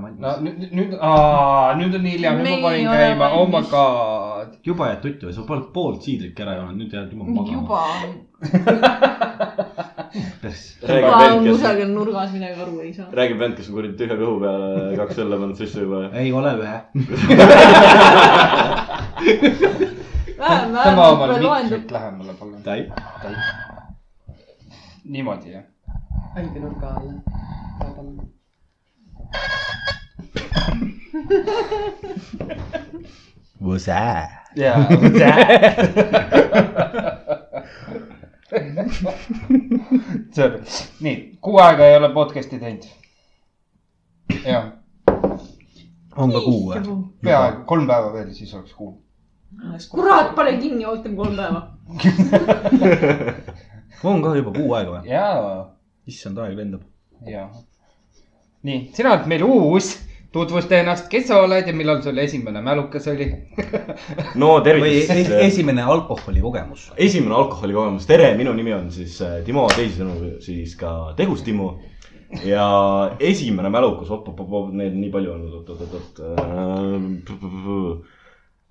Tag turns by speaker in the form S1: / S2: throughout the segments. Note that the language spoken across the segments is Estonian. S1: nüüd , nüüd , nüüd on hilja , nüüd ma
S2: Me ei
S1: panin
S2: ole
S1: käima , oh my
S2: valmis.
S1: god .
S3: juba jääd tuttu , sa paned poolt siidrit ära joonud , nüüd jääd juba magama .
S2: juba on ,
S3: pers .
S4: räägib
S2: juba on
S4: vend , kes ,
S2: kusagil nurgas midagi aru ei saa .
S4: räägib vend , kes on kuradi tühja kõhu peale kaks õlle pannud sisse juba .
S3: ei ole ühe .
S1: tema oma
S2: vähemalt loendub
S1: mikrit lähemale palun .
S3: täi .
S1: niimoodi jah .
S5: andke nurga alla .
S3: võse .
S1: jaa . nii , kuu aega ei ole podcast'i teinud . jah ,
S3: on ka kuu või ?
S1: peaaegu kolm päeva veel , siis oleks kuu .
S2: kurat , pane kinni , ootame kolm päeva .
S3: on ka juba kuu aega või ?
S1: jaa
S3: issand , aeg lendab .
S1: ja , nii , sina oled meil uus , tutvusta ennast , kes sa oled ja millal sul esimene mälukas oli ?
S4: no
S3: või
S4: tervist
S3: e . esimene alkoholikogemus .
S4: esimene alkoholikogemus , tere , minu nimi on siis äh, Timo , teisisõnu siis ka Tegus Timo . ja esimene mälukas , op-op-op , neid on nii palju olnud , oot-oot-oot-oot .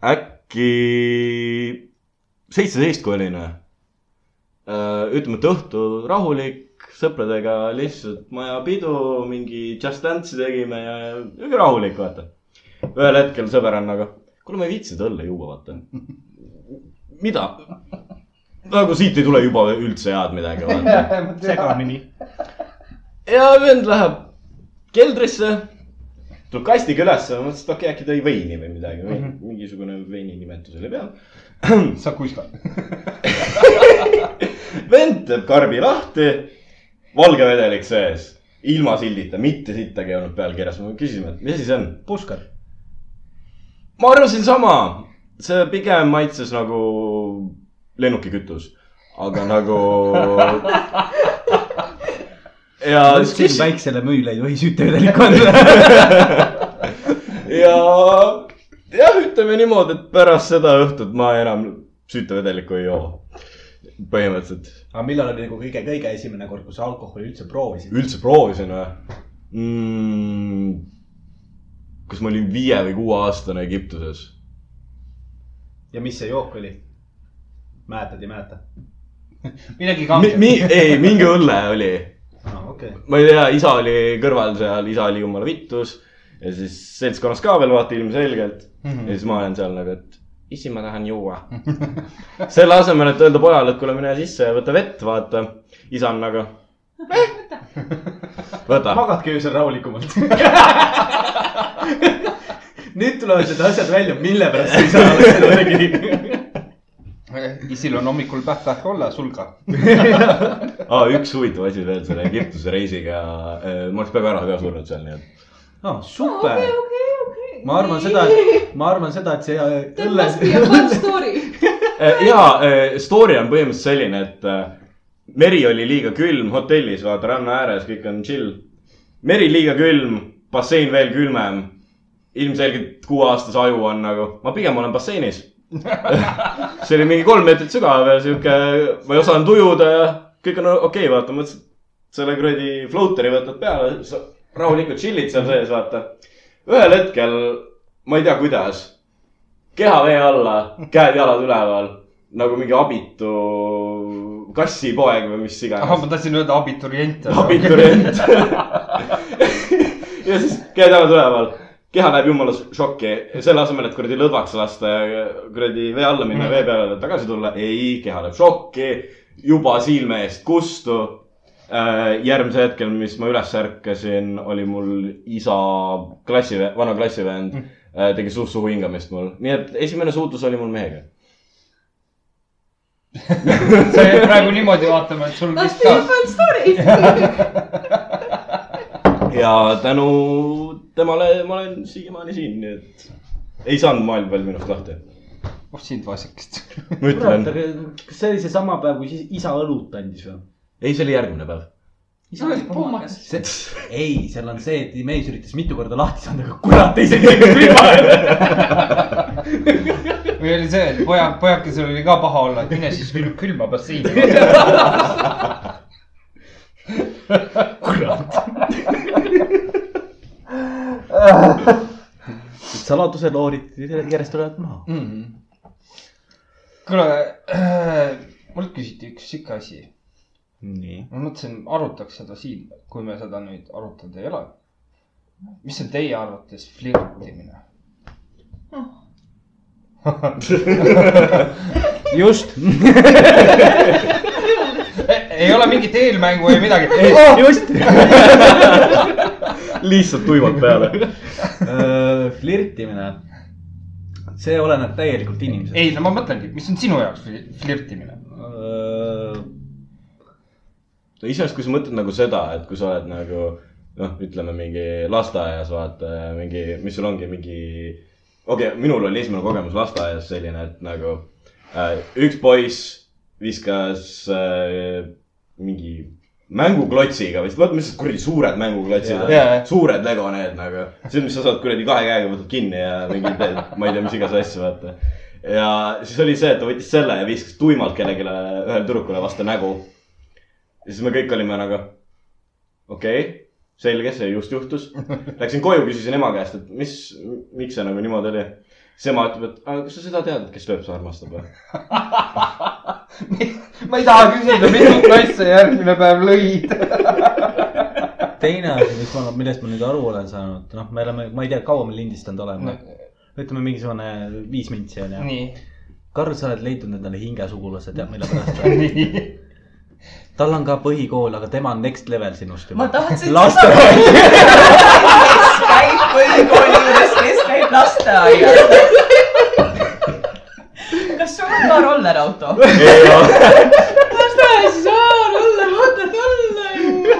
S4: äh, äkki seitseteist , kui olin . ütleme , et õhtu rahulik , sõpradega lihtsalt majapidu , mingi just dance'i tegime ja niisugune rahulik , vaata . ühel hetkel sõberannaga , kuule , ma ei viitsi seda õlle juua , vaata . mida , nagu siit ei tule juba üldse head midagi , vaata .
S3: segamini .
S4: ja vend läheb keldrisse , tuleb kastiga ülesse , ma mõtlesin , et okei okay, , äkki tõi veini või midagi või mingisugune veini nimetus oli peal .
S1: sa kuskad .
S4: vend teeb karbi lahti , valge vedelik sees , ilma sildita , mitte sittagi ei olnud peal kirjas . me küsisime , et mis asi see on .
S3: puskad .
S4: ma arvasin sama , see pigem maitses nagu lennukikütus , aga nagu ja
S3: kuskil
S4: siis
S3: väiksele müüle ei tohi süütevedelikku anda .
S4: ja jah , ütleme niimoodi , et pärast seda õhtut ma enam süütevedelikku ei joo . põhimõtteliselt
S3: aga millal oli nagu kõige , kõige esimene kord , kui sa alkoholi üldse proovisid ?
S4: üldse proovisin või mm, ? kas ma olin viie või kuue aastane Egiptuses ?
S3: ja mis see jook oli ? mäletad , ei mäleta ?
S1: midagi
S4: Mi, mi,
S1: kanget .
S4: ei , mingi õlle oli ,
S3: aa , okei .
S4: ma ei tea , isa oli kõrval seal , isa oli jumala vittus ja siis seltskonnas ka veel vaata ilmselgelt mm . -hmm. ja siis ma olen seal nagu , et issi , ma tahan juua . selle asemel , et öelda pojale , et kuule , mine sisse ja võta vett , vaata . isa on nagu eh, . võta .
S3: magadki öösel rahulikumalt . nüüd tulevad need asjad välja , mille pärast ei saa seda tegi .
S1: isil on hommikul pähk-pähk olla , sul ka .
S4: aa , üks huvitav asi veel selle Egiptuse reisiga . ma oleks peaaegu ära ka surnud seal , nii et .
S3: aa , Ah, super
S2: okei , okei , okei .
S3: ma arvan seda , ma arvan seda , et see äh,
S2: That
S3: õlle
S2: must be a fun story .
S4: ja Eh, story on põhimõtteliselt selline , et eh, meri oli liiga külm hotellis , vaata ranna ääres , kõik on chill . meri liiga külm , bassein veel külmem . ilmselgelt kuueaastase aju on nagu , ma pigem olen basseinis . see oli mingi kolm meetrit sügav ja sihuke , ma ei osanud ujuda ja kõik on okei okay, , vaata , mõtlesin , et selle kuradi floater'i võtad peale , sa rahulikult chill'id seal sees , vaata . ühel hetkel , ma ei tea , kuidas keha vee alla , käed-jalad üleval nagu mingi abitu kassipoeg või mis
S1: ahah ,
S4: iganes .
S1: ma tahtsin öelda abiturient .
S4: abiturient . ja siis käed-jalad üleval , keha näeb jumala šoki , selle asemel , et kuradi lõdvaks lasta ja kuradi vee alla minna , vee peale tagasi tulla , ei , keha näeb šoki , juba silme eest kustu . järgmisel hetkel , mis ma üles ärkasin , oli mul isa klassi , vana klassivend äh, tegi suhsuhu hingamist mul , nii et esimene suutlus oli mul mehega .
S1: sa jäid praegu niimoodi vaatama , et sul
S2: Must
S1: vist
S2: be a
S1: ka .
S2: fun story .
S4: ja tänu temale ma olen siiamaani siin , nii et ei saanud maailm veel minust lahti .
S1: oh sind vasikest .
S4: ma ütlen
S3: kurat ,, aga kas see oli seesama päev , kui siis isa õlut andis või ?
S4: ei , see oli järgmine päev .
S2: sa oled pommakas .
S3: see , ei , seal on see , et mees üritas mitu korda lahti saada , aga kurat , ei see keegi külma .
S1: või oli see , et poja , pojakesel oli ka paha olla , et mine siis külm , külma bassiini .
S3: kurat .
S5: saladused looriti järjest tulevad maha .
S1: mm. . kuule äh, , mult küsiti üks sihuke asi .
S5: nii .
S1: ma mõtlesin , arutaks seda siin , kui me seda nüüd arutanud ei ole . mis on teie arvates flirtimine ?
S5: just .
S1: E, ei ole mingit eelmängu või midagi . Oh!
S3: Oh!
S5: just .
S4: lihtsalt tuimalt peale .
S3: Äh, flirtimine , see oleneb täielikult inimesest .
S1: ei , no ma mõtlengi , mis on sinu jaoks fli- flirtimine ?
S5: Äh,
S4: no iseenesest , kui sa mõtled nagu seda , et kui sa oled nagu noh , ütleme mingi lasteaias vaata ja mingi , mis sul ongi mingi . okei okay, , minul oli esimene kogemus lasteaias selline , et nagu äh, üks poiss viskas äh, mingi mänguklotsiga vist , vaata mis need kuradi suured mänguklotsid
S3: Jaa.
S4: on
S1: Jaa, jaa. ,
S4: suured lego need nagu . see , mis sa saad kuradi kahe käega võtad kinni ja mingi teed , ma ei tea , mis iganes asju vaata . ja siis oli see , et ta võttis selle ja viskas tuimalt kellelegi , ühele tüdrukule vastu nägu ja siis me kõik olime nagu , okei okay, , selge , see just juhtus . Läksin koju , küsisin ema käest , et mis , miks see nagu niimoodi oli . siis ema ütleb , et "Aga kas sa seda tead , et kes lööb , see armastab või ?
S1: ma ei taha küsida , mitu klass sa järgmine päev lõid .
S5: teine asi , mis ma , millest ma nüüd aru olen saanud , noh , me oleme , ma ei tea , kaua me lindistanud oleme . ütleme mingisugune viis mintsi on ju .
S1: nii ,
S5: Karl , sa oled leidnud endale hingesugulase , tead mille pärast või ?
S1: nii .
S5: tal on ka põhikool , aga tema on next level sinust
S2: ma
S5: juba .
S2: tahtsin
S5: lasteaed .
S6: kes käib põhikooli juures , kes käib lasteaias . kas sul on ka rollerauto ?
S4: ei no ,
S2: lasteaias ei saa olla , vaata tulla ju .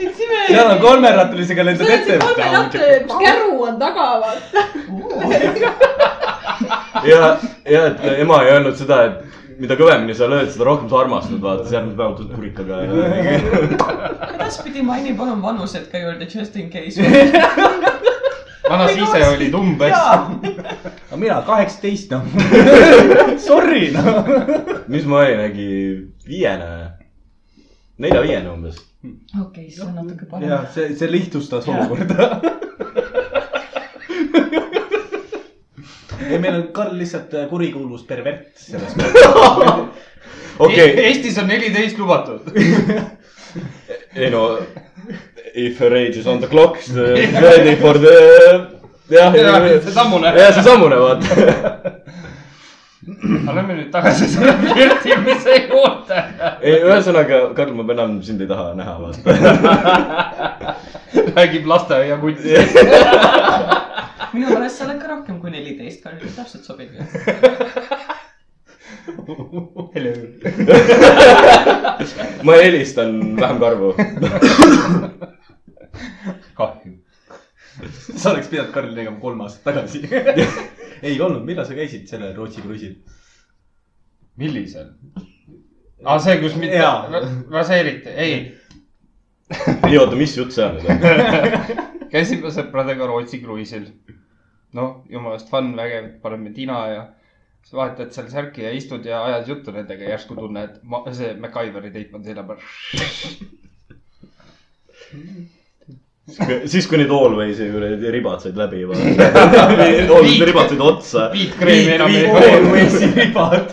S2: et sime .
S3: seal on kolmeratalisega lendad ette .
S2: käru on taga , vaata .
S4: ja , ja et ema ei öelnud seda , et mida kõvemini sa lööd , seda rohkem sa armastad , vaata , siis järgmine päev tuled kurikaga ja .
S6: edaspidi maini palun vanused ka juurde just in case .
S1: vanas ise olid umbes .
S5: aga mina kaheksateist , noh . Sorry , noh .
S4: mis ma olin , äkki viiene , nelja-viiene umbes .
S6: okei , see on natuke
S3: jah
S6: parem .,
S3: see , see lihtsustas olukorda .
S5: ei , meil on Karl lihtsalt äh, kurikuulus pervert selles mõttes .
S4: okei okay. ,
S1: E-, Eestis on neliteist lubatud .
S4: ei no , if her age is on the clock , siis ready for the . jah ,
S1: Jah, seesamune.
S4: jah , seesamune , vaata .
S1: aga lähme nüüd tagasi selle flirtimise juurde .
S4: ei , ühesõnaga , Karl , ma enam sind ei taha näha , vaata .
S1: räägib lasteaiakutsi .
S6: minu meelest sa oled ka rohkem kui neliteist , Karl , täpselt sobib ju .
S4: ma eelistan vähem karvu .
S1: kahju .
S3: sa oleks pidanud Karli tegema kolm aastat tagasi . ei olnud , millal sa käisid sellel Rootsi kruiisil ?
S1: millisel ? aa , see , kus mind
S3: Jaa.
S1: ra- raseeriti , ei .
S4: ei oota , mis jutt see on nüüd ?
S1: käisime sõpradega Rootsi kruiisil . noh , jumalast fun , vägev , paneme tina ja siis vahetad seal särki ja istud ja ajad juttu nendega , järsku tunne , et ma , see MacGyveri teip on selja peal .
S4: siis , kui need Always'i kuradi ribad said läbi juba . Always'i ribad said otsa .
S1: viitkreemi enam ei ole .
S4: Always'i ribad .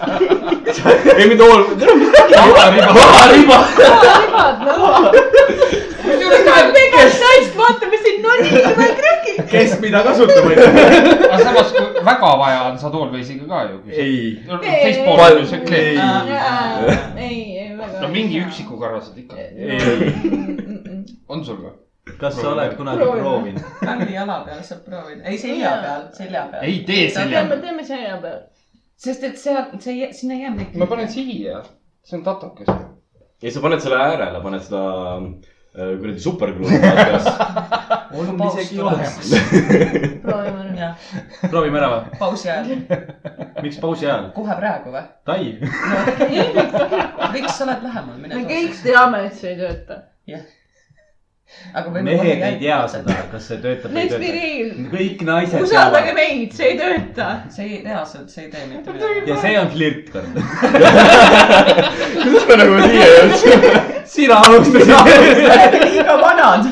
S4: ei , mitte Always , vaharibad .
S2: ribad , noh . kusjuures ta on tegelikult naist , vaata , mis siin nonib , ma ei trüki .
S3: kes mida kasutama ei tea .
S1: aga samas , kui väga vaja on , saad Allwaysiga ka ju .
S4: ei .
S1: teistpool on ju see kleep .
S2: ei , ei väga .
S1: no mingi üksiku karva saad ikka . on sul või ?
S5: kas sa oled kunagi
S2: Proovime.
S5: proovinud ?
S6: Karli jala peal saab proovida , ei selja peal , selja peal .
S1: ei tee selja .
S2: teeme , teeme selja peal .
S6: sest et seal , see ei jää , sinna ei jää midagi .
S1: ma panen siia , see on tatukas .
S4: ei , sa paned selle äärele , paned seda äh, kuradi supergluu'i vaata .
S3: on
S6: paus
S3: isegi
S6: tuleb.
S3: olemas .
S2: proovime nüüd .
S6: jah ,
S3: proovime ära või ?
S6: pausi ajal ,
S3: miks pausi ajal ?
S6: kohe praegu või ?
S3: Tai .
S6: miks sa oled lähemal , mine
S2: me kõik . teame , et see ei tööta .
S6: aga võime kohe
S5: mehed ei tea
S6: jälgida .
S5: seda , kas see töötab või ei
S2: Let's be
S5: tööta .
S2: real .
S5: kõik naised
S2: usaldage
S5: teavad
S2: meid , see ei tööta .
S6: see ei , reaalselt see ei tee mitte midagi .
S5: ja see on flirt , Karl .
S4: kuidas me nagu siia jõudsime ?
S5: sina alustasid .
S6: liiga vanad .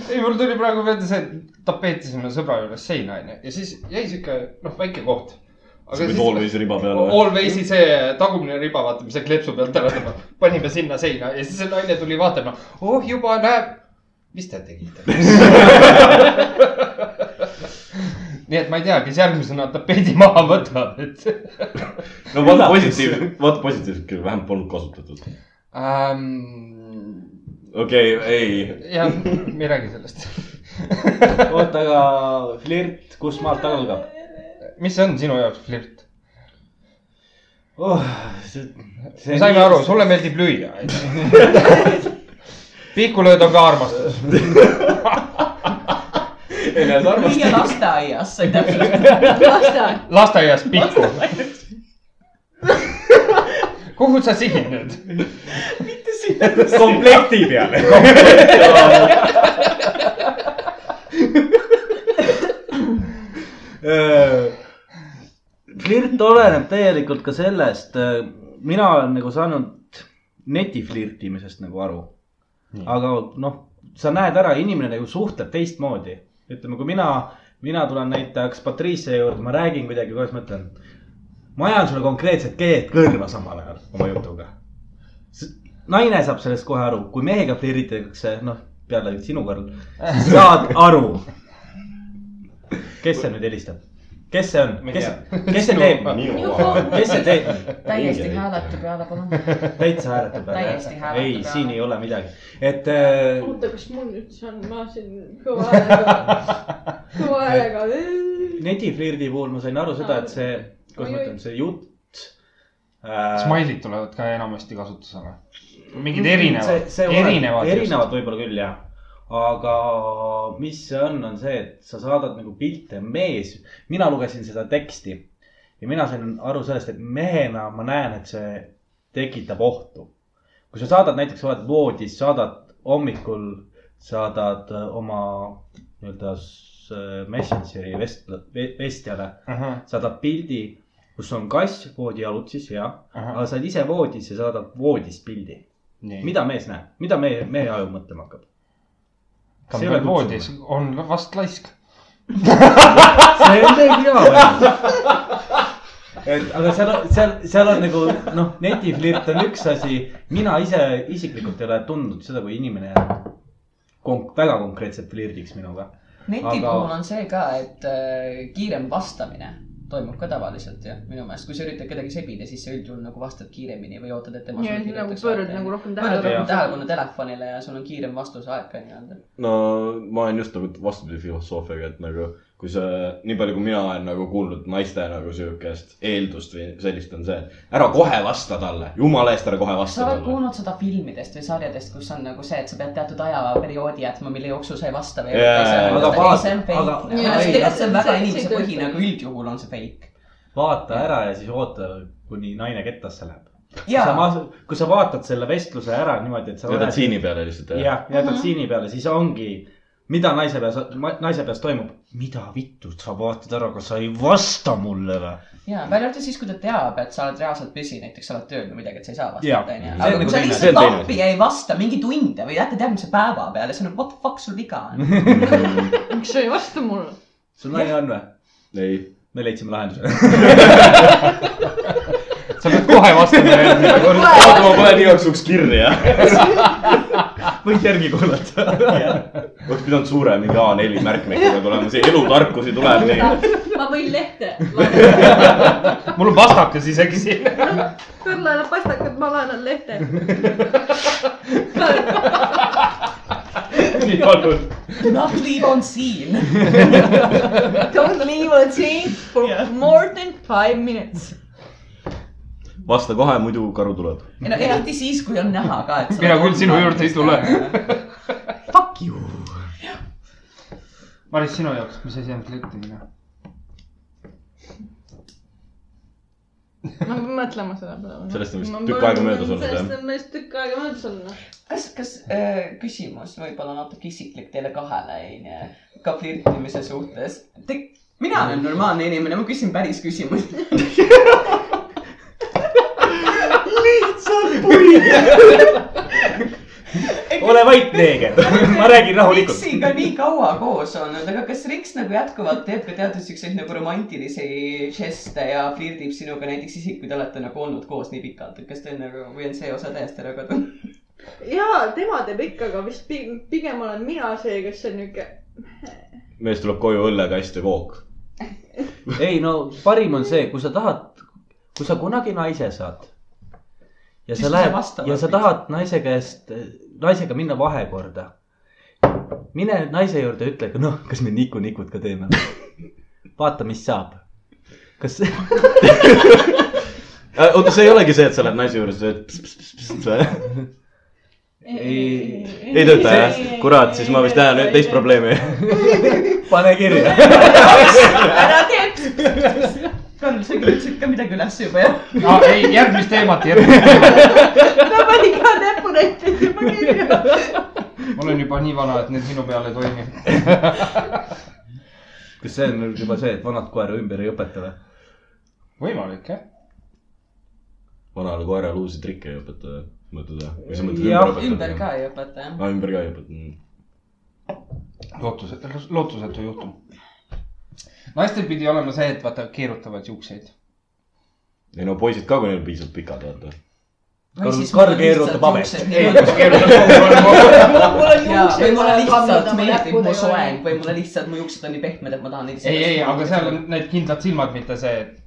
S1: ei , mul tuli praegu meelde see , et tapeetisime sõbra juures seina onju ja siis jäi siuke noh , väike koht .
S4: sa panid always riba peale või ?
S1: Always'i see tagumine riba , vaata , mis see kleepsu pealt ära tõmbab , panime sinna seina ja siis see naine tuli vaatama , oh juba näeb , mis te tegite . nii et ma ei tea , kes järgmisena tapeedi maha võtab , et
S4: no vaata positiivset , vaata positiivset küll , vähemalt polnud kasutatud .
S1: ähm, .
S4: okei okay, , ei .
S1: jah , me ei räägi sellest .
S5: oota , aga flirt , kust maalt algab
S1: mis see on sinu jaoks flirt ?
S5: oh, ? see ,
S1: me saime aru , sulle meeldib lüüa . pihkulööd on ka armastus .
S4: ei näe sarnast .
S6: viia lasteaias , sa ei täpselt .
S2: lasta .
S1: lasteaias pihku . kuhu sa sihin nüüd ?
S4: komplekti peale .
S5: flirt oleneb täielikult ka sellest , mina olen nagu saanud netiflirtimisest nagu aru . aga noh , sa näed ära , inimene nagu suhtleb teistmoodi . ütleme , kui mina , mina tulen näiteks Patrice juurde , ma räägin kuidagi , kuidas ma ütlen . ma ajan sulle konkreetselt keelt kõrva samal ajal oma jutuga . naine saab sellest kohe aru , kui mehega flirtitakse , noh , peale sinu Karl , saad aru . kes see nüüd helistab ? kes see on
S1: Ma , ei
S5: kes
S1: tea. ,
S5: kes see
S1: Sinu-
S5: teeb ?
S4: minu
S2: Juhu.
S5: kes see teeb ?
S2: täiesti hääletu peale , palun .
S5: täitsa hääletu peale
S6: Täiesti hääletu .
S5: ei ,
S6: peale.
S5: siin ei ole midagi , et äh,
S2: oota , kas mul üldse on , ma siin kõva häälega , kõva häälega .
S5: netiflirdi puhul ma sain aru seda , et see , kuidas ma ütlen , see jutt äh, .
S1: Smile'id tulevad ka enamasti kasutusele . mingid erinevad ,
S5: erinevad ,
S1: erinevad .
S5: erinevad võib-olla küll jah , aga mis see on , on see , et sa saadad nagu pilte , mees , mina lugesin seda teksti ja mina sain aru sellest , et mehena ma näen , et see tekitab ohtu . kui sa saadad näiteks , oled voodis , saadad hommikul , saadad äh, oma nii-öelda s- äh, Messengeri vest- , vestjale , saadab pildi , kus on kass voodijalutsis ja ,
S1: Ahah.
S5: aga sa oled ise voodis ja saadad voodis pildi
S1: nii ,
S5: mida mees näeb , mida meie , meie aju mõtlema hakkab ?
S1: ta on veel voodis , on vast laisk .
S5: see on teiegi ka või ? et aga seal , seal , seal on nagu noh , netiflirt on üks asi , mina ise isiklikult ei ole tundnud seda , kui inimene konk- , väga konkreetselt flirdiks minuga .
S6: neti
S5: Aga-
S6: puhul on see ka , et äh, kiirem vastamine toimub ka tavaliselt jah , minu meelest , kui sa üritad kedagi sebida , siis sa üldjuhul nagu vastad kiiremini või ootad , et tema .
S2: ja siis nagu pöörad nagu rohkem
S6: pöörad rohkem
S2: tähelepanu .
S6: tähelepanu telefonile ja sul on kiirem vastuseaeg ka nii-öelda .
S4: no ma olen just nagu vastupidi filosoofiaga , et nagu kui sa , nii palju kui mina olen nagu kuulnud naiste nagu siukest eeldust või sellist on see , et ära kohe vasta talle , jumala eest ära kohe
S6: sa
S4: vasta
S6: oled
S4: talle .
S6: kuulnud seda filmidest või sarjadest , kus on nagu see , et sa pead teatud ajaperioodi jätma , mille jooksul sa ei vasta või
S4: Jaa, jaa,
S5: aga
S6: ei .
S5: vaat-
S6: see on
S5: aga-
S6: fake . minu
S2: Jaa,
S6: meelest
S2: ei,
S6: tegelikult see on
S2: see-
S6: väga
S2: see- see ei
S6: inimesepõhine ,
S2: tööta.
S6: aga üldjuhul on see fake .
S5: vaata ära ja siis oota , kuni naine kettasse läheb .
S6: jaa ,
S5: kui sa vaatad selle vestluse ära niimoodi , et sa .
S4: jätad siini peale lihtsalt jah ?
S5: jah , jätad siini peale , siis ongi , mida naise peas , naise peas toimub , mida vittu , sa vaatad ära , kas sa ei vasta mulle või ?
S6: jaa , välja arvatud siis , kui ta teab , et sa oled reaalselt püsi , näiteks sa oled tööl või midagi , et sa ei saa
S5: Jaa.
S6: vastata ,
S5: See
S6: onju .
S5: on
S6: aga
S5: nagu
S6: kui sa
S5: teine-
S4: see on
S6: lihtsalt
S4: teine
S6: appi
S4: asi.
S6: ei vasta mingi tunde või jätad järgmise päeva peale , siis on nagu, what the fuck sul viga on .
S2: miks sa ei vasta mulle ?
S5: sul naine on või ?
S4: ei .
S5: me leidsime lahenduse .
S1: sa pead kohe vastama järgmine kord .
S4: oota , ma panen igaks juhuks kirja .
S5: võid järgi kuulata .
S4: oleks pidanud suure mingi A4 märkmikuga tulema , see elutarkusi tuleb nii .
S2: ma võin lehte . Karl
S1: mul on vastakas isegi siin .
S2: annab pastakad , ma annan lehte .
S4: ei olnud .
S6: Do not leave on scene .
S2: Don't leave a change for more than five minutes .
S4: vasta kohe , muidu karu tuleb .
S6: ei no eriti siis , kui on näha ka , et .
S1: Mina küll sinu juurde ei tule. .
S6: Fuck you .
S1: Maris , sinu jaoks , mis asi on flirtimine ?
S2: ma pean mõtlema selle peale .
S4: Sellest on vist tükk aega möödas olnud, jah?
S2: sellest on vist tükk aega möödas olnud .
S6: kas , kas äh, küsimus võib-olla natuke isiklik teile kahele , onju , ka flirtimise suhtes Te... . mina olen normaalne inimene , ma küsin päris küsimusi . lihtsalt puri . ei ,
S5: ole vait , neeger , ma räägin rahulikult .
S6: Riksiga nii kaua koos olnud , aga kas Riks nagu jätkuvalt teeb ka teatud siukseid nagu romantilisi žeste ja flirdib sinuga näiteks isik , kui te olete nagu olnud koos nii pikalt , et kas teil nagu või on see osa täiesti ära kadunud ?
S2: jaa , tema teeb ikka , aga vist pigem, pigem olen mina see , kes on niuke ,
S4: mees tuleb koju õllekast ja kook .
S5: ei no parim on see , kui sa tahad , kui sa kunagi naise saad . ja
S6: Siis
S5: sa
S6: sa
S5: lähed
S6: vastavad
S5: ja sa
S6: lihtsalt.
S5: tahad naise käest , naisega minna vahekorda . mine nüüd naise juurde ja ütle , noh , kas me niku-nikud ka teeme . vaata , mis saab . kas ,
S4: oota , see ei olegi see , et sa lähed naise juurde , sa oled .
S5: Ei-
S4: ei tööta jah ? kurat , siis ma vist näen nüüd teist . probleemi .
S5: pane kirja .
S6: ära tee . Karl , sa kirjutasid ka midagi üles juba jah ?
S1: no, . Ah, ei , järgmist teemat , järgmist teemat .
S2: ta pani ka näpunäiteid juba kirja .
S1: ma olen juba nii vana , et need minu peal ei toimi .
S5: kas see on nüüd juba see , et vanad koera ümber ei õpeta või ?
S1: võimalik jah .
S4: vanale koerale uusi trikke ei õpeta , mõtled või ? või sa
S5: Jah,
S4: mõtled
S6: ümber
S4: ümber
S6: ka
S4: õpetada ?
S6: ei õpeta jah ?
S4: aa , ümber ka ei õpeta . mm.
S1: lootusetu , lootusetu juhtum . naistel pidi olema see , et vaata keerutavad juukseid .
S4: ei no poisid ka , kui neil piisavalt pikad , vaata .
S5: Karl- Karl keerutab habet.
S2: mul on
S6: jaa , või mulle lihtsalt meeldib mu soeng
S2: juuksed .
S6: või mulle lihtsalt mu juuksed on nii pehmed , et ma tahan neid .
S1: ei , ei , aga seal on . need kindlad silmad , mitte see , et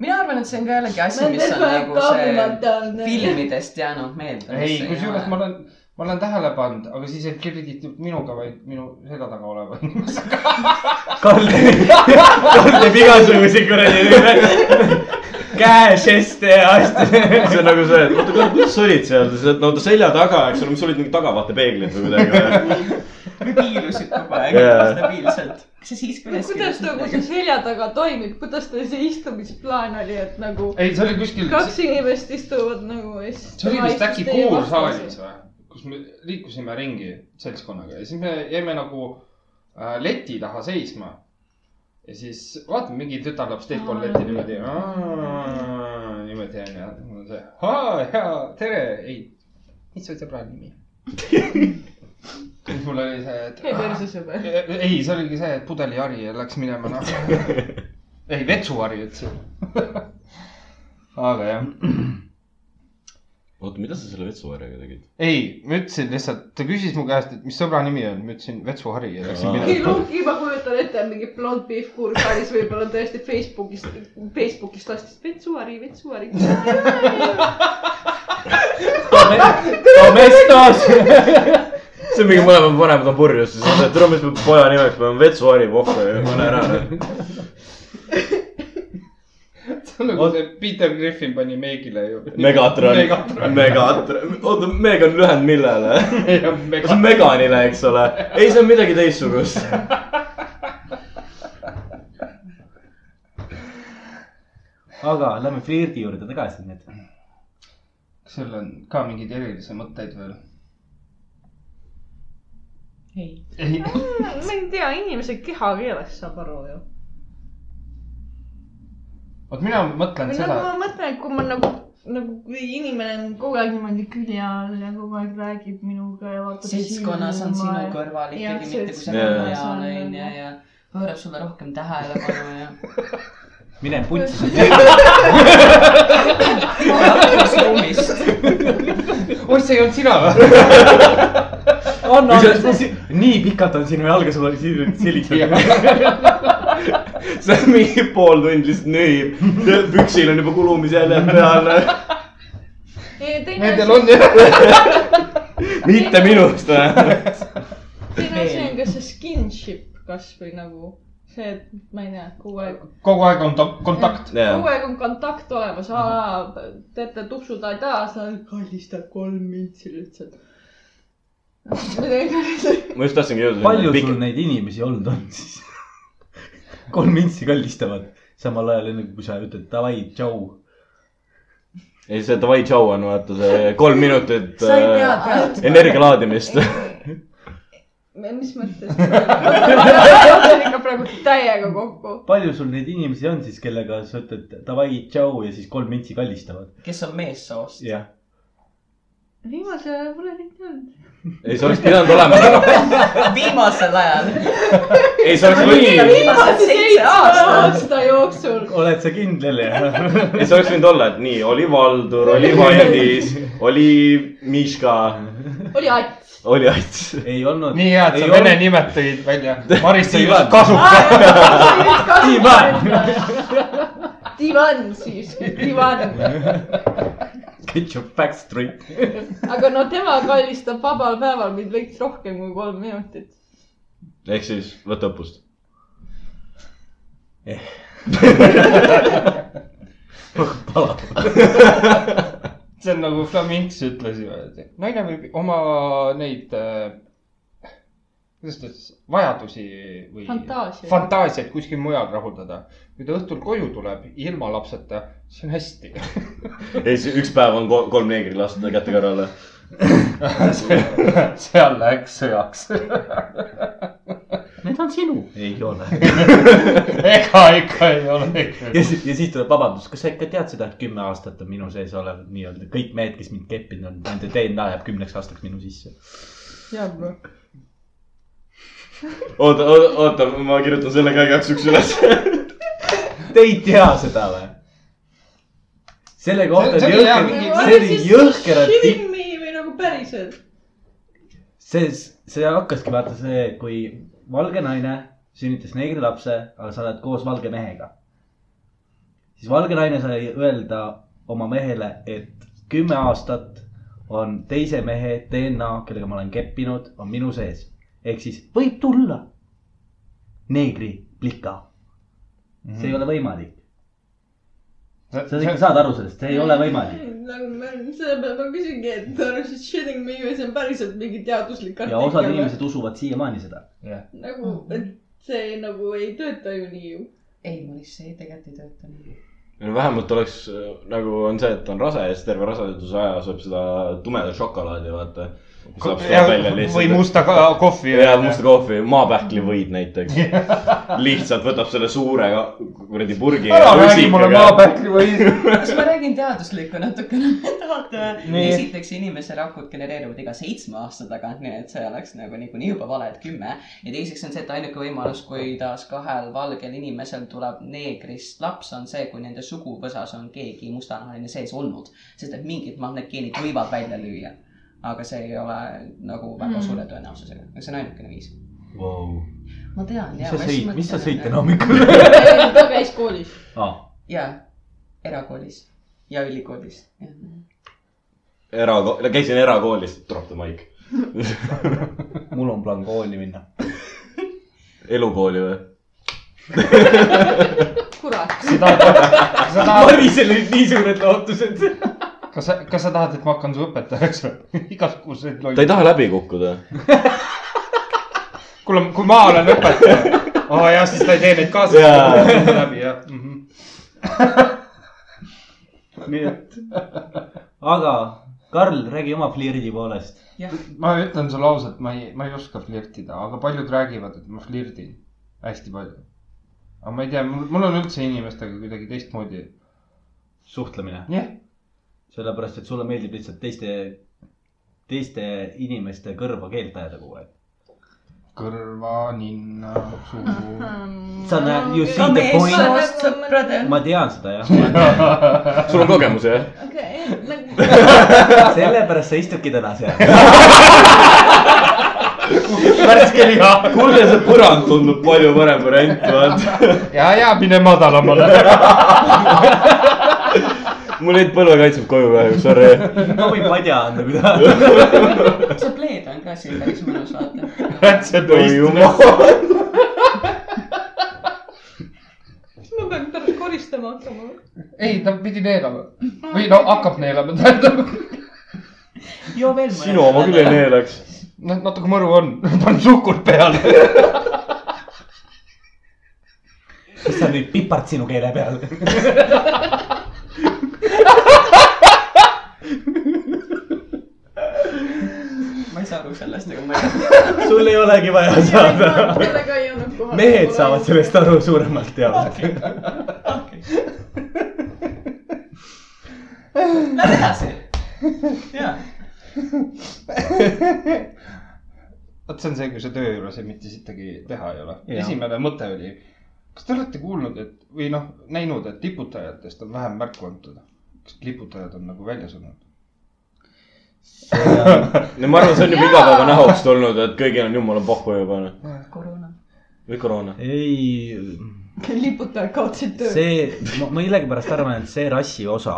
S6: mina arvan , et see on ka jällegi asi ,
S2: Ma
S6: mis on
S2: tean,
S6: nagu
S2: et kaamimata on-
S6: see filmidest jäänud meelde .
S1: ei , kusjuures ma olen , ma olen tähele pannud , aga siis ei kreditit minuga , vaid minu selja taga oleva inimesega .
S5: Karl teeb , Karl teeb igasuguseid kuradi käežeste ja asju .
S4: see on nagu see , et oota , kuule , kuidas sa olid seal , sa oled , no oota , selja taga , eks ole , mis sa olid mingi tagavaatepeeglis või midagi .
S6: me piilusid kogu aeg
S4: Jaa.
S6: stabiilselt . kas sa siis ka
S2: kuidas nagu see selja taga toimib , kuidas teil see istumisplaan oli , et nagu
S1: ei , see oli kuskil ,
S2: kaks inimest istuvad nagu ja siis .
S1: see oli vist äkki kuursaalis või , kus me liikusime ringi seltskonnaga ja siis me jäime nagu äh, leti taha seisma . ja siis vaata , mingi tütarlaps teeb kolletti niimoodi , niimoodi onju , mul on see , jaa , tere , ei , mis su sõbra nimi on ? siis mul oli see , et e,
S2: ei , perse sõber .
S1: ei , see oligi see , et pudelihari ja läks minema noh . ei , vetsuhari ütlesin . aga jah ,
S4: oota , mida sa selle vetsuharjaga tegid ?
S1: ei , ma ütlesin lihtsalt , ta küsis mu käest , et mis sõbra nimi on , ma ütlesin vetsuhari ja läksin
S2: mingi
S1: minema .
S2: luugi , ma kujutan ette , mingi blond beef kuursaalis võib-olla tõesti Facebookist , Facebookist lastis vetsuari , vetsuari .
S5: Domestos .
S4: see on mingi mõlemad vanemad on purjus , siis on see , et tule , mis me poja nimeks paneme , vetsuhari , pohhu ja pane ära . noh.
S1: see on nagu see Peter Griffin pani Meegile ju .
S4: Megatron ,
S1: Megatron .
S4: Megatron , oota , Meg on lühend millele ? kas see on
S1: Megatron .
S4: Meganile , eks ole ? ei , see on midagi teistsugust .
S5: aga lähme flirdi juurde tagasi nüüd .
S1: kas sul on ka mingeid erilisi mõtteid veel ?
S6: ei ,
S1: ei ,
S2: ma ei tea , inimese kehakeelest saab aru ju .
S1: vot mina mõtlen
S2: või
S1: seda
S2: nagu , ma mõtlen , et kui ma nagu , nagu kui inimene on kogu aeg niimoodi külje all ja kogu aeg räägib minuga ja vaatab .
S6: seltskonnas on sinu kõrval
S2: Jah,
S6: ikkagi , mitte kui sa
S4: seltskonnas
S6: oled hea
S2: on
S6: naine ja ,
S2: nagu-
S6: ja pöörab sulle rohkem tähelepanu ja .
S5: mine puntsi .
S1: oi , see ei olnud sina või ?
S5: on , on , nii pikalt on sinu jalga sul oli sild , siliks .
S4: see on mingi pool tundi lihtsalt nühib , püksil on juba kulumisjäljed peal .
S2: Nendel
S1: Nendel on jah .
S4: mitte minust või ?
S2: teine asi on ka see skinship kasvõi nagu see , et ma ei tea , kogu aeg ,
S1: kogu aeg on ta- kontakt .
S2: kogu aeg on kontakt olemas , a la teete tupsu ta ei taha , sa kallistad kolm mintsi lihtsalt .
S4: ma just tahtsingi jõuda .
S5: palju sul neid inimesi olnud on siis ? kolm intsi kallistavad , samal ajal enne kui sa ütled davai , tšau .
S4: ei , see davai tšau on vaata see kolm minutit
S6: sa ei pea
S4: äh,
S6: pealt .
S4: energia laadimist .
S2: mis mõttes ? see ikka praegu täiega kokku .
S5: palju sul neid inimesi on siis , kellega sa ütled davai , tšau ja siis kolm intsi kallistavad ?
S6: kes on meessoost .
S5: jah .
S2: viimasel ajal pole neid olnud .
S4: ei , see oleks pidanud olema ,
S6: viimasel ajal .
S4: ei see oleks võinud ,
S6: viimased seitse aastat .
S2: aasta jooksul .
S5: oled sa kindel ja ?
S4: ei see oleks võinud olla , et nii , oli Valdur , oli Valdis , oli Miška ,
S2: oli Ats .
S4: oli Ats .
S5: ei olnud .
S1: nii hea , et sa vene nimed tõid välja . Maris tõi
S4: Ivan.
S1: just kasuka .
S2: divan siis , divan .
S5: Ketchup Backstreet .
S2: aga no tema kallistab vabal päeval mind veits rohkem kui kolm minutit .
S4: ehk siis võta õppust .
S1: see on nagu Flaminx ütles ju , et naine võib oma neid , kuidas ta ütles , vajadusi või
S2: Fantaasiaid.
S1: fantaasiaid kuskil mujal rahuldada . kui ta õhtul koju tuleb ilma lapseta , siis on hästi .
S4: ei , siis üks päev on ko- kolm neegri lastud käte kõrvale .
S1: seal läks sõjaks .
S5: Need on sinu . ei ole .
S1: ega ikka ei ole .
S5: ja siis , ja siis tuleb vabandus , kas sa ikka tead seda , et kümme aastat on minu sees olev nii-öelda kõik mehed , kes mind keppinud on , nende DNA jääb kümneks aastaks minu sisse .
S4: oota , oota , oota , ma kirjutan selle ka igaks juhuks üles .
S5: Te ei tea seda või ? selle kohta
S1: See-
S5: oli
S1: see oli hea
S5: jõhker ,
S1: mingi-
S5: see oli jõhkeralt tipp .
S2: filmi või nagu päriselt .
S5: see , see hakkaski vaata see , kui valge naine sünnitas neegri lapse , aga sa oled koos valge mehega . siis valge naine sai öelda oma mehele , et kümme aastat on teise mehe DNA , kellega ma olen keppinud , on minu sees . ehk siis võib tulla neegri plika . see
S1: Mhm.
S5: ei ole võimalik , sa ikka saad aru sellest , see ei ole võimalik .
S2: nagu ma , sellepärast ma küsingi , et are you shitting me või see on päriselt mingi teaduslik
S5: ja osad inimesed usuvad siiamaani seda .
S2: nagu , et see nagu ei tööta ju nii ju .
S6: ei , Maris , see tegelikult ei tööta .
S4: vähemalt oleks äh, nagu on see , et on rase ja siis terve raseduse aja sööb seda tumedat šokolaadi , vaata . saab seda välja
S1: või
S4: lihtsalt .
S1: musta ka- kohvi .
S4: ja musta kohvi , maapähklivõid näiteks . lihtsalt võtab selle suure ka- kuradi purgi .
S1: ära räägi mulle . maapähkli või .
S6: kas ma räägin teaduslikku natukene ? vaata , esiteks inimese rakud genereeruvad iga seitsme aasta tagant , nii et see oleks nagu niikuinii juba vale , et kümme . ja teiseks on see , et ainuke võimalus , kuidas kahel valgel inimesel tuleb neegrist laps , on see , kui nende suguvõsas on keegi mustanahaline sees olnud . sest et mingid magnetgeenid võivad välja lüüa . aga see ei ole nagu väga suure tõenäosusega , see on ainukene viis .
S5: Wow.
S6: ma tean .
S5: mis sa sõid , mis sa sõid täna ? hommikul ?
S2: ta käis koolis .
S6: jaa , erakoolis ja ülikoolis , jah
S4: erakool , käisin erakoolis , drop the mic .
S5: mul on plaan kooli minna .
S4: elukooli või ?
S2: kurat .
S1: sa tahad ,
S5: Marisel olid nii suured lootused .
S1: kas sa , kas sa tahad , et ma hakkan su õpetajaks või ? igasuguseid
S4: ta ei . taha läbi kukkuda .
S1: kuule , kui ma olen õpetaja . aa jah , siis ta ei tee neid kaasa
S4: Jaa. .
S1: läbi jah mm . -hmm.
S5: nii et , aga Karl , räägi oma flirdi poolest .
S6: jah ,
S1: ma ütlen sulle ausalt , ma ei , ma ei oska flirtida , aga paljud räägivad , et ma flirdin hästi palju . aga ma ei tea , mul , mul on üldse inimestega kuidagi teistmoodi .
S5: suhtlemine ,
S1: jah ,
S5: sellepärast et sulle meeldib lihtsalt teiste , teiste inimeste kõrva keelt ajada kogu aeg .
S1: kõrva , ninna , suu .
S5: sa näed , you see the point .
S6: sõprade .
S5: ma tean seda jah ,
S4: sul on kogemusi jah ?
S2: okei , nagu
S5: sellepärast sa istudki täna seal .
S4: värske liha . kuulge , see põrand tundub palju parem variant , vaata .
S1: ja , ja mine madalamale .
S4: mul jäid põlvekaitsed koju kahjuks , sorry .
S5: ma võin padja anda , kui tahad .
S6: see pleed on ka siin päris mõnus , vaata .
S1: rätsed võistlevad .
S2: ma pean pärast koristama hakkama .
S1: ei , ta pidi neelama või no hakkab neelama , tähendab .
S6: joo veel
S4: sinu oma küll ei . neelaks .
S1: noh , natuke mõru on , panen suhkurt peale .
S5: mis sa nüüd pipard sinu keele peal .
S6: ma ei saa aru sellest , aga ma ei
S5: sul ei olegi vaja saada .
S2: sellega ei olnud kohal .
S5: mehed saavad sellest aru suuremalt jaolt .
S6: tea . Lähme edasi . jaa ,
S1: vot see on see , kui sa töö juures ei mitte sittagi teha ei ole .
S5: Jaa.
S1: esimene mõte oli , kas te olete kuulnud , et või noh , näinud , et liputajatest on vähem märku antud ? kas liputajad on nagu välja surnud ?
S4: no ma arvan , see on juba igapäeva näost olnud , et kõigil on jumala pohhu juba .
S6: koroona .
S4: või koroona .
S5: ei ,
S6: liputajad kaotasid töö .
S5: see , ma millegipärast arvan , et see rassi osa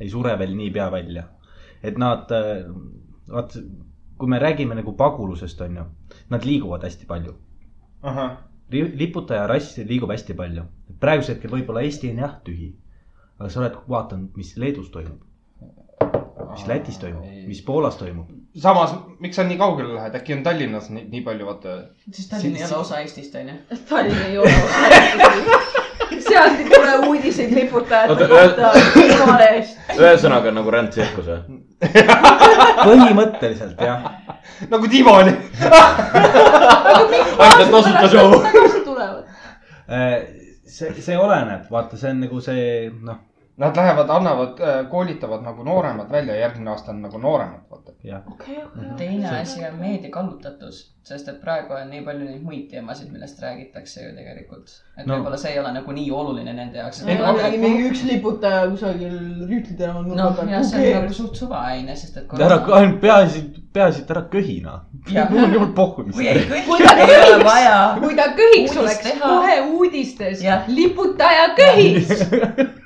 S5: ei sure veel niipea välja . et nad , vaat kui me räägime nagu pagulusest , on ju , nad liiguvad hästi palju .
S1: ahah ,
S5: Ri- liputaja rass liigub hästi palju . praegusel hetkel võib-olla Eesti on jah tühi , aga sa oled vaadanud , mis Leedus toimub , mis Lätis toimub , mis Poolas toimub .
S1: samas , miks sa nii kaugele lähed , äkki on Tallinnas nii, nii palju , vaata .
S6: siis Tallinn ei ole osa Eestist , onju .
S2: Tallinn ei ole osa- sealt ei tule uudiseid liputajate
S4: Oota,
S2: kohta Soomaalehest .
S4: ühesõnaga nagu rändtsirkus või ?
S5: põhimõtteliselt jah ,
S1: nagu diivani .
S4: ainult , et tasuta show .
S2: tagasi tulevad .
S5: Äh, see , see oleneb , vaata , see on nagu see noh ,
S1: Nad lähevad , annavad , koolitavad nagu nooremad välja , järgmine aasta on nagu nooremad , vaata .
S5: jah .
S2: okei , okei .
S6: teine asi on meedia kallutatus , sest et praegu on nii palju neid muid teemasid , millest räägitakse ju tegelikult .
S5: No.
S6: et no. võib-olla see ei ole nagu nii oluline nende jaoks .
S2: ei ,
S1: ma-
S2: mul oli mingi üks liputaja kusagil Rüütli tänava nurga
S6: noh , ja see on nagu suht suvaline , sest et
S5: ära , ainult peaasi , peaasi , et ära köhina .
S6: Jah.
S5: mul on jumal pohhu , mis
S6: kui ei kõiki
S2: Kuidas
S6: ei ole
S2: võiks?
S6: vaja .
S2: nagu- kui ta köhiks
S6: Uudist
S2: oleks
S6: teha.
S2: kohe uudistes
S6: Jah. ,
S2: liputaja köhiks .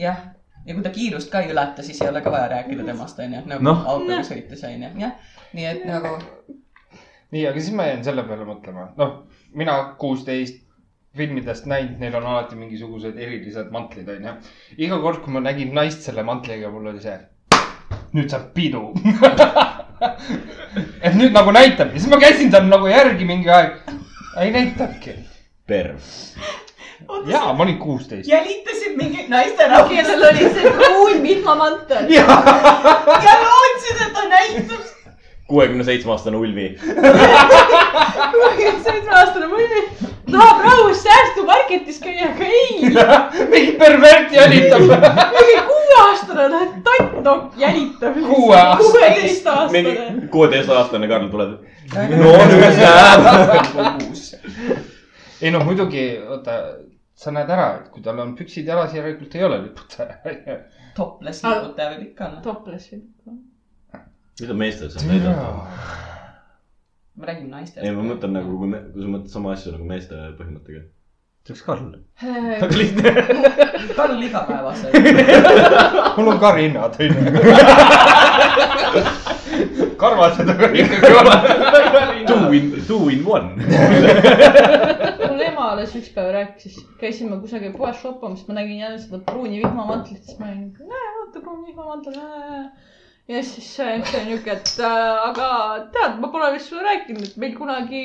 S6: jah , ja kui ta kiirust ka ei ületa , siis ei ole ka vaja rääkida temast , onju , nagu no.
S5: Noh.
S6: autoga sõites , onju , jah . nii et nagu
S1: nii , aga siis ma jäin selle peale mõtlema , noh , mina kuusteist filmidest näinud , neil on alati mingisugused erilised mantlid , onju . iga kord , kui ma nägin naist selle mantliga , mul oli see , nüüd saab pidu . et nüüd nagu näitab ja siis ma käisin tal nagu järgi mingi aeg , ei näitanudki .
S4: perv .
S1: ja ma olin kuusteist .
S6: jälitasid mingit naisterahvast
S2: kellel oli see pruun vihmamantel .
S6: ja lootsid , et ta näitab
S4: kuuekümne seitsme aastane Ulvi .
S2: seitsmeaastane mõni tahab rahus säästumarketis käia , aga ei .
S1: mingi pervert jälitab .
S2: mingi kuueaastane läheb tattnokk jälitab .
S1: Kuueaastane.
S4: mingi
S2: kuueteistaastane .
S4: kuueteistaastane Karl tuleb .
S6: no
S4: no nüüd näeb .
S1: ei no muidugi , oota , sa näed ära , et kui tal on püksid jalas , järelikult ei ole liputaja .
S6: topless liputaja võib ikka olla .
S2: toples või ?
S4: mida meestel seal täidab ?
S6: ma räägin naistest .
S4: ei , ma mõtlen nagu , kui me , kui sa mõtled sama asja nagu meeste põhimõttega .
S5: ütleks Karl .
S6: Karl igapäevaselt .
S1: mul on ka rinnad , onju . karvased aga ikkagi
S4: Two
S1: on .
S4: in , two in one .
S2: mul ema alles üks päev rääkis , käisime kusagil poes shoppamas , ma nägin jälle seda pruuni vihmamantlit , siis ma olin , näe , vaata pruun vihmamantel , näe . ja siis see üks oli niuke , et äh, aga tead , ma pole vist sulle rääkinud , et meil kunagi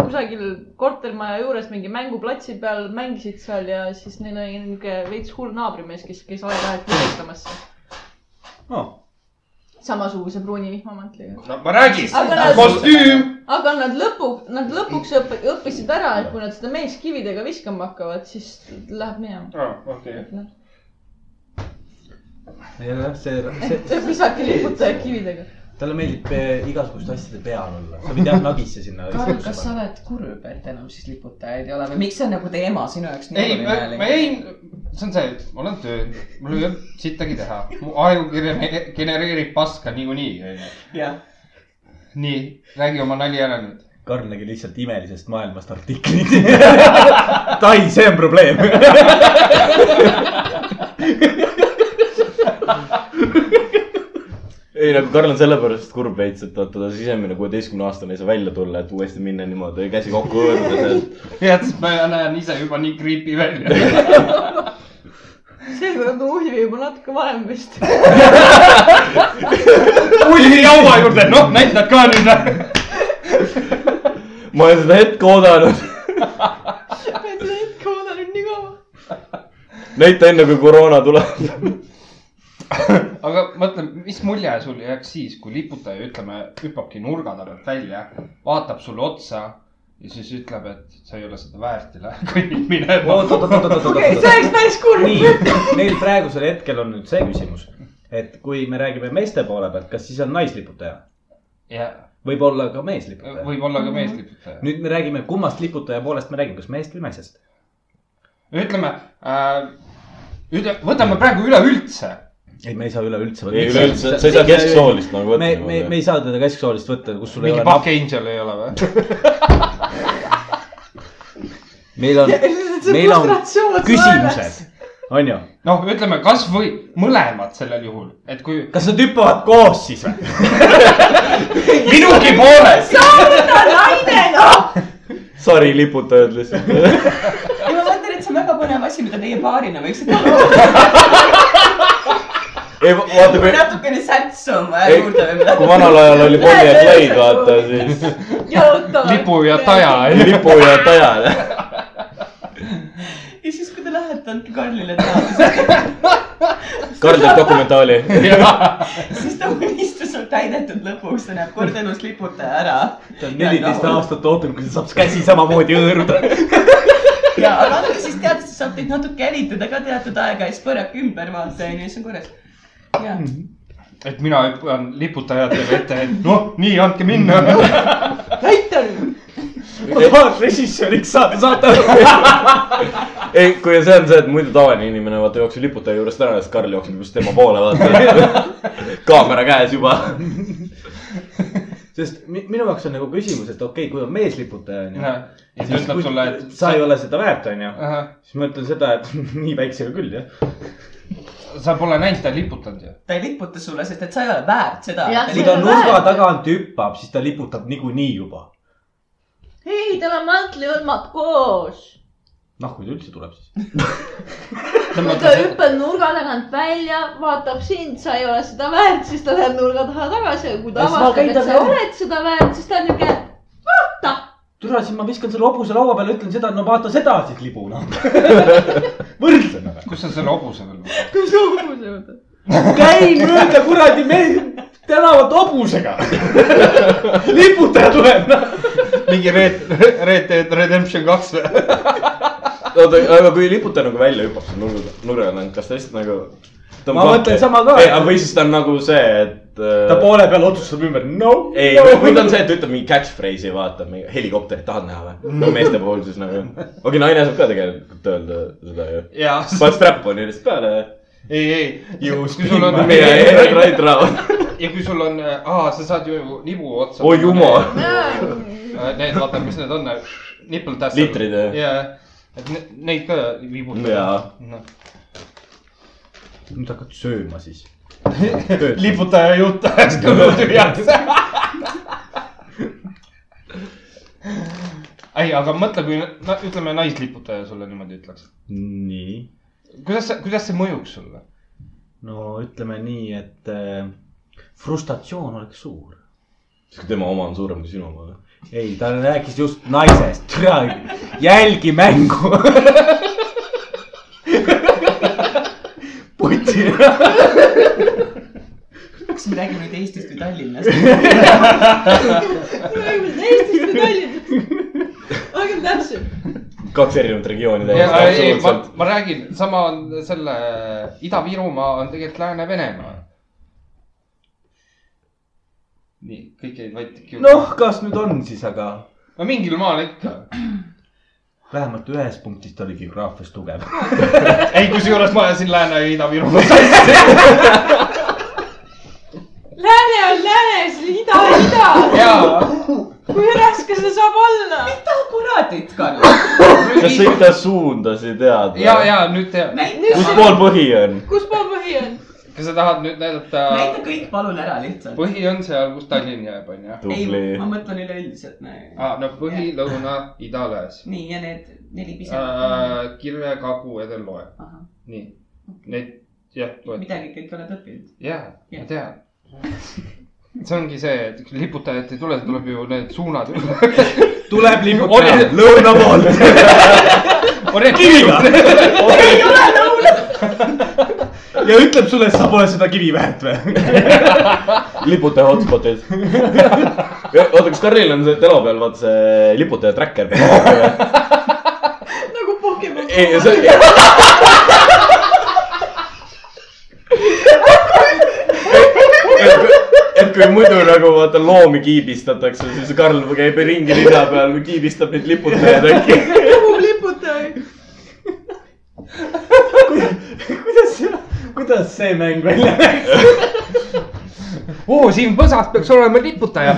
S2: kusagil kortermaja juures mingi mänguplatsi peal mängisid seal ja siis neil oli niuke veits hull naabrimees , kes käis aeg-ajalt kirjutamas
S5: Oh.
S2: samasuguse pruuni vihmamantliga .
S1: no ma räägin
S2: Aga nad- ,
S1: kostüüm .
S2: aga nad lõpuks , nad lõpuks õpp, õppisid ära , et kui nad seda meest kividega viskama hakkavad , siis läheb minema .
S1: Ah, okei ,
S5: jah , see, see ,
S2: visake liputaja kividega .
S5: talle meeldib eh, igasuguste asjade peal olla , sa võid jah nagisse sinna .
S6: Karl , kas sa oled kurb , et enam siis liputajaid ei ole või miks see on nagu teema sinu jaoks nii
S1: ei , ma , ma
S6: oluline ?
S1: jäin , see on see , ma olen tööl , mul ei olnud sittagi teha , mu aju gene- genereerib paska niikuinii , onju .
S6: jah ,
S1: nii , räägi oma nali ära nüüd .
S5: Karl nägi lihtsalt imelisest maailmast artiklit . tai , see on probleem .
S4: ei , nagu Karl on sellepärast kurb veits , et vaata ta sisemine kuueteistkümne aastane ei saa välja tulla , et uuesti minna niimoodi käsi kokku hõõrudes , et
S1: tead , sest ma näen ise juba nii creepy välja .
S2: seekord on Ulvi nagu juba natuke vanem vist .
S1: Ulvi laua juurde , noh , näitad ka nüüd .
S4: ma olen seda hetke oodanud .
S2: ma ütlen , et kaua ta nüüd nii kaua .
S4: näita enne , kui koroona tuleb .
S1: aga mõtle , mis mulje sul jääks siis , kui liputaja , ütleme , hüppabki nurga tagant välja , vaatab sulle otsa ja siis ütleb , et sa ei ole seda väärt ja läheb kõnnib minema .
S5: oot , oot , oot , oot , oot ,
S2: okei ,
S5: oot ,
S2: see
S5: oot .
S2: oleks päris kurb .
S5: nii , neil praegusel hetkel on nüüd see küsimus , et kui me räägime meeste poole pealt , kas siis on naisliputaja ?
S1: ja
S5: võib olla ka meesliputaja Või... .
S1: võib olla ka meesliputaja .
S5: nüüd me räägime , kummast liputaja poolest me räägime , kas mehest või naisest ?
S1: ütleme äh, , ütle , võtame praegu üleüldse .
S5: ei , me ei saa üleüldse võtta .
S4: ei üleüldse , sa ei saa kesksoolist nagu võtta .
S5: me , me , me ei saa teda kesksoolist võtta , kus sul ei
S1: mingi
S5: ole nap-
S1: Buck , Angel ei ole või ?
S5: meil on , meil on küsimused , on ju .
S1: noh , ütleme kasvõi mõlemad sellel juhul , et kui
S5: kas nad hüppavad koos siis või ?
S1: minugi poolest .
S6: sauna naine , noh .
S4: sari liputajad lihtsalt .
S6: ja ma mõtlen , et see on väga põnev asi , mida teie paarina võiksite olla .
S4: ei , vaata
S6: kui
S4: kui ,
S6: natukene sätsu on vaja
S4: Ei,
S6: juurde või
S4: kui
S6: midagi .
S4: vanal ajal oli Bonnie ja Clyde , vaata siis
S2: jalutavad .
S1: lipu ja taja .
S4: lipu ja taja .
S6: ja siis , kui te lähete , andke Karlile teada ,
S4: Karl teeb dokumentaali .
S6: siis ta unistus on täidetud lõpuks , ta näeb kord elus liputaja ära .
S5: ta on neliteist . aastat oodanud , kui ta saab käsi samamoodi hõõruda .
S6: ja , aga andke siis teada , siis saab teid natuke jälitada ka teatud aega ja siis põrake ümber vaata onju , siis on korras . ja ,
S1: et mina hüppan liputajatele ette , et noh , nii , andke minna .
S6: näita nüüd .
S5: ma tahan režissööriks saada , saate aru ?
S4: ei , kui see on see , et muidu tavaline inimene vaata jookseb liputaja juurest ära ja siis Karl jookseb just tema poole vaata . kaamera käes juba .
S5: sest mi- minu jaoks on nagu küsimus , et okei okay, , kui on meesliputaja on ju .
S1: ja siis ütleb sulle , et
S5: sa ei ole seda väärt , on ju .
S1: ahah,
S5: siis ma ütlen seda , et nii väiksega küll jah .
S1: sa pole näinud , ta ei liputanud ju .
S6: ta ei liputa sulle , sest et sa ei ole väärt seda .
S2: Jah,
S5: kui ta nurga tagant hüppab , siis ta liputab niikuinii juba .
S2: ei , tal on mantliõlmad koos .
S5: noh , kui ta üldse tuleb siis .
S2: kui ta hüppab nurga tagant välja , vaatab sind , sa ei ole seda väärt , siis ta läheb nurga taha tagasi ja kui ta
S5: Ja siis ma
S2: avastab ,
S5: käin
S2: et
S5: taga
S2: sa
S5: ära.
S2: oled seda väärt , siis ta on niuke , vaata .
S5: türa , siis ma viskan selle hobuse laua peale , ütlen seda , no vaata seda siis libuna . võrdleme või ?
S1: kus sa selle hobuse veel võtad ?
S2: kas sa hobuse võtad ?
S5: käi mööda kuradi me- , tänavat hobusega . liputaja tuleb .
S1: mingi Red , Red Dead Redemption kaks või ?
S4: oota , aga kui liputaja nagu välja hüppab seal nurga , nurga tagant , kas ta lihtsalt nagu .
S5: Ma mõtlen sama ka.
S4: või siis ta on nagu see , et .
S5: ta poole peal otsustab ümber , no .
S4: ei , või ta on see , et ütleb mingi catchphrase'i , vaata , mingi helikopterit tahad näha
S5: Mm.
S4: või ? no meeste puhul siis nagu . okei , naine saab ka tegelikult öelda seda ju .
S1: jaa ,
S4: paned strap-on'i lihtsalt peale ja .
S1: ei , ei .
S5: You
S1: kui sul on
S5: speak my
S4: meie Red Right Round .
S1: ja kui sul on , aa , sa saad ju nibu otsa .
S4: oi jumal .
S1: Need , vaata , mis need on , nipple tassel .
S4: Litrid, jah?
S1: jaa , et ne- neid ka
S4: Jaa.
S1: liputada . Noh.
S5: nüüd hakkad sööma siis .
S1: liputaja jutt ajaks kõhu tühjaks . ei , aga mõtle , kui na- ütleme , naisliputaja sulle niimoodi ütleks .
S5: nii .
S1: kuidas see , kuidas see mõjuks sulle ?
S5: no ütleme nii , et äh, frustratsioon oleks suur .
S4: siis kui tema oma on suurem kui sinu oma noh. või ?
S5: ei , ta rääkis just naisest , jälgi mängu . putsi .
S6: kas me räägime nüüd Eestist või Tallinnast ?
S2: Eestist või Tallinnast ? olgem täpsed .
S4: kaks erinevat regiooni
S1: ei , ma
S4: täiesti .,
S1: ma räägin , sama on selle Ida-Virumaa on tegelikult Lääne-Venemaa . nii , kõik jäid vait .
S5: noh , kas nüüd on siis , aga
S1: no mingil maal ikka .
S5: vähemalt ühes punktis ta oli geograafias tugev .
S1: ei , kusjuures ma ajasin Lääne ja Ida-Virumaa sassi .
S2: Lääne on läänes , ida on ida .
S1: jaa .
S2: kui raske see saab olla ?
S6: mida kuradit , Karl ?
S4: kas sa ikka suunda ei tead ?
S1: ja , ja nüüd tead ,
S6: näita ,
S4: kus pool põhi on ?
S2: kus pool põhi on ?
S1: kas sa tahad nüüd näidata
S6: näita , kõik palun ära lihtsalt .
S1: põhi on seal , kus Tallinn jääb , onju .
S6: ei
S4: tubli ,. Ah.
S6: ma mõtlen üleüldiselt . nii
S1: aa , no põhi , lõuna , ida , lääs .
S6: ja need
S4: Äh,
S6: neli pisedat .
S1: ah, kirve , kagu , edel , loe . nii , need , jah , loed .
S6: midagi kõik oled õppinud .
S1: jaa , ma
S6: Jah.
S1: tean . see ongi see , et kui liputajat ei tule , tuleb ju need suunad .
S5: tuleb
S1: Oli-
S5: liputaja , lõuna poolt . kiviga
S6: ei ole nõus .
S5: ja ütleb sulle , et sa pole seda kivi väärt või ?
S4: liputaja hotspotid . oota , kas Karlil on see telo peal , vaata see liputaja tracker ?
S2: nagu Pokemon .
S4: ei , see . kui muidu nagu vaata loomi kiibistatakse , siis Karl käib ringi linna peal , kiibistab neid liputajaid äkki .
S6: kuhu liputaja ?
S3: kuidas , kuidas see mäng välja läks ?
S1: oo , siin Põsas peaks olema liputaja .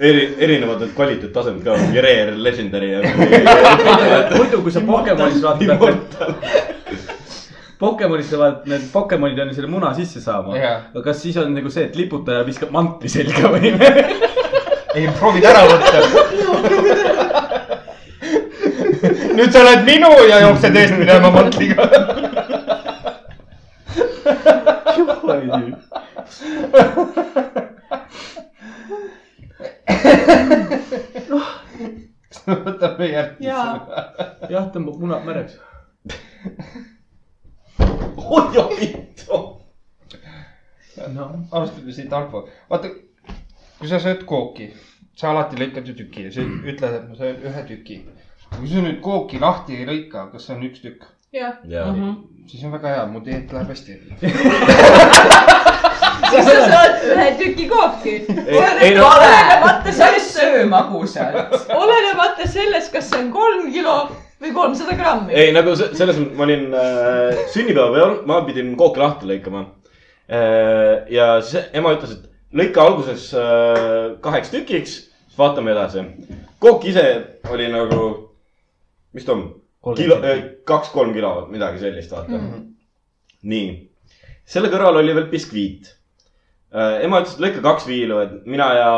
S4: eri , erinevad need kvaliteettasemed ka , mingi Rare , Legendary ja mingi
S3: muidu , kui sa Pokemonis vaatad ,
S4: Immortal .
S3: Pokemonis sa vaatad , need Pokemonid on ju selle muna sisse saama
S1: Jaa.
S3: aga kas siis on nagu see , et liputaja viskab mantli selga või ?
S1: ei , proovid ära võtta . nüüd sa oled minu ja jooksed eest minema mantliga . võtame järgmise .
S2: jaa ,
S3: jah , tõmbab munad märjaks .
S4: hoia vittu .
S3: noh ,
S1: alustame siit alfa , vaata , kui sa sööd kooki , sa alati lõikad ju tüki ja sa ütled , et ma söön ühe tüki . kui sa nüüd kooki lahti ei lõika , kas see on üks tükk ,
S2: jah .
S4: jaa ,
S1: siis on väga hea , mu dieet läheb hästi .
S2: siis sa saad ühe tüki kooki .
S4: ei no-
S6: olenevalt , sa ei söö magusalt .
S2: olenemata sellest , kas see on kolm kilo või kolmsada grammi .
S4: ei nagu se- selles mõttes , ma olin äh, sünnipäeva peal , ma pidin kooki lahti lõikama äh, . ja siis ema ütles , et lõika alguses äh, kaheks tükiks , siis vaatame edasi . kook ise oli nagu , mis ta on , kilo , kaks-kolm kilo , midagi sellist , vaata mm . -hmm. nii , selle kõrval oli veel biskviit äh, . ema ütles , et lõika kaks viilu , et mina ja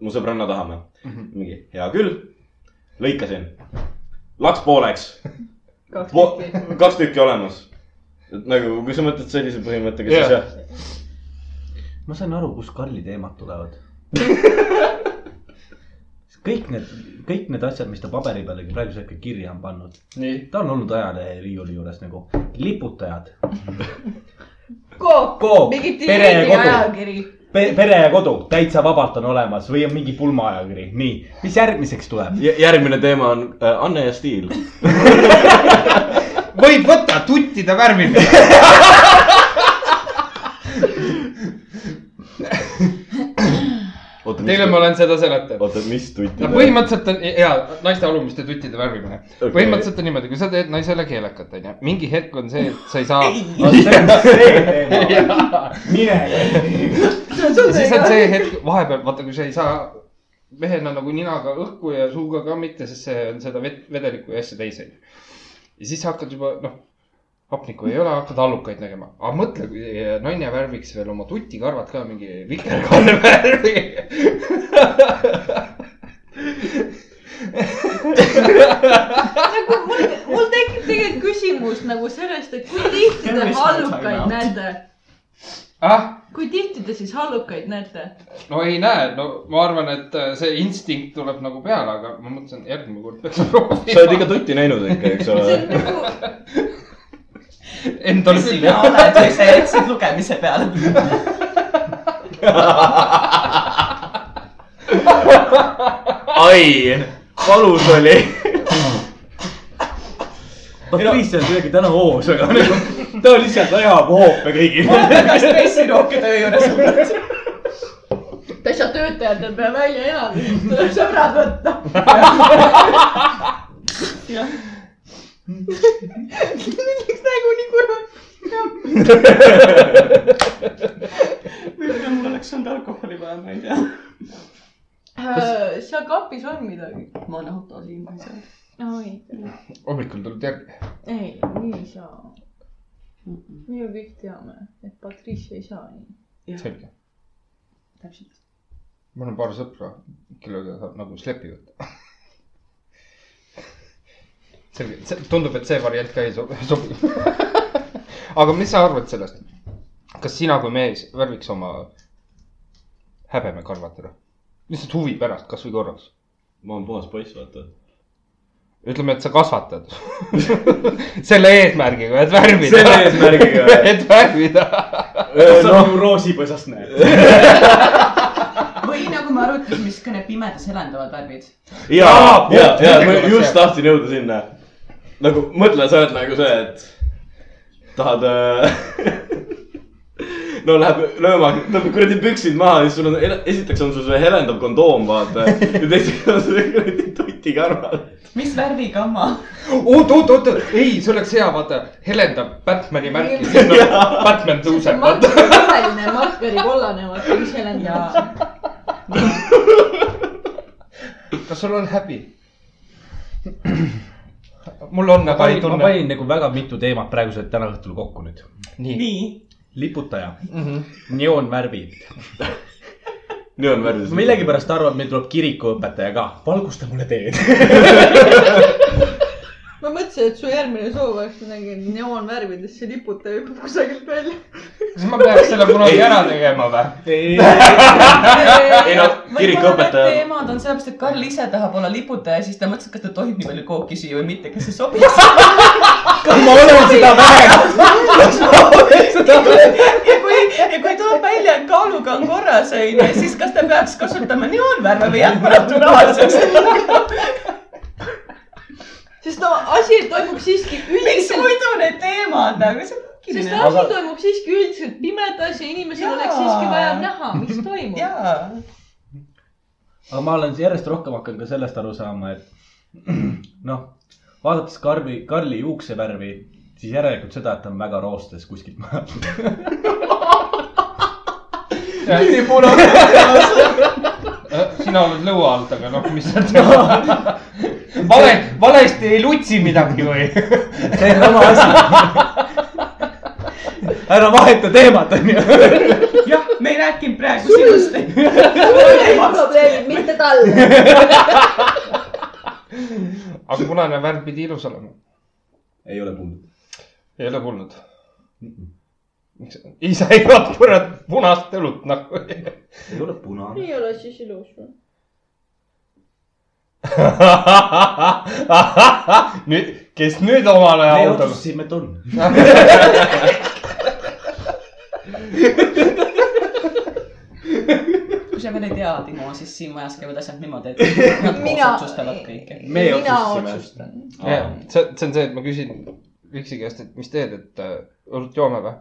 S4: mu sõbranna tahame mm .
S1: Mhm.
S4: -hmm. mingi , hea küll , lõikasin , laks pooleks
S2: kaks
S4: Po-
S2: tükki .
S4: kaks tükki olemas . et nagu , kui sa mõtled sellise põhimõttega , siis
S1: Jah.
S4: jah .
S5: ma sain aru , kust Karli teemad tulevad kõik need , kõik need asjad , mis ta paberi pealegi praegusel hetkel kirja on pannud ,
S1: nii ,
S5: ta on olnud ajalehe riiuli juures nagu liputajad
S2: kook,
S5: Kook,
S2: mingi
S5: pere ja kodu.
S2: diidiajakiri .
S5: Pe . pere ja kodu täitsa vabalt on olemas või on mingi pulmaajakiri , nii , mis järgmiseks tuleb ?
S4: järgmine teema on äh, Anne ja stiil .
S1: võib võtta tuttide värvimine . Teile ma . olen seda seletanud .
S4: oota , mis tutti
S1: no ? põhimõtteliselt on ja naiste alumiste tuttide värvimine okay.
S4: Okei. .
S1: põhimõtteliselt on niimoodi , kui sa teed naisele keelekat , onju , mingi hetk on see , et sa ei saa
S5: mine .
S1: ja siis on see hetk vahepeal , vaata , kui sa ei saa mehena nagu ninaga õhku ja suuga ka mitte , sest see on seda vet- , vedelikku ja asja täis onju . ja siis hakkad juba noh , hapnikku ei ole , hakkad allukaid nägema , aga mõtle , kui naine värviks veel oma tutikarvad ka mingi vikerkaare värvi .
S2: nagu mul , mul tekib tegelikult küsimus nagu sellest , et kui tihti te
S6: Tervist,
S2: hallukaid
S6: Timeout.
S2: näete ,
S1: ah ,
S2: kui tihti te siis hallukaid näete ?
S1: no ei näe , no ma arvan , et äh, see instinkt tuleb nagu peale , aga ma mõtlesin , järgmine kord peaks
S4: sa oled ikka
S1: proovima .
S4: tutti näinud ikka , eks
S2: see
S4: ole
S2: on . nagu ,
S1: Endal küll
S6: sina
S1: jah .
S6: oled , eks sa jätsid lugemise peale .
S4: ai , valus oli .
S5: Patrice Noh, on kuidagi täna hoos , aga nagu ta lihtsalt ajab hoope kõigile .
S6: väga stressirohke töö juures olnud .
S2: ta ei saa töötajatel peale välja elada , tuleb sõbrad
S6: noh.
S2: võtta .
S6: miks nägu nii kurb ? võib-olla mul oleks olnud alkoholi vaja , ma ei tea .
S2: Äh, seal kapis on midagi ?
S6: ma olen autos viimasel ajal .
S2: oi ,
S1: hommikul tuleb järgi .
S2: ei , nii ei saa . me ju kõik teame , et Patrice ei saa nii .
S1: selge .
S6: täpselt .
S1: mul on paar sõpra , kellega saab nagu slepi võtta . selge , tundub , et see variant ka ei so- sobi . aga mis sa arvad sellest ? kas sina kui mees värviks oma häbemekarvad ära ? lihtsalt huvi pärast , kasvõi korraks .
S4: ma olen puhas poiss , vaata .
S1: ütleme , et sa kasvatad selle eesmärgiga , et värvida .
S4: selle eesmärgiga .
S1: et värvida .
S5: sa nagu roosipõsast näed .
S6: või nagu me arutasime , siis ka need pimedas elendavad värvid .
S4: ja
S1: Aa, ,
S4: ja ,
S1: punkt,
S4: ja ma
S1: millega
S4: just
S1: see-
S4: tahtsin jõuda sinna . nagu mõtle , sa oled nagu see , et tahad äh, no läheb lööma , tõmbab kuradi püksid maha ja siis sul on , esiteks on sul see helendav kondoom , vaata . ja teiseks on see kuradi tutikarvad .
S6: mis värvigamma ?
S1: oot , oot , oot , ei , see oleks hea , vaata , helendab Batman'i märki , siis on Batman tõuseb , vaata .
S2: roheline markeri kollane , vaata , mis helendab .
S6: jaa .
S1: kas sul on häbi ? mul on ,
S5: ma
S1: aga
S5: panin , ma
S1: ei Äh, tunne .
S5: panin nagu väga mitu teemat praeguselt täna õhtul kokku nüüd .
S1: nii . Mhm.
S6: nii .
S5: liputaja mm , -hmm. neoonvärvid .
S4: nii on värvis .
S5: ma millegipärast arvan , et meil tuleb kirikuõpetaja ka , valgusta mulle teed .
S2: ma mõtlesin , et su järgmine soov oleks midagi neoonvärvidesse liputa juba kusagilt välja .
S1: kas ma peaks selle kunagi ära tegema või ?
S4: Ei, no, kirikuõpetaja-
S6: teemad on sellepärast , et Karl ise tahab olla liputaja , siis ta mõtles , et kas ta tohib nii palju kooki süüa või mitte , kas see sobib .
S5: ma olen seda vähem .
S6: ja kui , ja kui tuleb välja , et kaaluga on korras , onju , siis kas ta peaks kasutama neoonvärve või jätma naturaalseks ?
S2: sest no asi toimub siiski
S6: miks
S2: üldiselt ,
S6: muidu need teemad nagu
S2: sest
S6: see on ?
S2: asi toimub siiski üldiselt pimedas ja inimesel
S6: Jaa.
S2: oleks siiski vaja näha , mis toimub .
S6: jaa ,
S5: aga ma olen järjest rohkem hakanud ka sellest aru saama , et noh , vaadates Karli , Karli juuksevärvi , siis järelikult seda , et ta on väga roostes kuskilt maalt .
S1: sina oled lõua alt , aga noh , mis sa tead . vale , valesti ei lutsi midagi või ?
S5: see on oma asi . ära vaheta teemat , onju .
S6: jah , me ei rääkinud praegu sinust .
S2: probleemid , mitte talle .
S1: aga punane värv pidi ilus olema .
S5: ei ole kuulnud .
S1: ei ole kuulnud . miks , isa ei olnud kurat punast õlut nagu .
S5: ei ole punane .
S2: ei ole siis ilus või ?
S1: nüüd , kes nüüd omal
S5: me
S1: ajal autos , Ah,
S5: otsustasime , et on .
S6: kui sa veel ei tea , Timo , siis siin majas käivad asjad niimoodi , et nad koos
S2: Mina-
S6: otsustavad kõike .
S5: me
S2: mina
S5: otsustasime .
S2: otsustan .
S1: see , see on see , et ma küsin Viksi käest , et mis teed , et äh, õlut joome või ?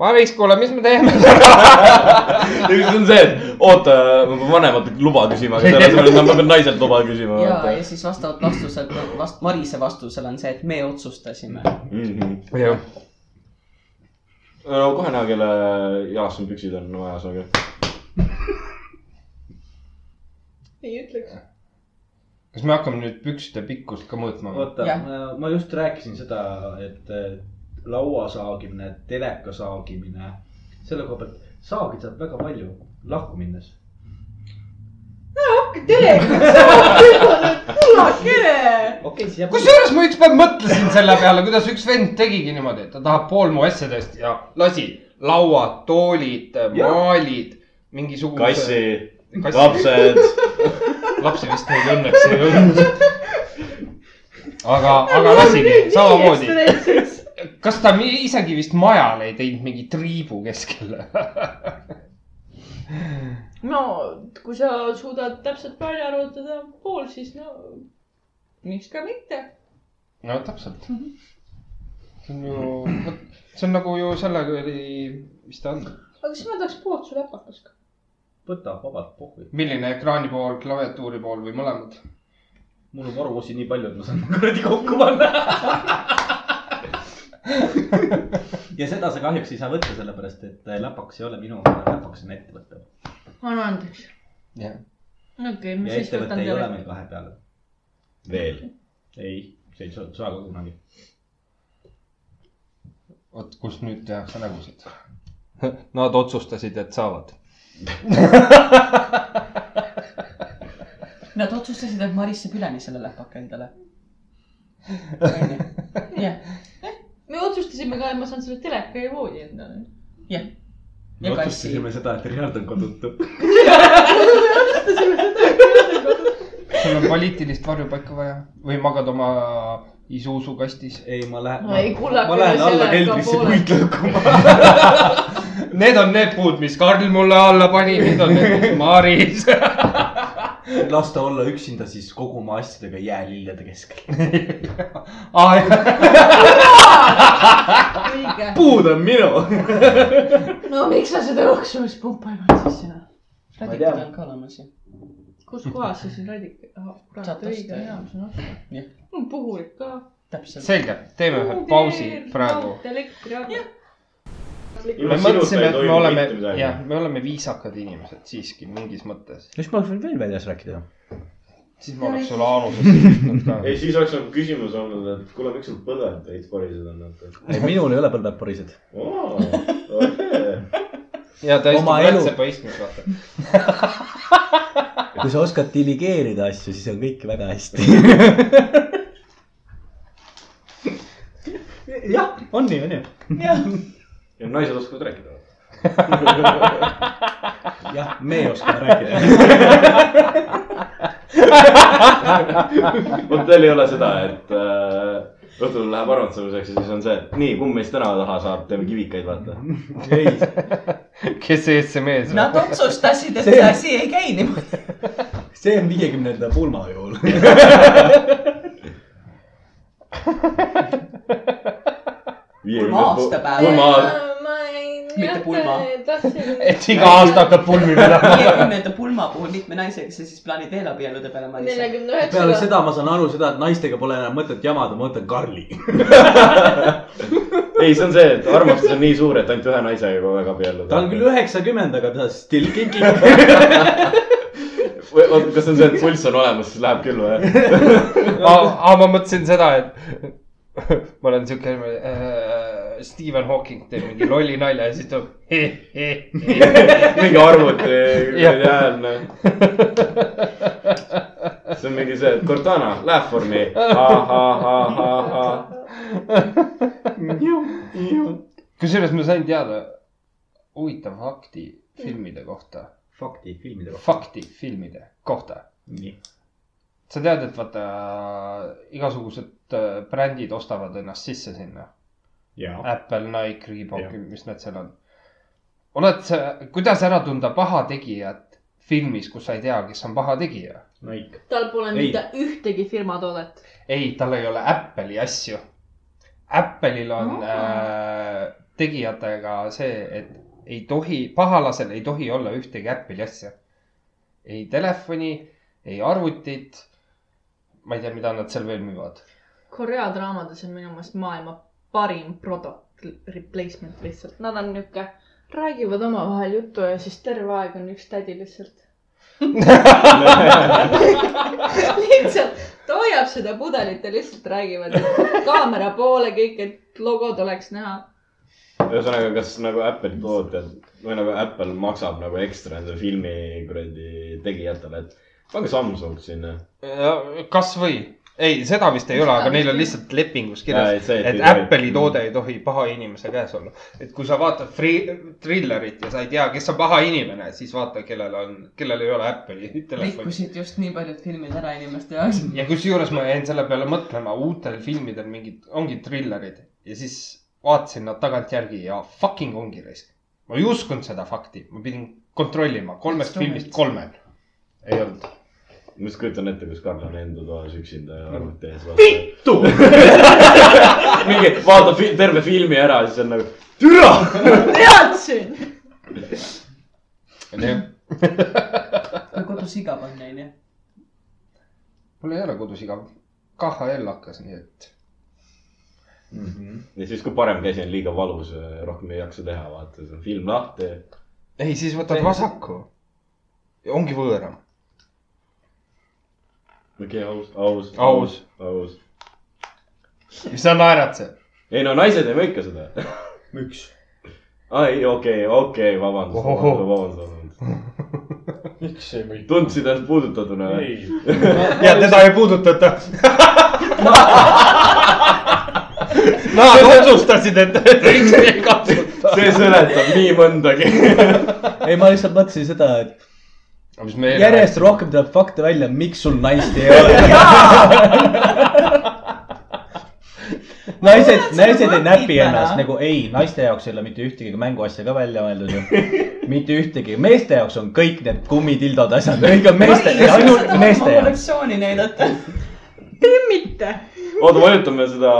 S1: Maris , kuule , mis me teeme ?
S4: ja siis on see , et oota , ma pean vanematelt luba küsima , aga selle asemel et ma pean naiselt luba küsima .
S6: ja , ja siis vastavad vastused , vast- , Marise vastusel on see , et me otsustasime .
S4: Mhm.
S1: jah ,
S4: no kohe näha , kelle jalas sul püksid on majas , aga .
S2: ei ütleks .
S1: kas me hakkame nüüd pükste pikkust ka mõõtma või ?
S5: oota
S6: Jah. ,
S5: Äh, ma just rääkisin seda , et eh, laua saagimine , teleka saagimine , selle koha pealt , saagid saab väga palju lahku minnes .
S2: hakka telekast saama , kuulake .
S5: okei okay, , siis jääb .
S1: kusjuures ma ükspäev mõtlesin selle peale , kuidas üks vend tegigi niimoodi , et ta tahab pool mu asjadest ja lasi lauad , toolid , maalid , mingisuguse .
S4: kassi ,. lapsed ,
S1: lapsi vist neid õnneks ei olnud . aga , aga lasigi samamoodi . kas ta mi- isegi vist majale ei teinud mingi triibu keskele ?
S2: no kui sa suudad täpselt välja arvutada pool , siis no miks ka mitte .
S1: no täpselt . see on ju , vot see on nagu ju sellega oli , mis ta on ,
S2: aga siis ma tahaks poolt su läpakas ka .
S5: võta vabalt pohvi .
S1: milline ekraani pool , klaviatuuri pool või mõlemad ?
S5: mul on varuosi nii palju , et ma saan kuradi kokku panna . ja seda sa kahjuks ei saa võtta , sellepärast et eh, läpaks ei ole minu , läpaks on ettevõte .
S2: anna andeks .
S1: jah .
S2: okei okay, ,
S5: ja
S2: ma siis
S5: ettevõte
S2: võtan
S5: ei ole
S2: teile .
S5: meil vahepeal .
S4: veel .
S5: ei , see ei saa , saa ka kunagi .
S1: vot kus nüüd tehakse nägusid . Nad otsustasid , et saavad .
S6: Nad otsustasid , et Maris saab üleni selle läpaka endale . jah ,
S2: me otsustasime ka , et ma saan selle teleka ja voodi endale .
S6: jah .
S5: me otsustasime seda , et Richard on kodutu .
S1: sul on poliitilist varjupaika vaja või magad oma Isuzu kastis .
S5: ei , ma lähen .
S2: No ei, kullake
S5: ma lähen
S2: üle
S5: alla
S2: sellega
S5: keldrisse
S2: poole.
S5: puid lõhkuma .
S1: Need on need puud , mis Karl mulle alla pani , need on need , mis Maris .
S5: las ta olla üksinda siis kogu
S1: Ah,
S5: oma asjadega jäälillede keskel .
S1: aa ,
S2: õige .
S5: puud on minu .
S2: no miks sa seda õhksumispumpa ei pannud sisse noh ?
S5: Ma ei tea.
S6: radikud on ka olemas ju .
S2: kus kohas see siin radik- , kurat
S6: Sattus
S2: õige
S6: tõesti.
S2: jaam see on otsa
S6: Jah. .
S2: mul on puhulik ka .
S6: täpselt .
S1: selge , teeme ühe pausi
S2: noh,
S1: praegu .
S2: elektriabi .
S1: me mõtlesime , et me oleme , jah , me oleme viisakad inimesed siiski mingis mõttes .
S5: mis ma võin veel väljas rääkida ?
S1: siis ma oleks sulle Aanusesse kirjutanud ka .
S4: ei , siis oleks olnud küsimus olnud , et kuule , miks sul põlved täis porised on , et .
S5: ei , minul ei ole põlved porised .
S4: okei ,
S1: ja ta istub
S5: Oma elu-
S1: rätsepa istmes , vaata .
S5: kui sa oskad diligeerida asju , siis on kõik väga hästi . jah , on nii , on ju .
S4: ja naised oskavad rääkida .
S5: jah , me ei oska rääkida .
S4: vot veel ei ole seda , et äh, õhtul läheb armastamiseks ja siis on see , et nii , kumb meist täna taha saab , teeme kivikaid , vaata .
S5: ei ,
S1: kes see ees see mees on ?
S6: Nad otsustasid , et
S5: See-
S6: see asi ei käi niimoodi .
S5: see on viiekümnenda pulma juhul .
S6: pulma aastapäev .
S4: pulma aasta ,
S6: Mitte pulma.
S2: tahtsin ,
S1: et iga aasta hakkab pulmi minema .
S6: viiekümnenda pulma puhul mitme naisega sa siis plaanid eelabielude peale mõelda ?
S2: neljakümne
S5: peale
S2: üheksaga .
S5: seda ma saan aru seda , et naistega pole enam mõtet jamada , ma võtan Karli .
S4: ei , see on see , et armastus on nii suur , et ainult ühe naisega kogu aeg abielluda .
S5: ta on küll üheksakümmend , aga ta still kinking .
S4: või oota , kas see on see , et pulss on olemas , siis läheb küll või ?
S1: aa , ma mõtlesin seda , et ma olen siuke äh, Stephen Hawking teeb mingi lolli nalja ja siis tuleb he, he, he.
S4: mingi eh, arvuti ,
S1: Jah.
S4: ideaalne . noh. see on mingi see , et Cortana , läheb for me .
S1: kusjuures ma sain teada huvitava fakti filmide kohta ,
S5: fakti filmide kohta .
S1: fakti filmide kohta .
S5: nii .
S1: sa tead , et vaata igasugused äh, brändid ostavad ennast sisse sinna .
S5: jaa .
S1: Apple , Nike , Reebok
S5: Jah. ,
S1: mis need seal on . oled sa , kuidas ära tunda pahategijat filmis , kus sa ei tea , kes on pahategija ?
S5: Nike .
S2: tal pole
S5: Ei.
S2: mitte ühtegi firma toodet .
S1: ei , tal ei ole Apple'i asju . Apple'il on no. äh, tegijatega see , et ei tohi , pahalasel ei tohi olla ühtegi Apple'i asja . ei telefoni , ei arvutit . ma ei tea , mida nad seal veel müüvad .
S2: Korea draamades on minu meelest maailma parim product replacement lihtsalt , nad on niuke , räägivad omavahel juttu ja siis terve aeg on üks tädi lihtsalt lihtsalt ta hoiab seda pudelit ja lihtsalt räägivad et kaamera poole kõik , et logod oleks näha .
S4: ühesõnaga , kas nagu Apple tooted või nagu Apple maksab nagu ekstra nende filmi kuradi tegijatele , et pange Samsung sinna .
S1: kasvõi , Äh, ei , seda vist ei ole , aga neil on lihtsalt lepingus kirjas , et Apple'i toode . ei tohi paha inimese käes olla . et kui sa vaatad free , trillerit ja sa ei tea , kes on paha inimene , siis vaata , kellel on , kellel ei ole Apple'i telefoni .
S6: rikkusid just nii paljud filmid ära inimeste jaoks .
S1: ja kusjuures ma jäin selle peale mõtlema , uutel filmidel mingid , ongi trillerid ja siis vaatasin nad tagantjärgi ja fucking ongi risk . ma ei uskunud seda fakti , ma pidin kontrollima , kolmest filmist kolmel ei olnud .
S4: ma just kujutan ette , kus Karl on enda toas üksinda ja arvuti ees . vittu . mingi vaatab fi- terve filmi ära , siis on nagu türa .
S2: teadsin .
S1: mul
S6: kodus igav on neil jah .
S1: ei ole kodus igav , KHL hakkas , nii et
S4: ja siis , kui parem käsi on liiga valus , rohkem ei jaksa teha , vaata , siis on film lahti .
S1: ei , siis võtad vasaku . ongi võõram .
S4: okei , aus , aus ,
S1: Aus. ,
S4: aus .
S1: mis sa naerad seal ?
S4: ei no naised ei mõika seda .
S5: müks .
S4: ai , okei , okei , vabandust ,
S1: Ohoho.
S4: vabandust , vabandust .
S3: miks ei või ?
S4: tundsid ennast puudutatuna või ?
S1: ja teda ei puudutata . Nad otsustasid , et üks ei katsuta .
S4: see seletab nii mõndagi .
S5: ei , ma lihtsalt mõtlesin seda , et järjest rohkem tuleb fakte välja , miks sul naist ei ole . naised , naised ei näpi ennast nagu , ei , naiste jaoks ei ole mitte ühtegi mänguasja ka välja mõeldud ju . mitte ühtegi , meeste jaoks on kõik need kummitildod asjad , kõik on meeste , ainult meeste jaoks .
S6: kollektsiooni näidata .
S2: tee mitte .
S4: oota , vajutame seda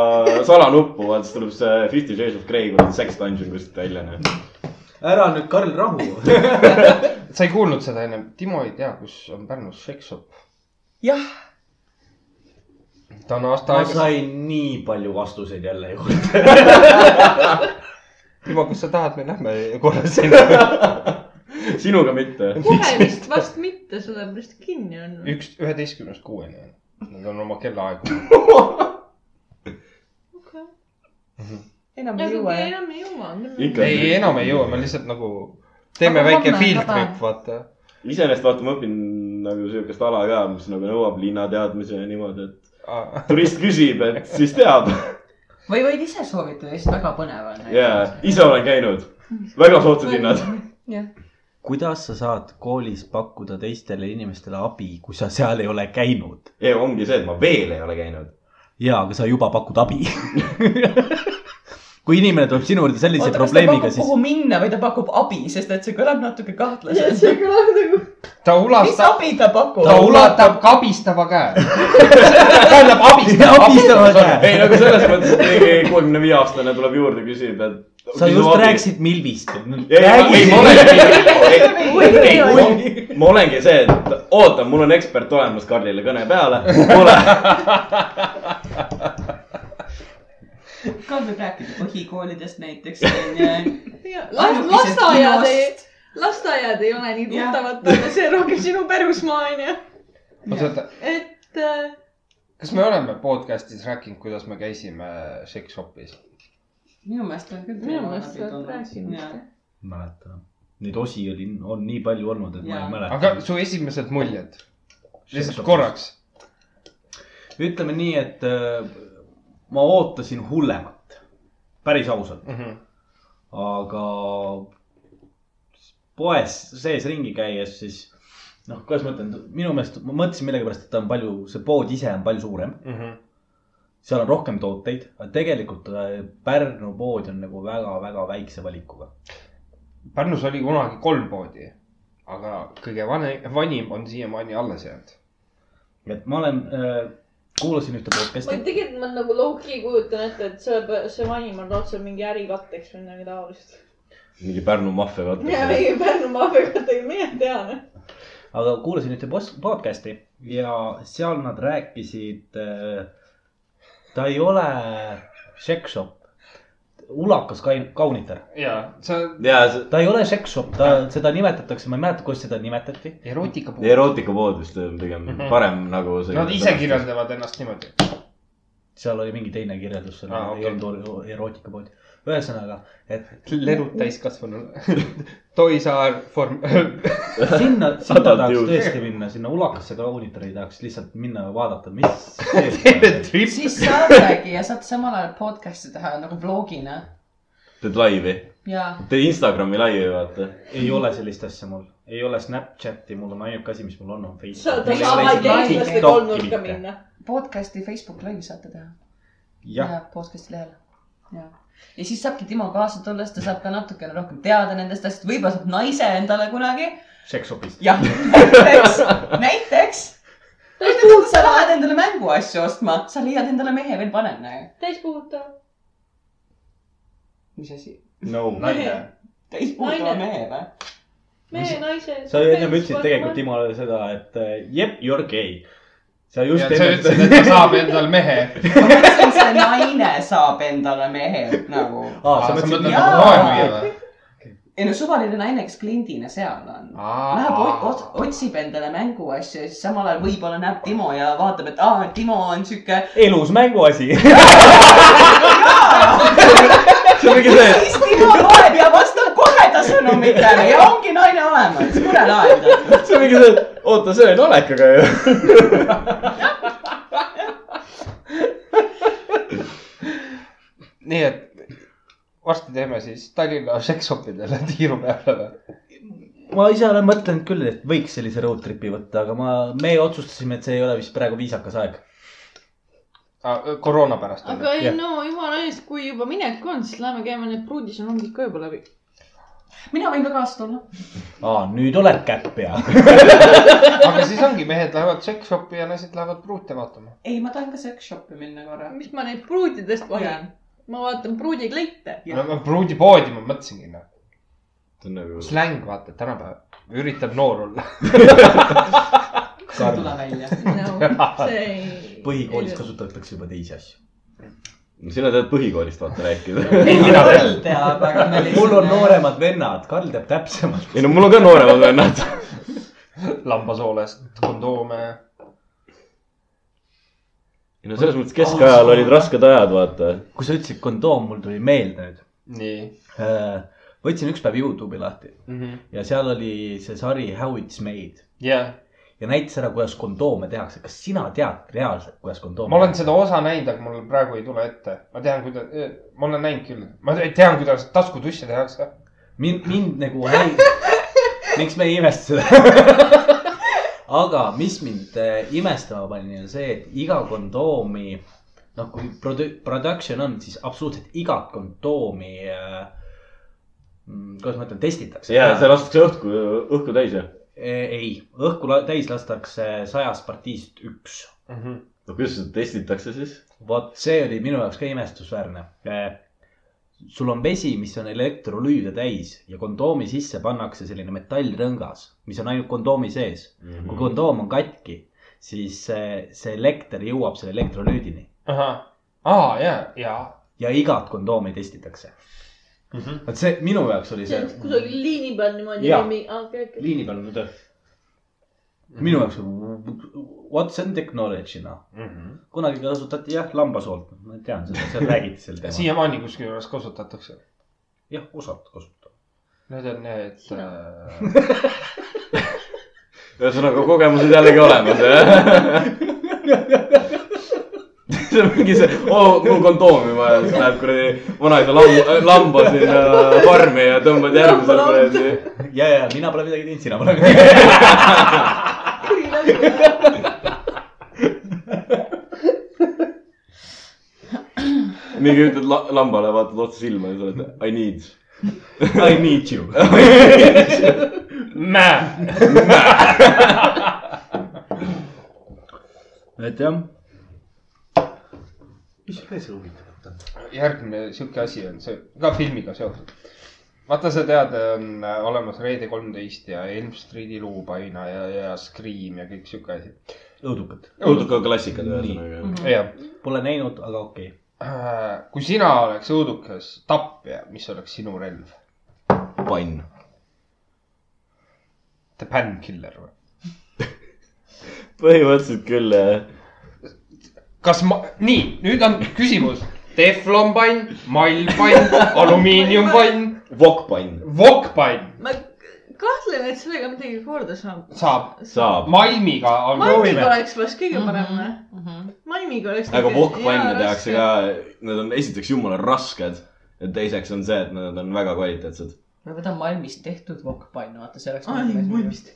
S4: salanuppu , vaata siis tuleb see Fifty Shades of Grey kuradi sex dungeon kuskilt välja , noh .
S3: ära nüüd , Karl , rahu .
S1: sa ei kuulnud seda ennem , Timo ei tea , kus on Pärnus seksshop .
S6: jah ,
S1: ta on aasta
S3: ma
S1: aega ,
S3: sain nii palju vastuseid jälle juurde .
S1: Timo , kas sa tahad , me lähme korra sinna .
S4: sinuga mitte .
S2: kohe vist vast mitte , sellepärast kinni on .
S1: üks , üheteistkümnest kuueni on , nad on oma kellaaegu .
S6: enam ei
S2: aga
S6: jõua
S2: kui
S6: jah .
S2: enam ei jõua .
S4: Ikka.
S1: ei , enam ei jõua , me lihtsalt nagu teeme
S2: Aga
S1: väike
S2: homme on
S1: field
S2: vaba.
S1: trip , vaata .
S4: iseenesest vaata , ma õpin nagu siukest ala ka , mis nagu nõuab linnateadmisi ja niimoodi , et turist küsib , et siis teab .
S6: või võid ise soovitada , sest väga põnev on . nagu.
S4: jaa , ise olen käinud . väga soodsad hinnad .
S5: kuidas sa saad koolis pakkuda teistele inimestele abi , kui sa seal ei ole käinud ?
S4: ei , ongi see , et ma veel ei ole käinud .
S5: jaa , aga sa juba pakud abi . kui inimene tuleb sinu juurde sellise
S6: oota , kas ta
S5: probleemiga ,
S6: pakub ,
S5: siis
S6: kuhu minna või ta pakub abi , sest et see kõlab natuke kahtlaselt .
S2: see kõlab nagu ,
S1: ta
S6: mis
S1: ulastab ,
S6: abi ta pakub
S1: ta ? ulatab kabistava käe . tähendab
S5: Ja
S1: abistava .
S5: abistava käe .
S4: ei , aga selles mõttes , et mingi kuuekümne viie aastane tuleb juurde , küsib , et .
S5: sa just . rääkisid Milvist .
S4: ei , ei , ma olengi , ei ,
S5: Oi.
S4: ma olengi see , et oota , mul on ekspert olemas Karlile kõne peale . kuule ,
S6: Karl võib rääkida põhikoolidest näiteks , äh, onju .
S2: lasteaiad ei , lasteaiad ei ole nii
S6: Jah.
S2: tuttavad talle , see on rohkem sinu pärusmaa onju .
S1: oota ,
S2: et äh,
S1: kas me oleme podcast'is rääkinud , kuidas me käisime seksshopis ?
S6: minu meelest on küll .
S2: minu meelest sa oled rääkinud .
S5: mäletan , neid osi oli , on nii palju olnud , et ma
S6: Jaa.
S5: ei mäleta
S1: aga . su esimesed muljed ? lihtsalt korraks .
S5: ütleme nii , et äh, ma ootasin hullemat , päris ausalt ,
S1: Mhm,
S5: aga poes sees ringi käies , siis noh , kuidas ma ütlen , minu meelest ma mõtlesin millegipärast , et ta on palju , see pood ise on palju suurem ,
S1: mhm.
S5: seal on rohkem tooteid , aga tegelikult äh, Pärnu pood on nagu väga-väga väikse valikuga .
S1: Pärnus oli kunagi kolm poodi , aga kõige vanem , vanim on siiamaani alles jäänud .
S5: et ma olen , kuulasin ühte
S2: ma
S5: podcast'i ,
S2: tegelikult ma nagu low-key kujutan ette , et see , see vanim on lausa mingi ärikatteks või midagi taolist .
S4: mingi Pärnu maffia
S2: ja
S4: kattub .
S2: mingi Pärnu maapiirkondadega , mine tea noh .
S5: aga kuulasin ühte pos- podcast'i ja seal nad rääkisid , ta ei ole seksshop , ulakas kain- kaunitar ,
S1: ja see on
S4: ja see
S5: ta ei ole seksshop , ta , seda nimetatakse , ma ei mäleta , kus seda nimetati .
S1: erootikapood .
S4: erootikapood vist on pigem
S1: Mhm.
S4: parem nagu see .
S1: Nad ise . kirjeldavad ennast niimoodi .
S5: seal oli mingi teine kirjeldus , seal
S1: Aa,
S5: ah,
S1: okei.
S5: ei okay. olnud erootikapood . ühesõnaga , et
S1: lerud täiskasvanule . Toisaar form- ,
S5: sinna , sinna
S4: Adult
S5: tahaks
S4: youth.
S5: tõesti minna , sinna ulakasse kaunitari tahaks lihtsalt minna ja vaadata , mis .
S1: trip .
S6: siis saategi ja saate samal ajal podcast'i teha nagu vlogina
S4: teed laivi ,
S6: ja
S4: teed Instagrami laivi , vaata .
S5: ei ole sellist asja mul , ei ole Snapchati , mul on ainuke asi , mis mul on , on
S2: sa
S5: Facebook .
S2: oled
S6: Meil ei ole
S2: sama
S6: isegi
S2: teadlastega
S5: TikToki
S2: olnud ka
S5: mitte.
S2: minna .
S6: podcast'i Facebook live saate teha .
S5: jah ,
S6: podcast'i lehel . ja , ja siis saabki Timo kaasa tulla , siis ta saab ka natukene rohkem teada nendest asjadest , võib-olla saab naise endale kunagi .
S5: sekshopist .
S6: jah , näiteks , näiteks . sa
S2: täispuhutav ,
S6: lähed endale mänguasju ostma , sa leiad endale mehe veel parema .
S2: täispuhutav .
S6: mis asi ?
S5: no .
S1: naine .
S6: täispuudega
S2: Naine.
S6: mehe või ?
S2: mehe , naise .
S5: sa ju ennem ütlesid tegelikult . Timole seda , et äh, jep , you are gay . sa just
S1: ja sa
S5: ennem
S1: ütlesid , et ta saab endal mehe .
S6: see naine saab endale mehe nagu .
S5: aa ,
S1: sa
S5: sa
S1: mõtled
S5: mõtlesid .
S1: nagu
S6: Jaa.
S1: moemüüja või ?
S6: ei no suvaline naine , kes kliendina seal on . Läheb , otsib endale mänguasju ja siis samal ajal võib-olla näeb Timo ja vaatab , et aa , Timo on sihuke
S5: elus mänguasi .
S4: see on mingi see ,
S6: siis Timo loeb ja vastab koheda sõnumitele ja ongi naine olemas , tore laen .
S4: see on mingi see , et oota , see on olekaga ju .
S1: nii et varsti teeme siis Tallinna sekshopidele tiiru peale või ?
S5: ma ise olen mõtelnud küll , et võiks sellise road trip'i võtta , aga ma , me otsustasime , et see ei ole vist praegu viisakas aeg .
S1: koroona pärast .
S2: aga ei
S5: Jah.
S2: no jumala eest , kui juba minek on , siis lähme käime need pruudisõnumid ka juba läbi . mina võin ka kaasa tulla .
S5: aa , nüüd oled käpp pea .
S1: aga siis ongi , mehed lähevad sekshopi ja naised lähevad pruute vaatama .
S6: ei , ma tahan ka seksshoppi minna korra .
S2: mis ma neid pruutidest vaatan ? ma vaatan pruudikleite .
S6: Jah.
S1: no pruudipoodi ma mõtlesingi , noh .
S4: see on nagu .
S1: släng , vaata , tänapäeval . üritab noor olla .
S6: kas ei tule välja ?
S2: no see ei .
S5: põhikoolis . kasutatakse juba teisi asju .
S4: sina tead põhikoolist vaata rääkida .
S1: mina tean .
S6: Karl teab , aga äh, me
S5: mul on . nooremad vennad , Karl teab täpsemalt .
S4: ei no mul on ka nooremad vennad .
S1: lambasoolest , kondoome .
S4: ei no selles mõttes keskajal olid rasked ajad , vaata .
S5: kui sa ütlesid kondoom , mul tuli meelde nüüd .
S1: nii
S5: võtsin ükspäev Youtube'i lahti
S1: mm . -hmm.
S5: ja seal oli see sari How it's made
S1: Yeah.
S5: ja näitas ära , kuidas kondoome tehakse . kas sina tead reaalselt , kuidas kondoome
S1: ma olen seda osa näinud , aga mul praegu ei tule ette . ma tean , kuidas , ma olen näinud küll , ma te- tean , kuidas taskutusse tehakse .
S5: mind , mind nagu häirib . miks me ei imesta seda ? aga mis mind äh, imestama pani , on see , et iga kondoomi , noh , kui produ- , production on , siis absoluutselt igat kondoomi äh, . kuidas ma ütlen , testitakse .
S4: ja see lastakse õhku , õhku täis ja .
S5: ei , õhku la- täis lastakse sajast partiist üks .
S1: Mhm.
S4: no kuidas seda testitakse siis ?
S5: vot see oli minu jaoks ka imestusväärne . sul on vesi , mis on elektrolüüde täis ja kondoomi sisse pannakse selline metallrõngas , mis on ainult kondoomi sees .
S4: Mhm.
S5: kui kondoom on katki , siis see, see elekter jõuab selle elektrolüüdini
S1: ahah , aa ja , ja .
S5: ja igat kondoomi testitakse .
S1: Mhm.
S5: vot see minu jaoks oli
S2: see
S5: see
S2: on kusagil liini peal niimoodi
S5: Jaa.
S2: või mingi , okei , okei .
S5: liini peal on töö . minu jaoks , what's in technology noh ,
S1: Mhm.
S5: kunagi kasutati jah lambasoolt , ma tean seda , seal räägiti sel teemal .
S1: siiamaani kuskil juures kasutatakse .
S5: jah , osad kasutavad .
S1: Need on need äh,
S4: ühesõnaga kogemused jällegi olemas , jah . see on mingi see , oo , mul kondoomi vaja , siis läheb kuradi vanaisa lamba , lamba sinna farmi ja tõmbad järgmisel kuradi .
S5: ja , ja mina pole midagi teinud , sina pole midagi teinud .
S4: mingi ütled la, lambale , vaatad otse silma ja sa oled I need .
S5: I need you .
S1: mä-
S5: et jah . mis veel seal huvitavat on ?
S1: järgmine sihuke asi on see ka filmiga seotud . vaata , sa tead , on äh, olemas Reede kolmteist ja Elm Street'i luupaina ja , ja Scream ja kõik sihuke asi .
S5: õudukad .
S4: õuduka klassikad ühesõnaga .
S1: jah ,
S5: Pole näinud , aga okei okay. .
S1: Äh, kui sina oleks õudukas tapja , mis oleks sinu relv ?
S4: pann .
S1: The Pan Killer või ?
S4: põhimõtteliselt küll , jah .
S1: kas ma , nii , nüüd on küsimus . teflonpann , mallpann , alumiiniumpann ,
S4: vokkpann
S1: vokkpann
S2: ma kahtlen , et sellega midagi korda saab .
S1: saab ,
S4: saab ,
S1: malmiga on
S5: Ma-
S2: malmiga
S5: proovime. Mhm,
S2: oleks vast kõige parem või ? malmiga oleks .
S5: Nagu
S4: aga vokkpanne tehakse ka , need on esiteks jumala rasked ja teiseks on see , et nad on väga kvaliteetsed .
S6: ma võtan malmist tehtud vokkpann , vaata see oleks .
S2: ai , malmist .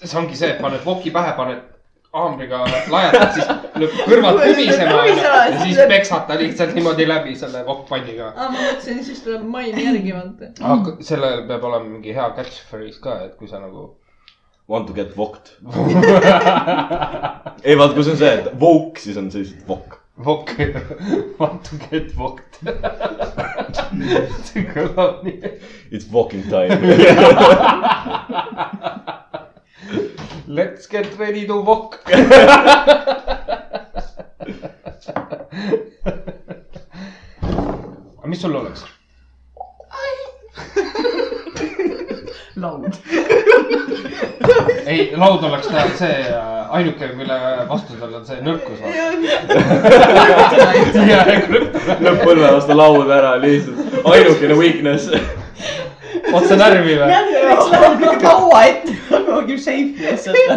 S1: see ongi see , et paned voki pähe , paned haamriga lajatad , siis lööb kõrvad kubisema ja
S2: Kubisema, siis
S1: siis
S2: lööb-
S1: peksad ta lihtsalt niimoodi läbi selle vokkpanniga .
S2: aa , Ah, ma mõtlesin , siis tuleb malmi järgi vaata .
S1: aga Ah, sellel peab olema mingi hea catchphrase ka , et kui sa nagu
S4: Want to get vokt ei vaata , kui see on see , et vouk , siis on see lihtsalt vokk .
S1: vokk , want to get vokked . see kõlab nii ,
S4: It's walking time .
S1: let's get ready to vokk . aga mis sul oleks ?
S6: laud .
S1: ei , laud oleks ta see äh, ainuke , mille vastu tal on see nõrkus .
S4: lööb põlve vastu lauda ära lihtsalt , ainukene weakness .
S1: otse närvi või ?
S6: miks läheb nii kaua ette , kuhugi seifi ees võtta .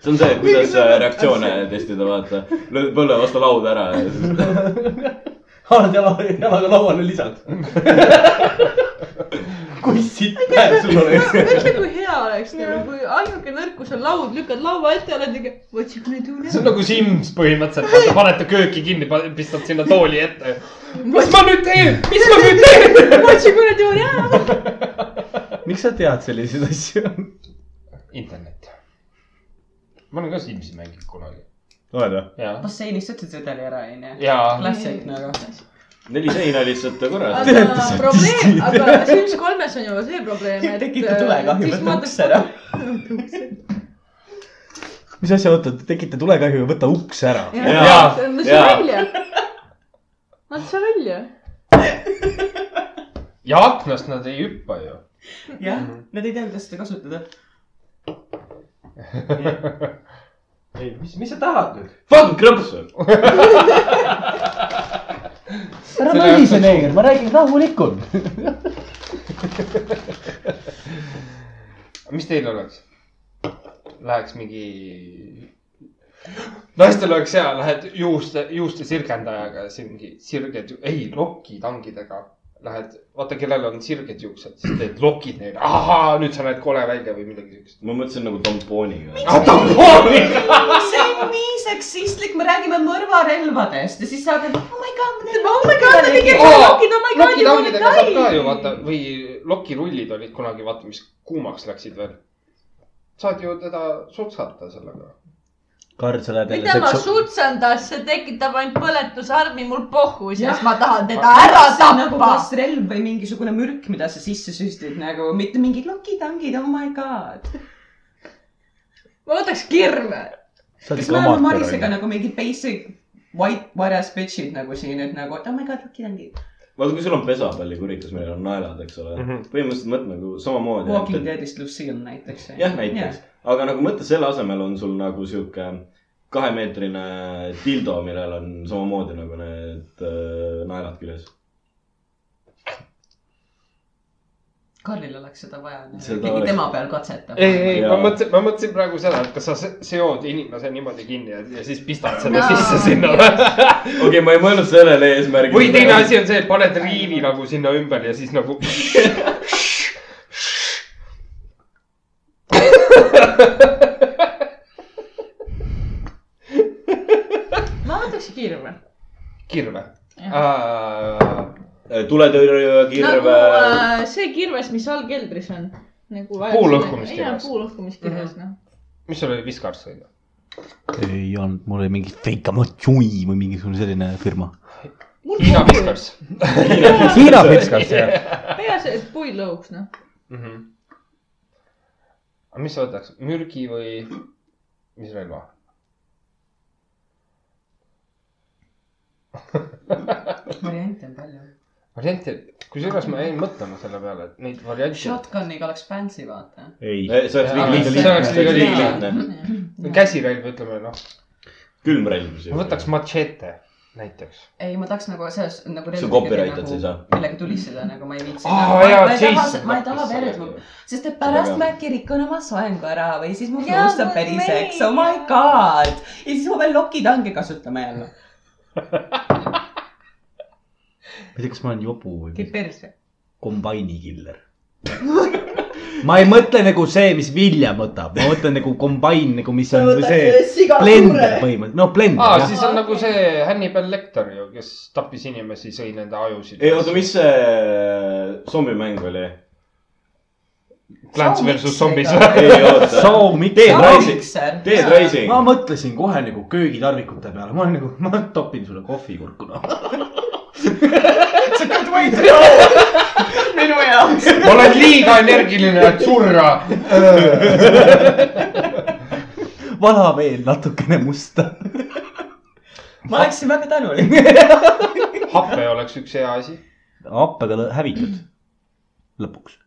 S4: see on see , kuidas äh, reaktsioone testida , vaata . lööd põlve vastu lauda ära ja siis
S5: haarad jala , jalaga lauale lisad .
S3: kui sitt päev sul oleks .
S2: mõtle , kui hea oleks nagu , kui ainuke nõrkus on laud , lükkad laua ette , oled ikka , otsi kuradi
S1: see on
S2: üle .
S1: nagu Sims põhimõtteliselt , vaata paned ta kööki kinni , pistad sinna tooli ette . mis ma nüüd teen , mis ma nüüd teen ?
S2: otsi kuradi üle .
S5: miks sa tead selliseid asju ?
S1: internet . ma olen ka Simsi mänginud kunagi .
S5: oled või ?
S1: ja ,
S6: basseinis tõstsid sedeli ära , onju .
S1: ja
S6: klassik nagu .
S4: neli seina lihtsalt korras .
S2: aga probleem , aga Sims kolmes on ju see probleem , et . äh,
S6: tekita tulekahju , võta uks ära .
S5: mis asja , oota , tekita tulekahju ja võta uks ära .
S4: Jaa,
S2: jaa , nad
S4: jaa.
S2: seal välja . Nad seal välja .
S1: ja aknast nad ei hüppa ju .
S6: jah , nad ei tea , kuidas seda kasutada .
S3: ei , mis , mis sa tahad nüüd ?
S4: Fucking krõps või ?
S5: ära
S1: Selle jaoks
S5: mälise
S1: on
S5: neeger , ma räägin rahulikult .
S1: mis teil oleks ? Läheks mingi , naistel oleks hea , lähed juuste , juuste sirgendajaga , siin mingi sirged , ei lokitangidega . Lähed , vaata , kellel on sirged juuksed , siis teed lokid neile , ahaa , nüüd sa näed kole välja või midagi siukest .
S4: ma mõtlesin nagu tampooniga .
S1: tampooniga .
S6: see on nii seksistlik , me räägime mõrvarelvadest ja siis sa hakkad , oh my god , oh my
S2: nad ei tea- Lokid, oh my god, you wanna
S1: lokitangidega saab ka
S2: die.
S1: ju vaata või lokirullid olid kunagi , vaata , mis kuumaks läksid veel . saad ju teda sutsata sellega .
S5: Karl , sa lähed
S2: mida ma . sutsendas , see tekitab ainult põletusarmi mul pohhu ,
S6: Jah.
S2: siis ma tahan teda ära
S6: see on nagu
S2: tappa .
S6: kas relv või mingisugune mürk , mida sa sisse süstid nagu , mitte mingid lokitangid , oh my god .
S2: ma võtaks kirve .
S6: kas me oleme Marisega nagu mingi basic white varjas bitch'id nagu siin , et nagu , et oh my god , lokitangid .
S4: vaata , kui sul on pesapalli kurikas , millel on naelad , eks ole mm .
S1: Mhm.
S4: -hmm. põhimõtteliselt mõtle nagu samamoodi .
S6: Walking Deadist Lucille näiteks .
S4: jah , näiteks . aga nagu mõtle , selle asemel on sul nagu sihuke kahemeetrine dildo , millel on samamoodi nagu need äh, naelad küljes .
S6: Karlil oleks seda vaja ,
S4: Seda
S6: keegi
S4: oleks.
S6: tema peal katsetab .
S1: ei , ei , ma
S4: Jaa.
S1: mõtlesin , ma mõtlesin praegu seda , et kas sa se- seod inimese niimoodi kinni ja, ja siis pistad selle
S2: Jaa.
S1: sisse sinna .
S4: okei okay, , ma ei mõelnud sellele eesmärgile .
S1: või teine . asi on see , et paned riivi nagu sinna ümber ja siis nagu .
S2: ma võtaks kirve .
S1: kirve .
S2: Jah.
S4: tuletõrjuja ,
S2: nagu
S4: Äh, kirve no, .
S2: äh, see kirves , mis all keldris on . nagu vaja .
S1: Puulõhkumiskirves.
S2: jaa ,
S5: Mhm.
S2: puulõhkumiskirves , noh .
S1: mis sul oli , Viskars või ?
S5: ei olnud , mul oli mingi Feikamatjui või mingisugune selline firma .
S2: mul
S1: Hiina
S2: pohhu ,
S1: Viskars
S5: Hiina Fikskas , jah .
S2: peaasi , et puid lõhuks , noh .
S1: mm . -hmm. aga mis sa võtaks , mürgi või mis relva ?
S6: variante on palju .
S1: variante , kusjuures ma jäin mõtlema selle peale , et neid variante ,
S6: Shotguniga oleks fancy , vaata .
S5: ei .
S4: Äh, see oleks
S1: Jaa,
S4: liiga
S1: see oleks liiga
S4: lihtne .
S1: käsirelv , ütleme noh ,
S4: külmrelv .
S1: ma võtaks . machete näiteks .
S6: ei , ma tahaks nagu selles nagu .
S4: Sa copyright'ad siis, jah?
S6: millega tulistada nagu ma ei viitsi
S1: Aa,
S6: nagu, ma-
S1: jaa,
S6: ma ei taha
S1: Jason ,
S6: ma ei taha
S4: hakkas
S6: verd
S4: sellega. ,
S6: sest et
S4: Seda
S6: pärast
S4: ka.
S6: ma äkki rikun oma soengu ära või siis mu
S2: Jaa,
S6: nõust saab
S2: mul
S6: päriseks ,
S2: mei-
S6: oh my god . ja siis ma pean lokitange kasutama jälle .
S5: ma ei tea , kas ma olen jobu või
S6: kõik perse .
S5: kombaini killer . ma ei mõtle nagu see , mis vilja võtab , ma mõtlen nagu kombain nagu , mis on see blender põhimõtteliselt , no blender
S1: aa ,
S5: jah .
S1: siis on nagu see Hannibal Lecter ju , kes tappis inimesi , sõi nende ajusid .
S4: ei oota , mis see zombimäng oli ?
S1: Plants versus zombis .
S4: ei oota .
S5: Soomikser.
S4: Dead Rising ,
S6: mikser .
S4: Dead Rising .
S5: ma mõtlesin kohe nagu köögitarvikute peale , ma olen nagu , ma topin sulle noh. kohvikurkuna .
S6: minu jaoks .
S1: oled liiga energiline , et surra .
S5: vala veel natukene musta .
S6: ma oleksin väga tänulik .
S1: happe oleks üks hea asi .
S5: happega lõ- hävitad lõpuks .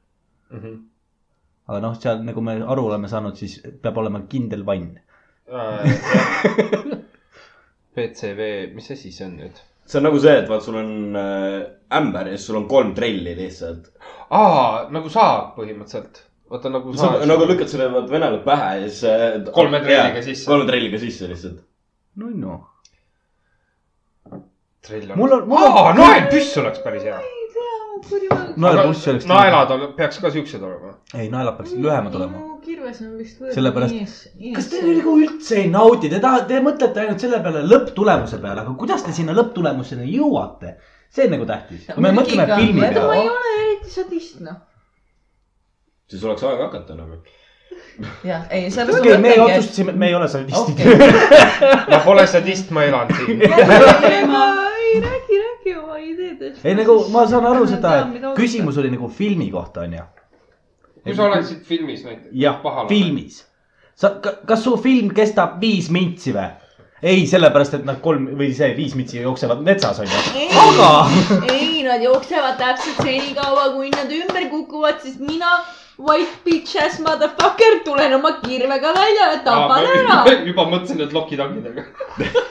S5: Mhm. aga noh , seal nagu me aru oleme saanud , siis peab olema kindel vann .
S1: Äh, PCV , mis asi see on nüüd ?
S4: see on nagu see , et vaat sul on äh, ämber ja siis sul on kolm trelli lihtsalt .
S1: aa , nagu saab põhimõtteliselt . vaata nagu
S4: sa
S1: saab .
S4: nagu lükkad selle vaat venelad pähe ja siis äh, .
S1: Kolme trelliga sisse.
S4: kolme trelliga sisse lihtsalt .
S5: no noh. no .
S1: trill on .
S5: mul on , mul
S1: aa ,
S5: on ,
S1: naelpüss oleks päris hea .
S2: kurjalt .
S5: naelapussi oleks .
S1: naelad on- peaks ka siuksed olema .
S5: ei , naelad peaksid lühemad olema .
S2: kirves on vist
S5: Sellepärast-
S2: võetud .
S5: kas te nagu üldse ei naudi , te tahate , te mõtlete ainult selle peale lõpptulemuse peale , aga kuidas te sinna lõpptulemuseni jõuate ? see on nagu tähtis . kui me mõtleme
S6: Muidugi ka,
S5: filmi
S6: jah.
S2: ma
S5: peale ,
S2: ei ole eriti sadist noh .
S4: siis oleks aega hakata nagu .
S6: jah , ei , sellepärast
S5: okei , me otsustasime , et me ei ole sadistid okay. .
S1: ma pole sadist , ma elan siin .
S2: ma ei räägi , räägi oma ideedest .
S5: ei nagu ma saan aru seda , et . küsimus oli nagu filmi kohta onju .
S1: kui sa oleksid filmis näiteks .
S5: jah , filmis . sa , kas su film kestab viis mintsi või ? ei , sellepärast , et nad kolm või see viis mintsi jooksevad metsas onju . aga
S2: ei , nad jooksevad täpselt senikaua , kui nad ümber kukuvad , siis mina , white bitch ass motherfucker , tulen oma kirvega välja ja tapan ära .
S1: juba mõtlesin , et lokitangidega .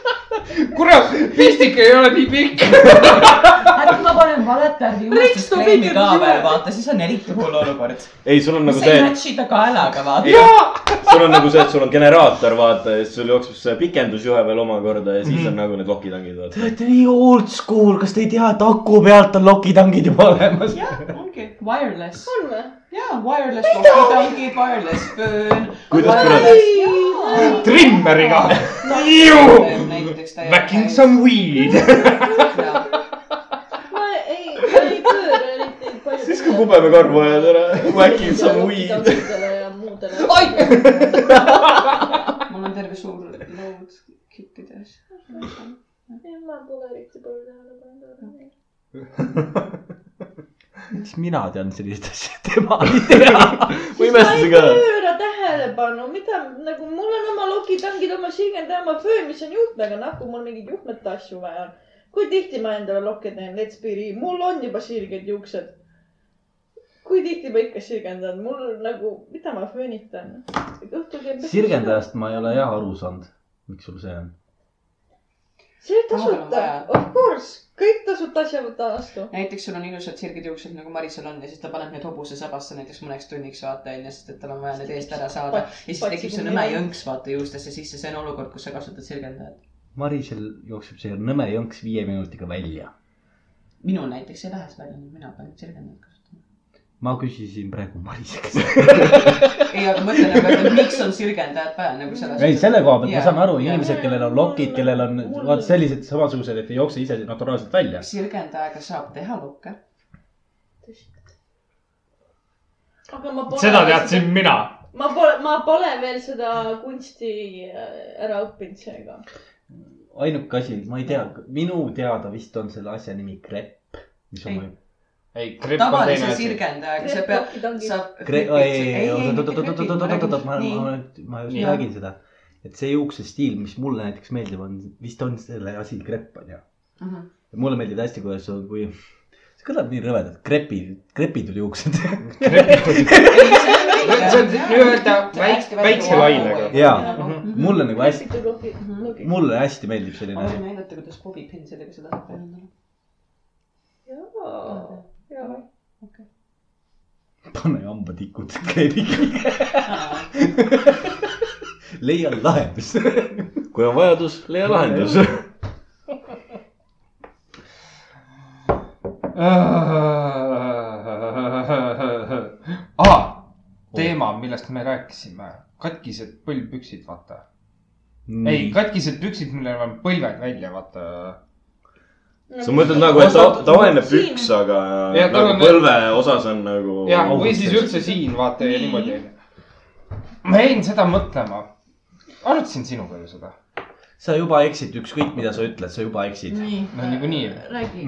S1: kurat , pistik ei ole nii pikk .
S6: äkki ma panen valet värvi
S2: Reits toob
S6: uudistustreimi
S2: ikka
S6: ka
S2: juurde.
S6: veel , vaata , siis on eriti hull olukord .
S4: ei , sul on nagu
S6: sa ei
S4: see ,
S6: match'i ta kaelaga , vaata .
S4: sul on nagu see , et sul on generaator , vaata , ja siis sul jookseb see pikendusjuhe veel omakorda ja
S1: Mhm.
S4: siis on nagu need lokitangid ,
S5: te
S4: vaata .
S5: olete nii old school , kas te ei tea , et aku pealt on lokitangid juba olemas ?
S6: jah , ongi wireless .
S2: on või ?
S6: jaa , wireless kokutangid , wireless föön .
S4: Kuidas
S6: kurat ?
S1: trimmeriga . Backing some weed .
S2: ma ei , ma ei pööra eriti palju .
S4: siis kui kubemekarv ajad ära , whacking some weed .
S2: ja muudele .
S6: mul on terve suur lood kittides .
S2: ma pole eriti palju tähelepanu .
S5: miks mina tean sellist asja , tema ei tea .
S4: ma imestasin ka .
S2: pööra tähelepanu , mida nagu mul on oma lokitangid , oma sirgend ja oma föön , mis on juhtmega nahku , mul mingeid juhtmete asju vaja on . kui tihti ma endale lokke teen , let's be real , mul on juba sirged juuksed . kui tihti ma ikka sirgendan , mul nagu , mida ma föönitan ? õhtul käib .
S5: sirgendajast ma ei ole jah aru saanud , miks sul see on .
S2: see oli
S6: Vahel on
S2: tasuta
S6: vaja. ,
S2: of course , kõik tasuta asja võtta vastu .
S6: näiteks sul on ilusad sirged juuksed nagu Marisel on ja siis ta paneb need hobuse sabasse näiteks mõneks tunniks vaata onju , sest et tal on vaja need eest ära saada . ja siis tekib see nõme jõnks vaata juustesse sisse , see on olukord , kus sa kasutad sirgendajat .
S5: Marisel jookseb see nõme jõnks viie minutiga välja .
S6: minul näiteks ei lähe see välja , mina pean sirgendajat kasutama .
S5: ma küsisin praegu Marise käest .
S6: ei , aga mõtlen nagu , et miks on sirgendajat vaja nagu selles .
S5: ei , selle koha pealt
S6: Jaa.
S5: ma saan aru ,
S6: Jaa.
S5: inimesed , kellel on lokid , kellel on
S2: Mul-
S5: vaat sellised samasugused , et ei jookse ise naturaalselt välja .
S6: sirgendajaga saab teha lukke .
S2: aga ma pole .
S1: seda teadsin . mina .
S2: ma pole , ma pole veel seda kunsti äh, ära õppinud seega .
S5: ainuke asi , ma ei tea , minu teada vist on selle asja nimi krepp , mis on
S6: Ei.
S5: mõju .
S1: ei , krepp on teine
S6: tavalise
S1: asi .
S6: sirgendajaga sa pead ,
S2: see
S6: sa .
S5: Kre- , ei , ei , oot-oot-oot-oot-oot-oot-oot , ma , ma , ma just
S6: Jaa.
S5: räägin seda . et see juuksestiil , mis mulle näiteks meeldib , on , vist on selle asi krepp , onju .
S6: Mhm.
S5: mulle meeldib hästi , kuidas , kui , see kõlab nii rõvedalt , krepid , krepid oli juuksed .
S1: see on nii-öelda väik- väikse lainega.
S5: jaa ,
S6: ma
S5: mulle nagu hästi ,
S2: hästi .
S5: mulle hästi meeldib selline asi
S6: võin . näidata , kuidas Bobby Pinsedega seda saab teha .
S5: pane hambatikud kreebiga , leia lahendus .
S4: kui on vajadus , leia lahendus .
S1: aa , Ah, teema , millest me rääkisime , katkised põlvpüksid , vaata . ei ,. katkised püksid , millel on põlved välja , vaata .
S4: sa mõtled nagu , et ta , tavaline püks , aga
S1: Jah, tal
S4: nagu
S1: on-
S4: põlve osas on nagu .
S1: ja , või siis üldse siin , vaata ja niimoodi onju . ma jäin seda mõtlema . arutasin sinuga ju seda .
S5: sa juba eksid , ükskõik mida sa ütled , sa juba eksid . Mhm.
S2: nii
S1: No niikuinii.
S2: räägi .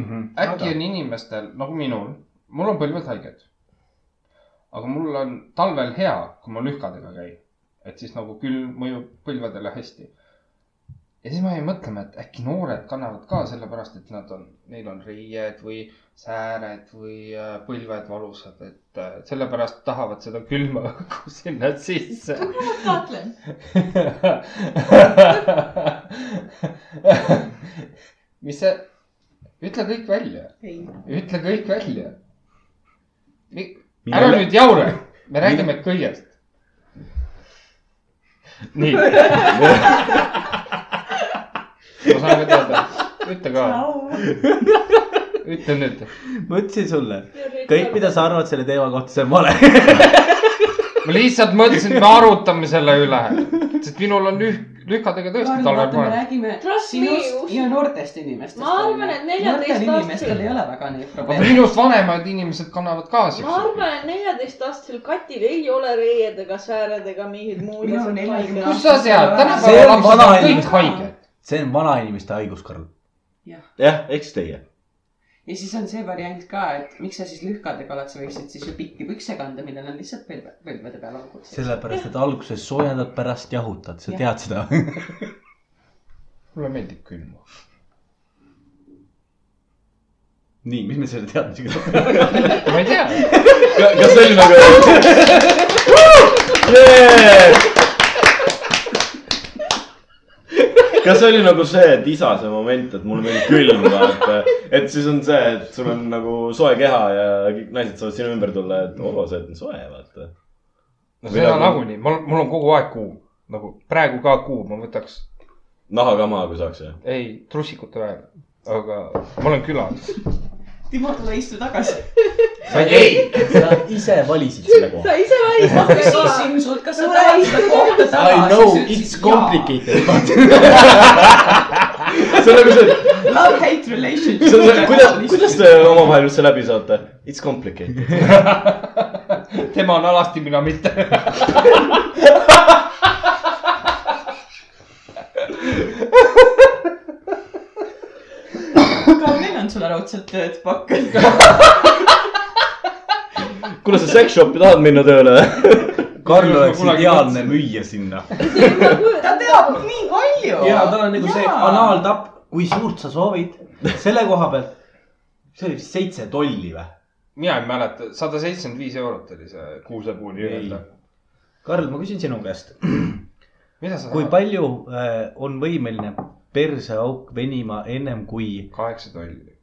S1: äkki on inimestel nagu minul , mul on põlved haiged . aga mul on talvel hea , kui ma lühkadega käin , et siis nagu külm mõjub põlvedele hästi . ja siis ma jäin mõtlema , et äkki noored kannavad ka sellepärast , et nad on , neil on riied või sääred või äh, põlved valusad , et äh, sellepärast tahavad seda külma õhku sinna sisse .
S2: kahtlen .
S1: mis see , ütle kõik välja , ütle kõik välja . ära nüüd jaure , me räägime kõigest . nii . ma saan ka teada , ütle ka . ütle nüüd .
S5: ma ütlesin sulle , kõik , mida sa arvad selle teema kohta , see on vale .
S1: ma lihtsalt mõtlesin , et me arutame selle üle , sest minul on lüh- , lühkadega tõesti
S6: Kaarel ,
S1: talvel
S6: vaata , me
S1: parem .
S6: räägime
S2: Trust me,
S6: sinust
S2: usu-
S6: ja noortest inimestest .
S2: Ma arvan, et
S6: noortel
S2: 14-aastasel
S6: inimestel ei ole väga neid
S1: aga
S6: probleeme .
S1: minust vanemad inimesed kannavad ka
S2: ma
S1: siukseid .
S2: arvan , et neljateistaastasel Katil ei ole reied ega sääred ega mingid muud
S6: Minu
S2: asjad
S6: neljakümne-
S1: kus .
S2: paigas
S1: sa tead ,
S5: See
S1: tänapäeval
S5: on
S1: lapsed on
S5: vanainimene.
S1: kõik haiged .
S5: see on vanainimeste haigus , Karl .
S4: jah , eks teie .
S6: ja siis on see variant ka , et miks sa siis lühkadega oled , sa võiksid siis ju pikki pükse kanda , millel on lihtsalt põlve , põlvede peal augud .
S5: sellepärast , et alguses soojendad , pärast jahutad , sa
S6: Jah.
S5: tead seda .
S1: mulle meeldib külm .
S5: nii , mis me selle teadmisega lõpetame ?
S1: ma ei tea .
S4: kas see oli nagu ? kas see oli nagu see , et isa see moment , et mulle meeldib külm , et , et siis on see , et sul on nagu soe keha ja kõik naised saavad sinu ümber tulla , et oo , sa oled nii soe , vaata . nagu
S1: no seda nagunii , mul , mul on kogu aeg kuum , nagu praegu ka kuum , ma võtaks ,
S4: naha ka maha , kui saaks ju .
S1: ei , trussikute vahel , aga ma olen külas .
S6: Timo , tule istu tagasi .
S1: ei ,
S5: sa ise valisid selle koha .
S2: sa ise
S6: ma
S2: valisid ka .
S6: küsisin sult , kas sa tahad seda kohta taha .
S5: I know it's . complicated , but
S4: see on nagu see , et
S6: Love-hate relationship .
S4: see on see , kuidas , kuidas te omavahel üldse läbi saate ? It's complicated .
S1: tema on alasti , mina mitte .
S6: Karmen on sulle raudselt tööd pakkunud .
S4: kuule , sa seksshop'i tahad minna tööle ?
S5: Karl oleks
S1: Kunagi
S5: ideaalne müüja sinna .
S6: ta teab nii palju .
S5: ja tal on nagu see . anaaltapp , kui suurt sa soovid , selle koha pealt . see oli vist seitse tolli või ?
S1: mina ei mäleta , sada seitsekümmend viis eurot oli see kuusepuuni ühele .
S5: Karl , ma küsin sinu käest ,
S1: mida sa
S5: kui ? palju äh, on võimeline perseauk venima ennem kui
S1: kaheksa tolli .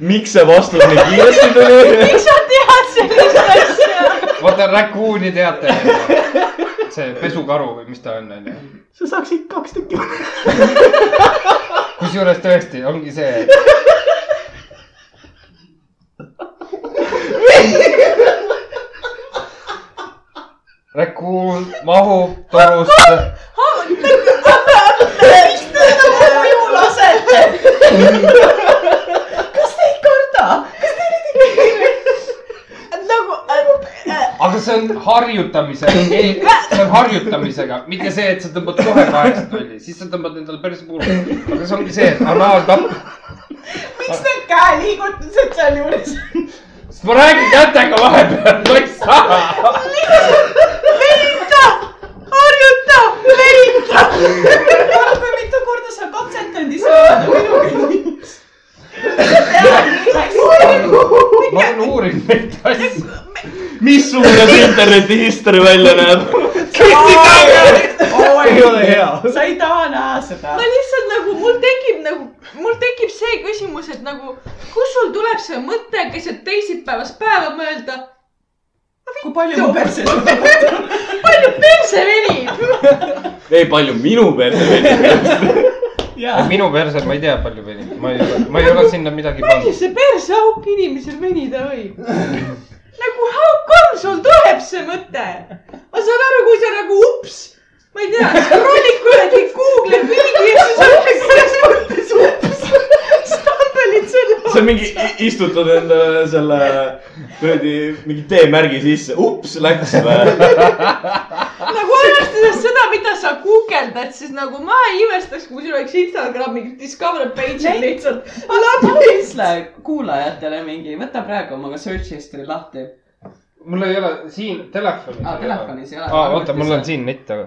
S4: miks see vastus nii kiiresti tuli ?
S2: miks sa tead sellist asja ?
S1: vaata Rakuuni teate , see pesukaru või mis ta on , onju .
S5: sa saaksid kaks tükki .
S1: kusjuures tõesti ongi see , et Rakuun mahub torust ,
S6: miks te teda koju lasete ? kas te ei karda ? kas te nüüd ei karda ? nagu ,
S1: aga see on harjutamisega , see on harjutamisega , mitte see , et sa tõmbad kohe kaheksa tolli , siis sa tõmbad endale päris puuru . aga see ongi see , et anaaltapp ,
S6: miks need käeliigutused sealjuures on ?
S1: sest ma räägin kätega vahepeal , ma ei saa .
S6: leita , harjuta , leita . kui mitu korda sa katsetanud ise oled minu käes ?
S1: ma olen uurinud neid asju .
S4: missugune see interneti history välja näeb ?
S5: ei ole hea .
S6: sa ei taha näha seda
S2: ma . lihtsalt nagu , mul tekib nagu , mul tekib see küsimus , et nagu , kus sul tuleb see mõte keset teisipäevast päeva mõelda ,
S6: kui palju ma perse suudan ?
S2: palju perse venib ?
S4: ei , palju minu perse venib .
S6: jaa .
S1: minu perse , ma ei tea , palju venib , ma ei ole , ma ei ole sinna midagi
S2: palju
S1: pannud .
S2: see perseauk inimesel venida võib ? nagu how come sul tuleb see mõte ? ma saan aru , kui sa nagu ups , ma ei tea , scroll'id kuradi Google'i mingi ja siis oleks selles mõttes ups , stambelid selle
S4: sa . mingi i- istutad endale selle kuradi mingi T-märgi sisse , ups , läks või ?
S2: nagu arvestades seda , mida sa guugeldad , siis nagu ma ei imestaks , kui sul oleks Instagrami discover page
S6: Näit-
S2: lihtsalt .
S6: ütle kuulajatele mingi , võta praegu oma search history lahti .
S1: mul ei ole siin telefoni .
S6: Aa, telefonis ei ole.
S1: aa , oota , mul on siin net , aga .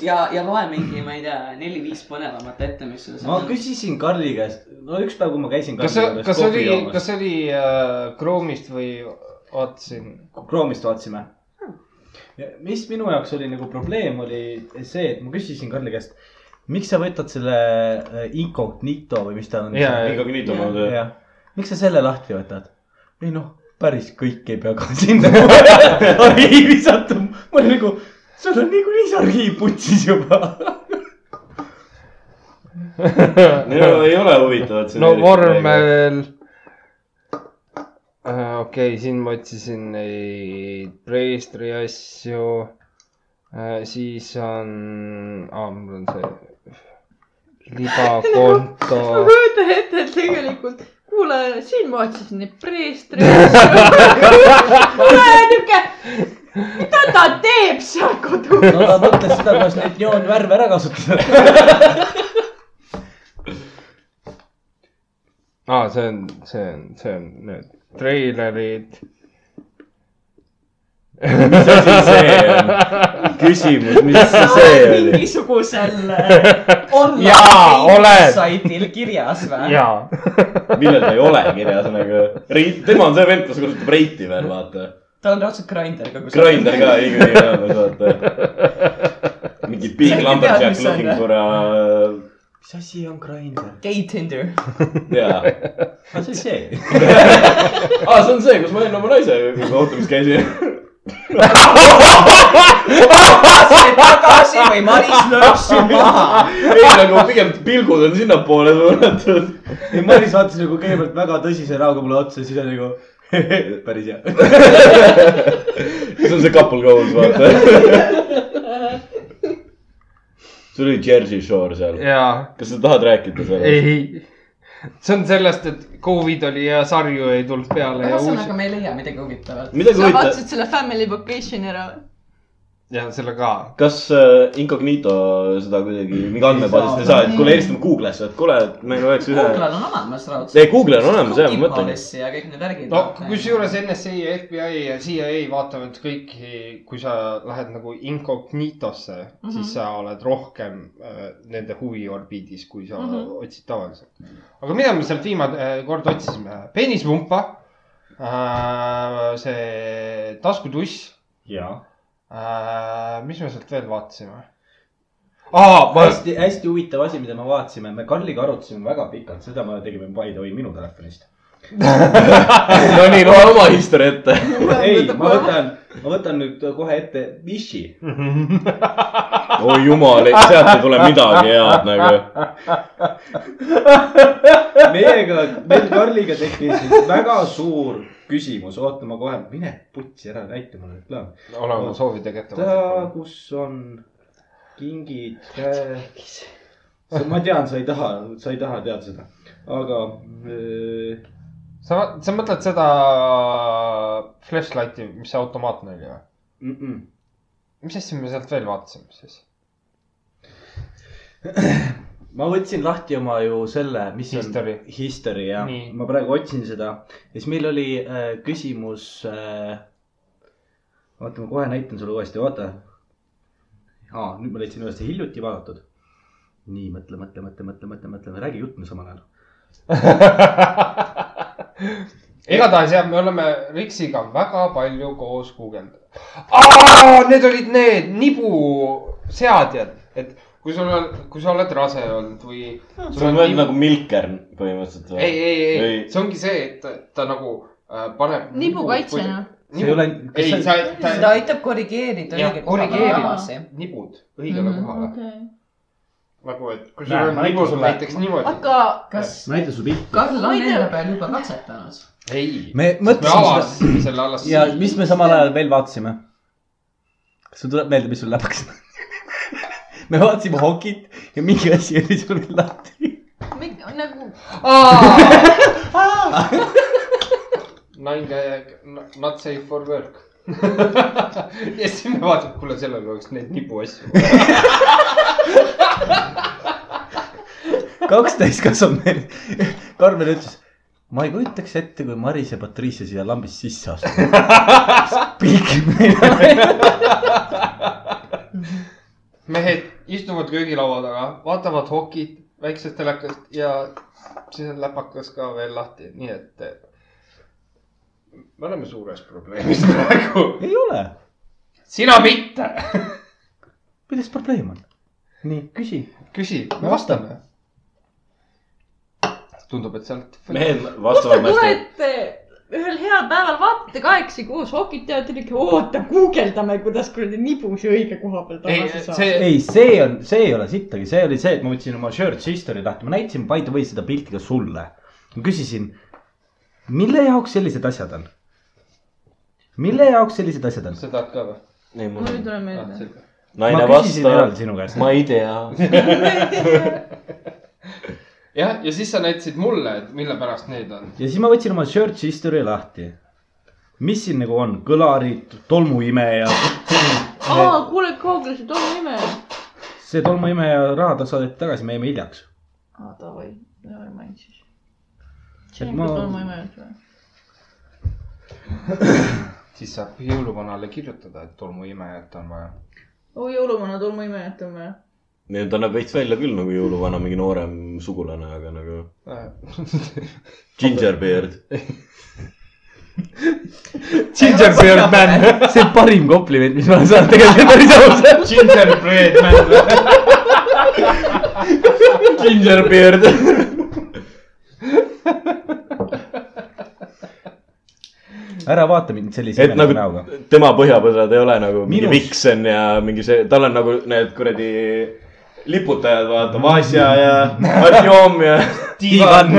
S6: ja , ja loe mingi , ma ei tea , neli-viis põnevamat ette , mis sul
S5: ma . küsisin Karli käest , no üks päev , kui ma käisin
S1: kas
S5: Karli juures
S1: see , kas see
S5: kohvi
S1: oli , kas
S5: joomas ,
S1: see oli äh, Chrome'ist või vaatasin ?
S5: Chrome'ist vaatasime . mis minu jaoks oli nagu probleem , oli see , et ma küsisin Karli käest , miks sa võtad selle äh, incognito või mis ta on .
S1: Jaa,
S4: incognito ma tean .
S5: jah , miks sa selle lahti võtad ? ei noh , päris kõik ei pea ka sinna arhiivi sattuma , ma nagu olin nagu , sul on niikuinii see arhiiv putsis juba .
S4: no ei ole huvitavat .
S7: no vormel . okei , siin ma otsisin neid preistri asju . siis on , aa , mul on see libakonto .
S2: Nagu ma kujutan ette , et tegelikult kuule , siin ma otsisin neid preestreid . kuule , niuke , mida ta teeb seal kodus ?
S5: no ta mõtles seda , kuidas neid joonvärve ära kasutada .
S7: aa , see on , see on , see on need treilerid .
S4: mis asi see on ?
S1: äh,
S4: küsimus , mis see oli ?
S6: mingisugusel äh,
S7: Jaa,
S6: online
S7: oled.
S6: saidil kirjas või ?
S7: jaa .
S4: millel ta ei ole kirjas , ühesõnaga . Reit , tema on see vend , kes kasutab Reiti veel , vaata .
S6: tal on raudselt grinder ka kuskil .
S4: Grinder ka õige nimi on , vaata . mingi
S6: Sa
S4: big
S6: ikka tead, mis
S4: lumberjack
S6: see on,
S4: looking
S6: jah?
S4: for a ,
S5: mis asi on grinder ?
S6: gay Tinder .
S4: jaa .
S5: aa , Ah, see oli see .
S4: aa , see on see , kus ma olin oma naise kohtumis käisin .
S6: tagasi või Maris lööb su maha .
S4: ei , nagu pigem pilgud on sinnapoole suunatud .
S5: ei , Maris vaatas nagu kõigepealt väga tõsise näoga mulle otsa ja siis oli nagu päris hea .
S4: see on see couple goals , vaata . sul oli Jersey Shore seal .
S1: jaa ,
S4: kas sa tahad rääkida sellest ?
S1: ei . see on sellest , et Covid oli ja sarju ei tulnud peale ja uus
S6: ühesõnaga , me ei leia midagi huvitavat .
S4: midagi
S2: sa
S4: huvitavat ,
S2: vaatasid selle family vacation'i ära ?
S1: ja selle ka .
S4: kas äh, Incognito seda kuidagi mingi andmebaasist ei saa , et kuule , helistame Google'isse , et kuule , meil oleks ühe .
S6: Google'l on olemas raudselt .
S4: ei , Google on olemas jah , ma mõtlen .
S6: ja kõik need värgid .
S1: no kusjuures NSA ja FBI ja CIA vaatavad kõiki , kui sa lähed nagu incognitosse mm , -hmm. siis sa oled rohkem äh, nende huviorbiidis , kui sa mm -hmm. otsid tavaliselt . aga mida me sealt viimane äh, kord otsisime ? peenisvumpa äh, , see taskutuss
S5: jaa .
S1: äh, . mis me sealt veel vaatasime ? aa , ma
S5: hästi , hästi huvitav asi , mida me vaatasime , me Karliga arutasime väga pikalt , seda me tegime by the way minu telefonist .
S4: no nii , loe oma history ette .
S5: ei , ma võtan , ma võtan nüüd kohe ette Vichy .
S4: oi jumal , sealt ei tule midagi head nagu .
S5: meiega , meil Karliga tekkis nüüd väga suur küsimus , oota , ma kohe , mine putsi ära , näita mulle reklaam .
S1: olen oma soovidega ette
S5: ta ,
S1: vaadanud .
S5: kus on kingid , käed . ma tean , sa ei taha , sa ei taha teada seda , aga äh, öö,
S1: sa , sa mõtled seda flashlight'i , mis see automaatne oli või ?
S5: mm -mm.
S1: mis asja me sealt veel vaatasime siis ?
S5: ma võtsin lahti oma ju selle , mis
S1: History.
S5: on history ja
S1: Nii.
S5: ma praegu otsin seda ja siis meil oli äh, küsimus äh, . oota , ma kohe näitan sulle uuesti , oota . aa , nüüd ma leidsin uuesti hiljuti vaadatud . nii , mõtle , mõtle , mõtle , mõtle , mõtle , mõtle , räägi juttu samal ajal .
S1: igatahes jah , me oleme Riksiga väga palju koos guugeldanud . Need olid need nibuseadjad , et kui sul on , kui sa oled rase olnud või .
S4: sul on veel nagu Milkern põhimõtteliselt .
S1: ei , ei , ei
S4: ei. ,
S1: see ongi see , et ta nagu äh, paneb .
S2: nibukaitsjana .
S5: See ei ole- kas
S1: ei ,
S5: see-
S1: sa ,
S6: seda
S1: ta ,
S6: aitab korrigeerida
S1: Jah,
S6: õige koha peal
S1: korrigeerida.
S6: tagasi .
S1: nibud õigele mm -hmm. kohale .
S2: okei .
S1: nagu , et kui
S5: Näe,
S1: sul
S5: ma
S1: on
S5: näitan
S1: nibud
S5: sulle.
S1: näiteks niimoodi .
S2: aga
S6: kas
S5: näita su pilti .
S6: Karl
S2: Ma
S6: on
S2: ei tea.
S6: enda peal juba katsetanud ?
S1: ei , me
S5: me mõtlesime seda
S1: avastasime selle alles .
S5: ja mis me samal ajal veel vaatasime ? kas sul tuleb meelde , mis sul läbaks ? me vaatasime hokit ja mingi asi oli sul veel lahti .
S2: mi- nagu ,
S1: naine , not safe for work . ja siis me vaatame , kuule , sellel oleks neid nipuasju .
S5: kaks täiskasvanud meest . Karmen ütles , ma ei kujutaks ette , kui Maris ja Patricia siia lambist sisse astuvad . pilgib meile .
S1: mehed istuvad köögilaua taga , vaatavad hokit väiksest telekast ja siis on läpakas ka veel lahti , nii et . me oleme suures probleemis praegu .
S5: ei ole ,
S1: sina mitte .
S5: milles probleem on ? nii , küsi .
S1: küsi , me vastame . tundub , et sealt .
S4: mehed
S2: kust te
S4: vastavad hästi .
S2: tulete ? ühel heal päeval vaatate kahekesi koos Hokit ja te olete , oota , guugeldame , kuidas kuradi nibu see õige koha peal
S1: ei ,
S2: tagasi saab .
S1: see ,
S5: ei , see on , see ei ole sittagi , see oli see , et ma võtsin oma Shirt Sister'i lahti , ma näitasin by the way seda pilti ka sulle . ma küsisin , mille jaoks sellised asjad on ? mille jaoks sellised asjad on ?
S1: sa tahad ka või ? Ah,
S4: ei , mul
S2: mul ei
S4: on
S2: tule meelde .
S4: naine
S5: ma küsisin eraldi
S4: vastab .
S5: sinu käest .
S4: ma ei tea .
S1: jah , ja siis sa näitasid mulle , et mille pärast need on .
S5: ja siis ma võtsin oma Shirt Sister'i lahti . mis siin nagu on , kõlarid , tolmuimeja ,
S2: aa , kuule , kauglasid on nime .
S5: see tolmuimeja raha saadeti tagasi , me jäime hiljaks .
S2: aa , davai , davai , mainin siis .
S5: Et
S2: see on
S5: ma-
S2: küll tolmu ime jutt või ?
S1: siis saab jõuluvanale kirjutada , et tolmuimejat on vaja .
S2: oi , jõuluvana tolmu ime jutt on või ?
S4: nii , ta näeb veits välja küll nagu jõuluvana mingi noorem sugulane , aga nagu
S1: Äh,
S4: gingerbeard .
S5: Gingerbeard man , see on parim kompliment , mis ma olen saanud tegelikult päris ausalt .
S1: Gingerbread man .
S4: Gingerbeard .
S5: ära vaata mind sellise
S4: et
S5: imeliku
S4: nagu
S5: näoga .
S4: tema põhjapõsad ei ole nagu mingi
S5: Minus.
S4: Vixen ja mingi see , tal on nagu need kuradi liputajad , vaata , Vasja ja Artjom ja .
S5: Ivan ,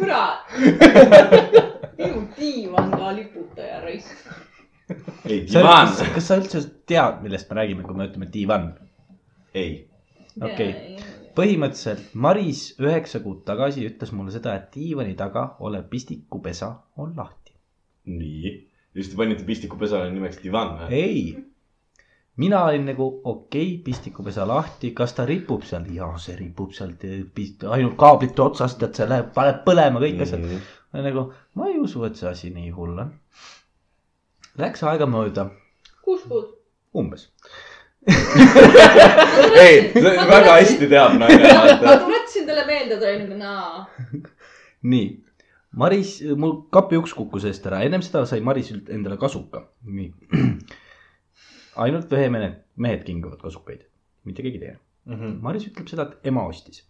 S2: kurat . minu diivan ka liputaja raisk .
S4: ei , Ivan
S5: kas . kas sa üldse tead , millest me räägime , kui me ütleme divan ?
S4: ei .
S5: Okei. . põhimõtteliselt Maris üheksa kuud tagasi ütles mulle seda , et diivani taga olev pistikupesa on lahti .
S4: nii . just te panite pistikupesale nimeks divan või ?
S5: ei , mina olin nagu okei okay, , pistikupesa lahti , kas ta ripub seal ? ja see ripub seal , ainult kaablite otsast , et see läheb , paneb põlema kõik asjad mm .
S4: Mhm.
S5: -hmm. nagu ma ei usu , et see asi nii hull on . Läks aega mööda ,
S2: kuus kuud .
S5: umbes .
S4: ei , väga hästi teab naine ,
S2: ma
S4: vaata .
S2: tuletasin talle meelde , ta oli nagu naa .
S5: nii , Maris , mul kapi uks kukkus eest ära , ennem seda sai Maris üld- endale kasuka , nii . ainult ühe mehe , mehed kingivad kasukaid , mitte keegi teine mm . -hmm. Maris ütleb seda , et ema ostis .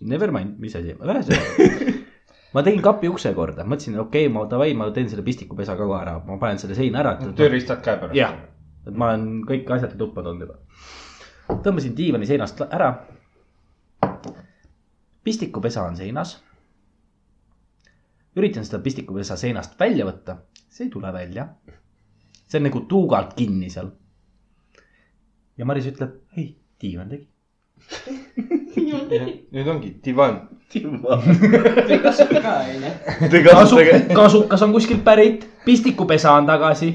S5: Never mind , mis asi , ühesõnaga ma tegin kapi ukse korda , mõtlesin , okei okay, , ma davai , ma teen selle pistikupesa ka kohe ära , ma panen selle seina ära .
S1: tööriistad käepärast .
S5: jah , et ma olen kõik asjad tuppa toonud juba . tõmbasin diivani seinast la- ära . pistikupesa on seinas . üritan seda pistikupesa seinast välja võtta , see ei tule välja . see on nagu tuugalt kinni seal . ja Maris ütleb , ei , diivan tegi .
S1: nüüd ongi divan .
S6: ta kasvab ka , onju .
S4: Te kasutage ,
S5: kasukas on kuskilt pärit , pistikupesa on tagasi ,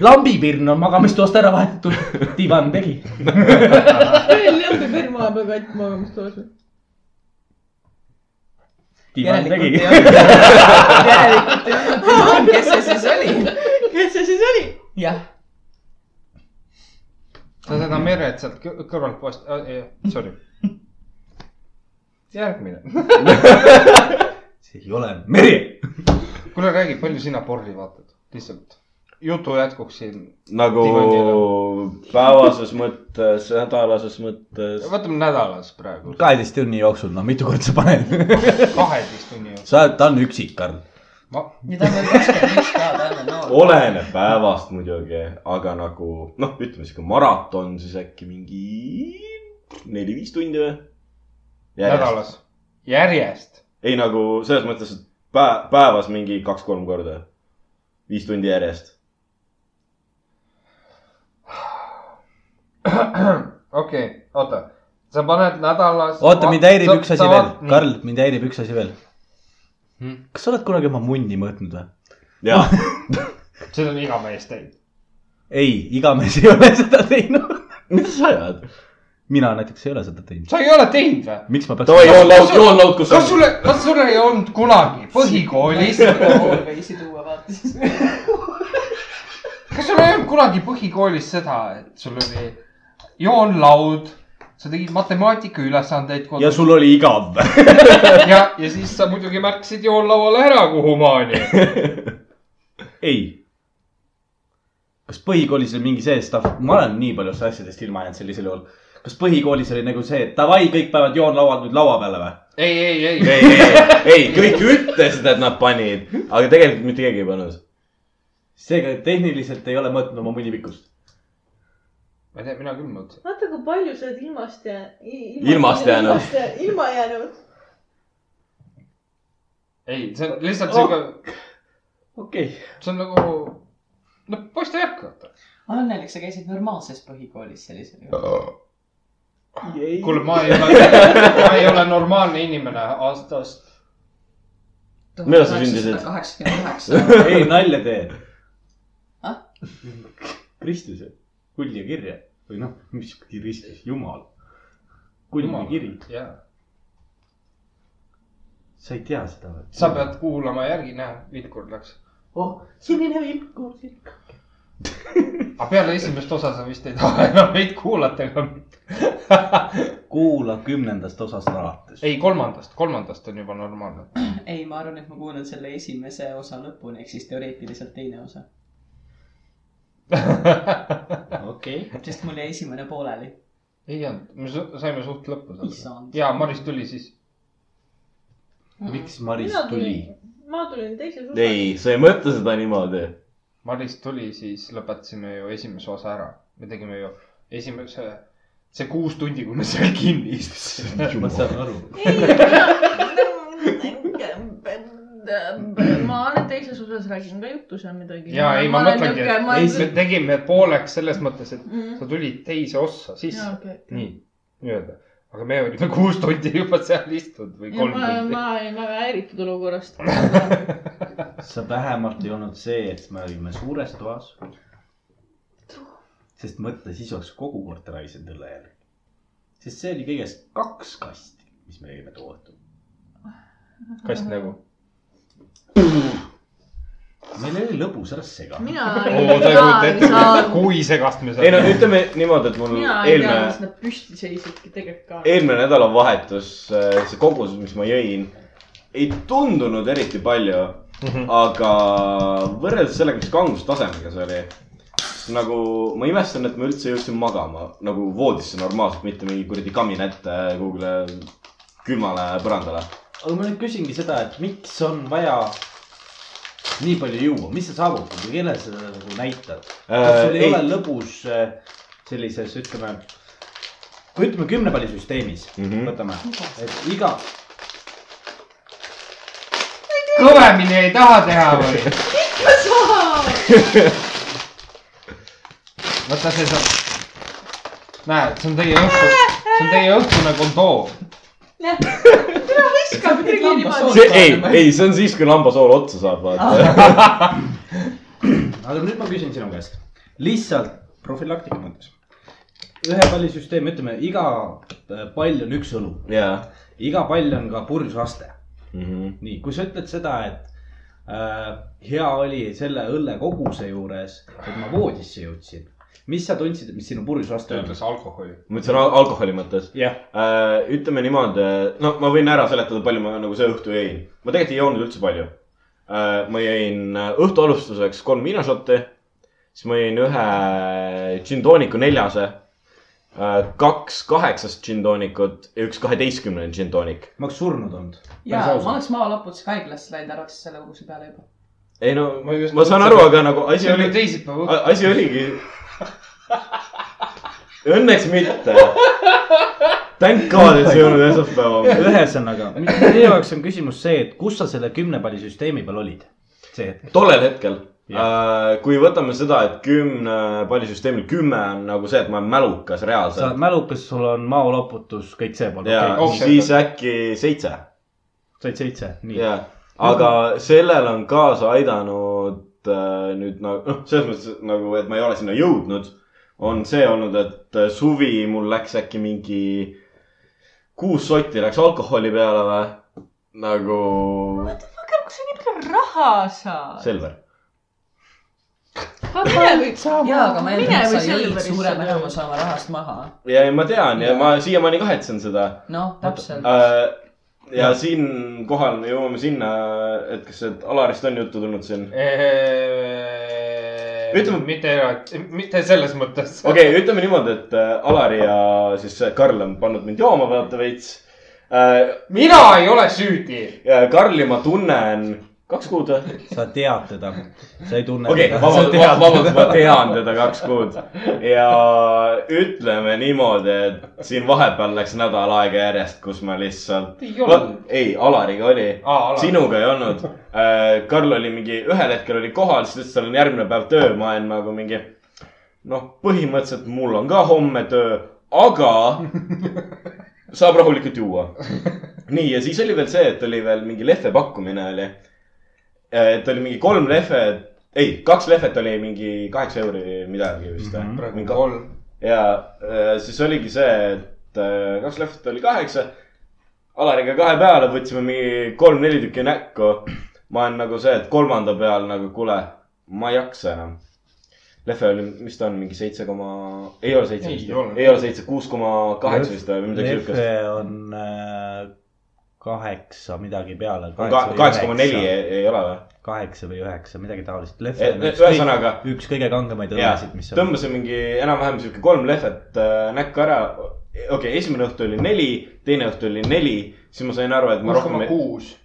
S5: lambipirn on magamistoast ära vahetatud , diivan tegi .
S2: veel lambi firma ajab aga ette magamistoas .
S5: diivan
S6: järelikult
S5: tegi
S6: ei . olnud , järelikult ei olnud divan , kes see siis oli ?
S2: kes see siis oli ?
S6: jah ,
S1: sa seda meret sealt kõ- kõrvalt poest , sorry . järgmine .
S5: see ei ole meri
S1: kuule , räägi , palju sina porri vaatad ? lihtsalt jutu jätkuks siin .
S4: nagu päevases mõttes , nädalases mõttes .
S1: võtame nädalas praegu ,
S5: kaheteist tunni jooksul , no mitu korda sa paned ?
S1: kaheteist tunni jooksul .
S5: sa oled , ta on üksik , Karl .
S1: ma ,
S6: ja ta on veel kakskümmend üks ka , ta on veel noor .
S4: oleneb päevast muidugi , aga nagu noh , ütleme sihuke maraton siis äkki mingi neli-viis tundi või ?
S1: nädalas , järjest .
S4: ei nagu selles mõttes , et pä- , päevas mingi kaks-kolm korda . viis tundi järjest .
S1: okei , oota , sa paned nädalas .
S5: oota , mind häirib üks asi veel ,. Karl , mind häirib üks asi veel .
S6: Hmm.
S5: kas sa oled kunagi oma munni mõõtnud või ?
S4: ja
S1: seda on iga mees teinud .
S5: ei , iga mees ei ole seda teinud .
S4: mida sa ajad ?
S5: mina näiteks ei ole seda teinud .
S1: sa ei ole teinud või ?
S5: miks ma
S4: davai ,
S5: peaks ?
S4: joonlaud , joonlaud , kus
S1: kas
S4: on ?
S1: sulle , kas sul ei olnud kunagi põhikoolis ,
S6: Always'i tuua vaata siis .
S1: kas sul ei olnud kunagi põhikoolis seda , et sul oli joonlaud , sa tegid matemaatikaülesandeid
S5: ja sul oli igav .
S1: ja , ja siis sa muidugi märkasid joonlauale ära , kuhumaani .
S5: ei . kas põhikoolis oli mingi see stuff , ma olen nii paljust asjadest ilma jäänud sellisel juhul . kas põhikoolis oli nagu see , et davai , kõik päevad joonlauad nüüd laua peale või ?
S1: ei , ei , ei ,
S4: ei , ei , ei , kõik ütlesid , et nad panid , aga tegelikult mitte keegi ei pannud .
S3: seega tehniliselt ei ole mõõtnud oma mõnivikust .
S1: ma ei tea , mina küll mõtlesin .
S2: vaata , kui palju sa oled ilmast ja .
S4: Ilmast jäänud. .
S2: ilma jäänud .
S1: ei , see on lihtsalt
S5: Oh.
S1: siuke ,
S3: okei okay. ,
S1: see on nagu , no poiss ta ei hakka , vaata .
S6: õnnelik , sa käisid normaalses põhikoolis sellisel juhul .
S1: kuule , ma ei ole , ma ei ole normaalne inimene aastast .
S4: Millal sa sündisid?
S6: kaheksakümmend üheksa .
S3: ei nalja tee
S6: Ah? .
S3: ristis , kull ja kirja või noh , mis ristis , jumal . kull ja kiri ,
S1: jah ,
S3: sa ei tea seda või ?
S1: sa pead kuulama järgi , näe , Vilkur läks .
S3: oh , sinine vilkur , vilkur .
S1: aga peale esimest osa sa vist ei taha enam neid kuulata ega mitte .
S5: kuula kümnendast osast alates .
S1: ei , kolmandast , kolmandast on juba normaalne .
S6: ei , ma arvan , et ma kuulan selle esimese osa lõpuni , ehk siis teoreetiliselt teine osa ,
S3: okei okay. ,
S6: sest mul jäi esimene pooleli .
S1: ei olnud , me su- saime suht lõppu sellega
S6: Issand. .
S1: ja Maris tuli siis .
S3: miks Maris tuli ??
S2: ma tulin teises osas .
S4: ei , sa ei mõtle seda niimoodi .
S1: Maris tuli , siis lõpetasime ju esimese osa ära . me tegime ju esimese , see kuus tundi , kui me seal kinni istusime .
S3: ma saan aru .
S2: ma olen teises osas räägin ka juttu seal midagi .
S1: ja ei , ma mõtlengi , et me
S2: et .
S1: tegime pooleks selles mõttes , et
S2: Mhm.
S1: sa tulid teise ossa sisse
S2: jaa , okei .
S1: nii , Mm. nii-öelda . aga me olime kuus tundi juba seal istunud või
S2: ja
S1: kolm
S2: ma ,
S1: tundi .
S2: ma olin väga häiritud olukorrast .
S5: sa vähemalt ei olnud see , et me olime suures toas . sest mõtle , siis oleks kogu korter haisenud õlle järgi . sest see oli kõigest kaks kasti , mis me jõime too õhtu .
S1: kast nagu .
S5: meil oli lõbus , ära sega .
S2: mina .
S1: oo , sa ei kujuta ette , kui segast me
S4: ei no
S1: seal .
S4: ütleme niimoodi , et mul
S2: mina ei tea ,
S4: eelmine
S2: kas , nad püsti seisidki tegelikult ka .
S4: eelmine nädalavahetus , see kogus , mis ma jõin , ei tundunud eriti palju ,
S5: Mhm.
S4: aga võrreldes sellega , mis kangustasemega see oli , nagu ma imestan , et ma üldse jõudsin magama nagu voodisse normaalselt , mitte mingi kuradi kamin ette kuhugile külmale põrandale .
S5: aga ma nüüd küsingi seda , et miks on vaja nii palju juua , mis sa saavutad või kellele sa seda nagu näitad ?
S4: Äh,
S5: kas sul ei, ei ole lõbus äh, sellises , ütleme , kui ütleme kümne palli süsteemis mm ,
S4: Mhm.
S5: -hmm. võtame , et iga ,
S1: kõvemini ei taha teha või ? vaata , see saab , näed , see on teie õhtu , see on teie õhtune kondoom .
S6: viskab midagi niimoodi .
S4: see ei , ei , see on siis , kui lambasool otsa saab , vaata .
S5: aga nüüd ma küsin sinu käest , lihtsalt profülaktika mõttes . ühe palli süsteem , ütleme iga äh, pall on üks õlu ,
S4: jaa . Mhm.
S5: iga pall on ka purjusaste . nii , kui sa ütled seda , et äh, hea oli selle õlle koguse juures , et ma voodisse jõudsin , mis sa tundsid , mis sinu purjusaste on ?
S1: töötas alkoholi .
S4: ma ütlesin al- alkoholi mõttes .
S5: jah ,
S4: ütleme niimoodi , no ma võin ära seletada , palju ma nagu see õhtu jõin . ma tegelikult ei joonud üldse palju . ma jõin äh, õhtu alustuseks kolm viinašotti , siis ma jõin ühe džintooniku neljase , kaks kaheksast džintoonikut ja üks kaheteistkümnene džintoonik .
S5: ma oleks surnud olnud .
S6: ja ma oleks maalaputus haiglasse läinud , arvaks selle koguse peale juba .
S4: ei no
S1: Ma just- ,
S4: ma saan aru , aga nagu asi
S1: see oli
S4: oli
S1: teisipäeva õhtu .
S4: A- asi oligi . Õnneks mitte . Thank God , et see ei olnud esmaspäeva hommik .
S5: ühesõnaga , minu jaoks on küsimus see , et kus sa selle kümne palli süsteemi peal olid ? see hetk .
S4: tollel hetkel , kui võtame seda , et kümne pallisüsteemil kümme on nagu see , et ma olen mälukas
S5: sa oled
S4: reaalselt .
S5: mälukas , sul on maoloputus , kõik see pool ,
S4: ja
S5: okei ,
S1: okei.
S4: siis äkki seitse ,
S5: said seitse , nii .
S4: ja . aga sellel on kaasa aidanud äh, nüüd nagu , noh , selles mõttes et nagu , et ma ei ole sinna jõudnud , on see olnud , et äh, suvi mul läks äkki mingi kuus sotti läks alkoholi peale või nagu
S2: kus sa nii palju raha saad ?
S4: Selver .
S2: mine või ,
S6: ja , aga ma eeldan ,
S2: Mine
S6: et
S2: või
S6: sa jõid
S2: Selverisse
S6: suurema
S2: ära.
S6: enamus oma rahast maha .
S4: ja ei, ma tean ja ma siiamaani kahetsen seda
S6: noh , täpselt .
S4: äh, . ja siinkohal me jõuame sinna , et kas , et Alarist on juttu tulnud siin ?
S1: ütleme ,
S4: Ütleme-
S1: mitte , mitte selles mõttes .
S4: äh, okei okay, , ütleme niimoodi , et äh, Alari ja siis see Karl on pannud mind jooma vaata veits .
S1: mina ei ole süüdi .
S4: Karli ma tunnen kaks kuud või ?
S5: sa tead teda , sa ei tunne
S4: okei ,
S5: teda .
S4: vabandust , vabandust , ma tean teda kaks kuud ja ütleme niimoodi , et siin vahepeal läks nädal aega järjest , kus ma lihtsalt .
S1: Ei olnud.
S4: ei , Alariga oli
S1: Aa, Alariga.
S4: sinuga ei olnud . Karl oli mingi , ühel hetkel oli kohal , siis ütles , tal on järgmine päev töö , ma olen nagu mingi . noh , põhimõtteliselt mul on ka homme töö , aga saab rahulikult juua . nii , ja siis oli veel see , et oli veel mingi lehve pakkumine oli Äh, et oli mingi kolm lehvet , ei , kaks lehvet oli mingi kaheksa euri midagi vist mm . -hmm.
S1: Mhm. praegu kolm .
S4: ja äh, siis oligi see , et äh, kaks lehvet oli kaheksa . Alariga kahe peale võtsime mingi kolm-neli tükki näkku . ma olen nagu see , et kolmanda peal nagu kuule , ma ei jaksa enam . lehve oli , mis ta on , mingi seitse koma , ei ole seitse
S1: Ei
S4: vist
S1: ole. ,
S4: ei ole seitse , kuus koma kaheksa vist või midagi siukest .
S5: Lefe on äh, kaheksa midagi peale .
S4: kaheksa koma neli ei ei ole või ?
S5: kaheksa või üheksa , midagi taolist . Lefe on üks kõige ,
S4: ühesõnaga ,
S5: üks kõige kangemaid
S4: jaa
S5: õllesid , mis on .
S4: tõmbasin mingi enam-vähem sihuke kolm lehvet äh, näkku ära . okei okay, , esimene õhtu oli neli , teine õhtu oli neli , siis ma sain aru , et ma
S1: kuus koma
S4: rohkem ei .
S1: kuus .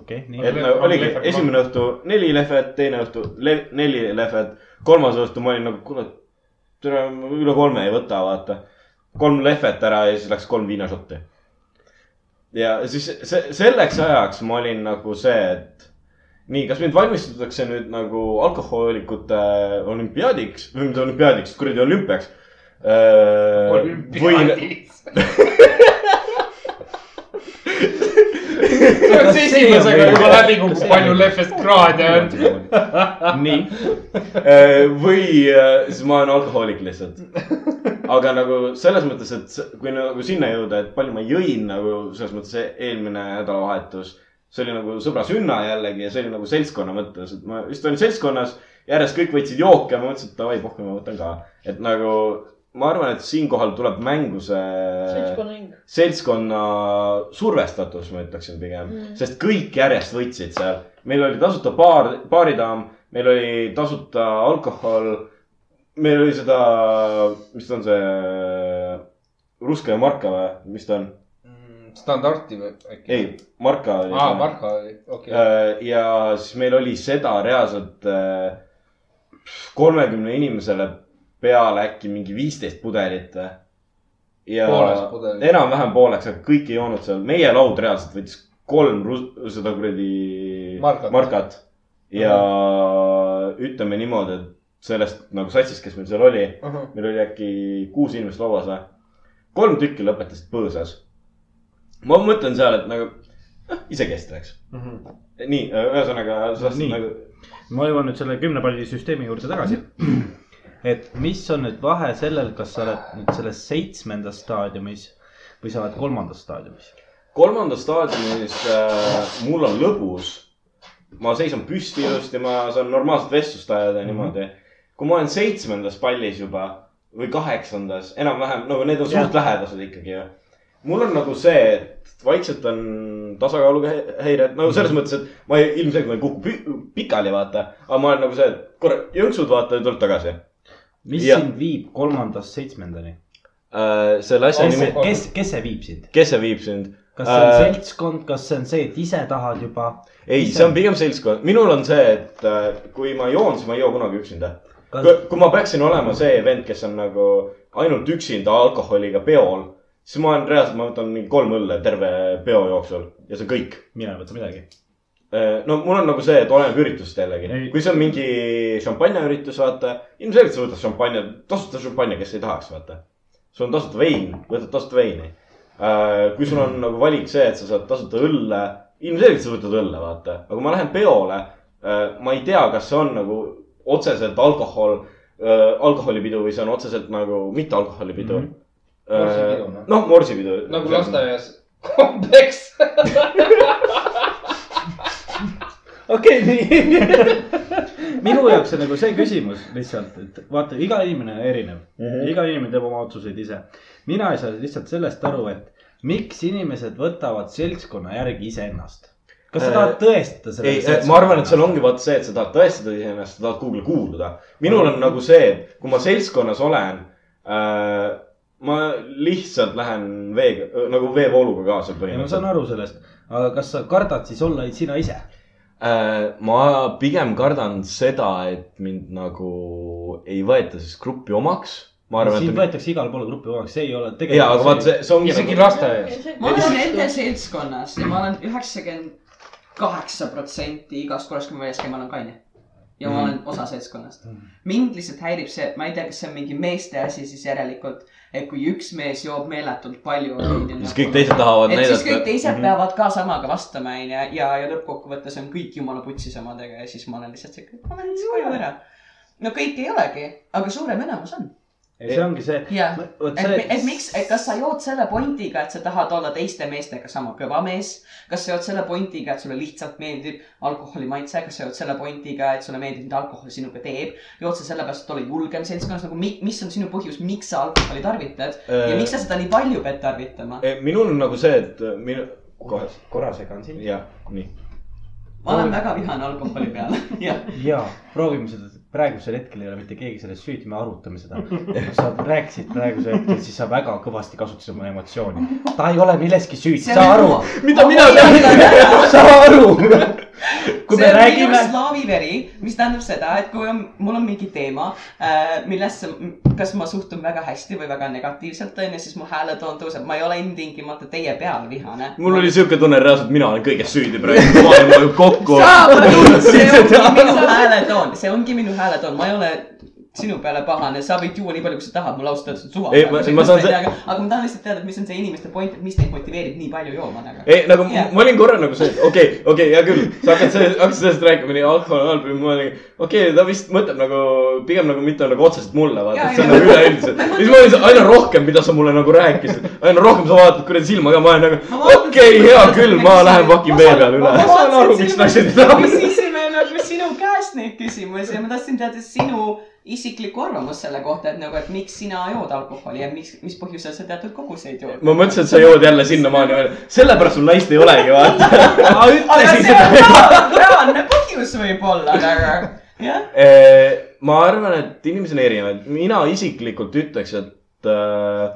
S5: okei , nii .
S4: et nagu oligi esimene õhtu neli lehvet , teine õhtu le neli lehvet , kolmas õhtu ma olin nagu , kuule , tere , üle kolme ei võta , vaata . kolm lehvet ära ja siis läks kolm viinašotti . ja siis see , selleks ajaks ma olin nagu see , et nii , kas mind valmistatakse nüüd nagu alkohoolikute olümpiaadiks või mitte olümpiaadiks , kuradi olümpiaks . või ,
S1: olümpiaadis . see oleks
S5: see
S1: esimesega
S5: on
S1: juba
S5: võimalik?
S1: läbi kukub , palju lehvest kraade on .
S4: nii või äh, siis ma olen alkohoolik lihtsalt . aga nagu selles mõttes , et s- kui nagu sinna jõuda , et palju ma jõin nagu selles mõttes e- eelmine nädalavahetus . see oli nagu sõbra sünna jällegi ja see oli nagu seltskonna mõttes , et ma just olin seltskonnas , järjest kõik võtsid jooke ja ma mõtlesin , et davai , pohhu , ma võtan ka . et nagu ma arvan , et siinkohal tuleb mängu see
S2: seltskonnaring .
S4: seltskonna survestatus , ma ütleksin pigem mm.
S2: Mm. ,
S4: sest kõik järjest võitsid seal . meil oli tasuta baar , baaridaam , meil oli tasuta alkohol . meil oli seda , mis ta on see , Ruskaja marka või , mis ta on ?
S1: Mm, standardi või äkki ?
S4: ei , marka oli
S1: aa ,
S4: see.
S1: Marko oli , okei .
S4: Äh, ja siis meil oli seda reaalselt äh, kolmekümne inimesele peale äkki mingi viisteist pudelit või . ja
S1: Pooleks pudelit.
S4: enam-vähem pooleks , aga kõik ei joonud seal , meie laud reaalselt võttis kolm rus- seda kuradi
S1: Markat.
S4: markat . ja ütleme niimoodi , et sellest nagu satsist , kes meil seal oli ,
S1: Mhm.
S4: meil oli äkki kuus inimest lauas või , kolm tükki lõpetasid põõsas . ma mõtlen seal , et nagu noh , isekesta , eks
S1: Mhm.
S4: nii , ühesõnaga sa
S5: Nii.
S4: tahtsid nagu ,
S5: ma jõuan nüüd selle kümne palli süsteemi juurde tagasi . et mis on nüüd vahe sellel , kas sa oled nüüd selles seitsmendas staadiumis või sa oled kolmandas staadiumis ?
S4: kolmandas staadiumis äh, mul on lõbus . ma seisan püsti ilusti , ma saan normaalset vestlust ajada ja niimoodi . kui ma olen seitsmendas pallis juba või kaheksandas , enam-vähem , no need on suht lähedased ikkagi ju . mul on nagu see , et vaikselt on tasakaaluga hä- häired , no selles mõttes , et ma ei- ilmselgelt ma ei kuku pü- pikali , vaata . aga ma olen nagu see , et korra jõnksud , vaata ja tuleb tagasi .
S5: mis
S4: Jah.
S5: sind viib kolmandast seitsmendani ?
S4: Äh, selle asja
S5: kes
S4: nimi ,,
S5: kes , kes see viib sind ?
S4: kes see viib sind ?
S5: kas see on
S4: Äh,
S5: seltskond , kas see on see , et ise tahad juba ?
S4: ei , see on pigem seltskond , minul on see , et äh, kui ma joon , siis ma ei joo kunagi üksinda . kui
S5: kas ,
S4: kui ma peaksin olema see vend , kes on nagu ainult üksinda alkoholiga peol , siis ma olen reaalselt , ma võtan mingi kolm õlle terve peo jooksul ja see on kõik .
S5: mina ei võta midagi .
S4: no mul on nagu see , et oleneb üritusest jällegi
S5: Ei. .
S4: kui see on mingi šampanjaüritus , vaata , ilmselgelt sa võtad šampanja , tasuta šampanja , kes ei tahaks , vaata . sul on tasuta vein , võtad tasuta veini . kui sul
S5: Mm.
S4: on nagu valik see , et sa saad tasuta õlle , ilmselgelt sa võtad õlle , vaata . aga kui ma lähen peole , ma ei tea , kas see on nagu otseselt alkohol , alkoholipidu või see on otseselt nagu mittealkoholipidu mm .
S5: Mhm.
S1: Morsipidu, noh.
S4: -hmm. noh , morsipidu .
S1: nagu . lasteaias kompleks .
S5: okei , nii . minu jaoks on nagu see küsimus lihtsalt , et vaata , iga inimene on erinev mm ,
S4: Mhm.
S5: -hmm. iga inimene teeb oma otsuseid ise . mina ei saa lihtsalt sellest aru , et miks inimesed võtavad seltskonna järgi iseennast . kas sa
S4: Äh,
S5: tahad tõestada
S4: ei , ma arvan , et seal ongi vaata see , et sa tahad tõestada iseennast ,
S5: Mm.
S4: sa tahad kuhugi kuuluda . minul on nagu see , et kui ma seltskonnas olen äh, , ma lihtsalt lähen veega , nagu veevooluga kaasa
S5: ja ma saan aru sellest , aga kas sa kardad siis olla sina ise ?
S4: Äh, ma pigem kardan seda , et mind nagu ei võeta siis gruppi omaks . ma arvan ,
S5: siin
S4: et .
S5: võetakse igal pool grupi omaks , see ei ole
S4: ja , aga vaata , see , see ongi nagu
S1: isegi . lasteaias .
S6: ma olen enda seltskonnas ja ma olen üheksakümmend kaheksa protsenti igast korrast , kui ma väljas käin , ma olen kaine . ja
S4: Mm.
S6: ma olen osa seltskonnast . mind lihtsalt häirib see , ma ei tea , kas see on mingi meeste asi siis järelikult , et kui üks mees joob meeletult palju .
S4: Mm. siis kõik teised tahavad
S6: et siis
S4: näidata Mhm.
S6: kõik . teised peavad ka samaga vastama , onju , ja , ja lõppkokkuvõttes on kõik jumala putsis omadega ja siis ma olen lihtsalt siuke , ma lähen siis koju ära . no kõik ei olegi , aga suurem enamus on .
S5: see ongi see .
S6: jah ,
S5: vot
S6: et,
S5: see
S6: mi- , et miks , et kas sa jood selle pointiga , et sa tahad olla teiste meestega sama kõva mees , kas sa jood selle pointiga , et sulle lihtsalt meeldib alkoholi maitse , kas sa jood selle pointiga , et sulle meeldib , mida alkohol sinuga teeb , jood sa sellepärast , et olla julgem seltskonnas , nagu mi, mis on sinu põhjus , miks sa alkoholi tarvitad ja miks sa seda nii palju pead tarvitama ?
S4: minul on nagu see , et äh, minu , kohe ,
S5: korra segan sind .
S4: jah , nii .
S6: ma olen väga vihane alkoholi peale , jah .
S5: ja proovime seda , praegusel hetkel ei ole mitte keegi selles süüdi , me arutame seda . sa rääkisid praegusel hetkel , siis sa väga kõvasti kasutasid oma emotsiooni . ta ei ole milleski süüdi ,
S6: See
S5: saa
S6: on
S5: aru
S6: minu- .
S5: mida mina tean ? saa aru . kui
S6: see
S5: me
S6: on minu
S5: räägime ,
S6: slaavi veri , mis tähendab seda , et kui on , mul on mingi teema äh, , millesse , kas ma suhtun väga hästi või väga negatiivselt , onju , siis mu hääletoon tõuseb , ma ei ole ilmtingimata teie peal vihane .
S4: mul oli siuke tunne reaalselt , mina olen kõiges süüdi praegu , maailm vajub kokku .
S6: see ongi minu hääletoon , see ongi minu hääletoon , ma ei ole sinu peale pahane , sa võid juua nii palju , kui sa tahad , mul ausalt öeldes on suva .
S4: Ei, ma- ma saan se-
S6: aga aga ma tahan lihtsalt teada , et mis on see inimeste point , et mis teid motiveerib nii palju jooma nagu .
S4: ei , nagu yeah.
S6: Jah.
S4: ma olin korra nagu see , et okei okay, , okei okay, , hea küll , sa hakkad sellest , hakkasid sellest rääkima , nii alkohol on halb ja ma olin , okei okay, , ta vist mõtleb nagu pigem nagu mitte nagu otseselt mulle , vaata ,
S6: Jaa,
S4: et see on
S6: jaa.
S4: nagu üleüldiselt . ja siis ma olin see- aina rohkem , mida sa mulle nagu rääkisid , aina rohkem sa vaatad kuradi silma ka , ma olen nagu okei okay, , hea küll , ma lähen pakin vee peale üle . ma saan aru , miks naised ei taha .
S6: küsisime nagu sinu käest neid küsimusi ja ma tahtsin teada sinu isiklikku arvamust selle kohta , et nagu , et miks sina jood alkoholi ja miks , mis põhjusel sa teatud koguseid jood .
S4: ma mõtlesin , et sa jood jälle sinnamaani välja , sellepärast sul naist ei olegi , vaata .
S5: ma
S6: aga
S5: ütlesin
S6: see
S5: seda .
S6: on reaal- reaalne põhjus võib-olla , aga jah .
S4: Eh, ma arvan , et inimesed on erinevad , mina isiklikult ütleks , et äh,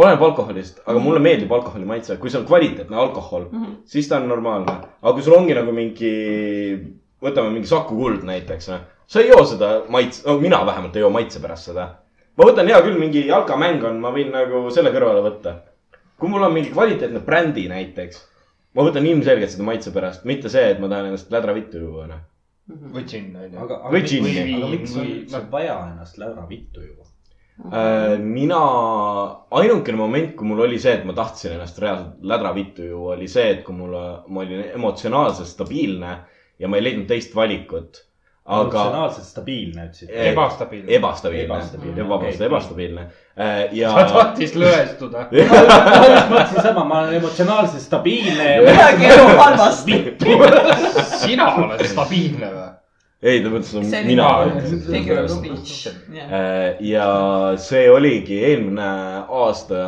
S4: oleneb alkoholist , aga mulle meeldib alkoholi maitse , kui see on kvaliteetne alkohol mm ,
S5: Mhm.
S4: -hmm. siis ta on normaalne . aga kui sul ongi nagu mingi , võtame mingi Saku Kuld näiteks , sa ei joo seda maitse , no mina vähemalt ei joo maitse pärast seda . ma võtan hea küll , mingi jalkamäng on , ma võin nagu selle kõrvale võtta . kui mul on mingi kvaliteetne brändi näiteks , ma võtan ilmselgelt seda maitse pärast , mitte see , et ma tahan ennast lädravittu juua , noh .
S1: või džinn on ju .
S5: aga ,
S4: Või džinni.
S5: aga miks on
S1: Või-
S5: sul vaja ennast lära vittu juua ?
S4: Äh, mina , ainukene moment , kui mul oli see , et ma tahtsin ennast reaalselt lädravittu juua , oli see , et kui mul , ma olin emotsionaalselt stabiilne ja ma ei leidnud teist valikut . aga
S5: emotsionaalselt stabiilne ütlesid .
S4: Eh,
S1: ebastabiilne Eba... .
S5: Ebastabiilne,
S4: ebastabiilne , vabandust ,
S5: okei.
S4: ebastabiilne .
S1: ta
S4: ja ,
S1: tahtis lõhestuda .
S5: ma mõtlesin sama , ma olen emotsionaalselt stabiilne ja .
S6: midagi ei ole halvasti .
S1: sina oled stabiilne või ?
S4: ei , ta mõtles , et
S6: See oli
S4: mina
S1: mina.
S4: ütlesin seda
S6: Figure of
S4: praegu.
S6: speech .
S4: Äh, ja see oligi eelmine aasta ,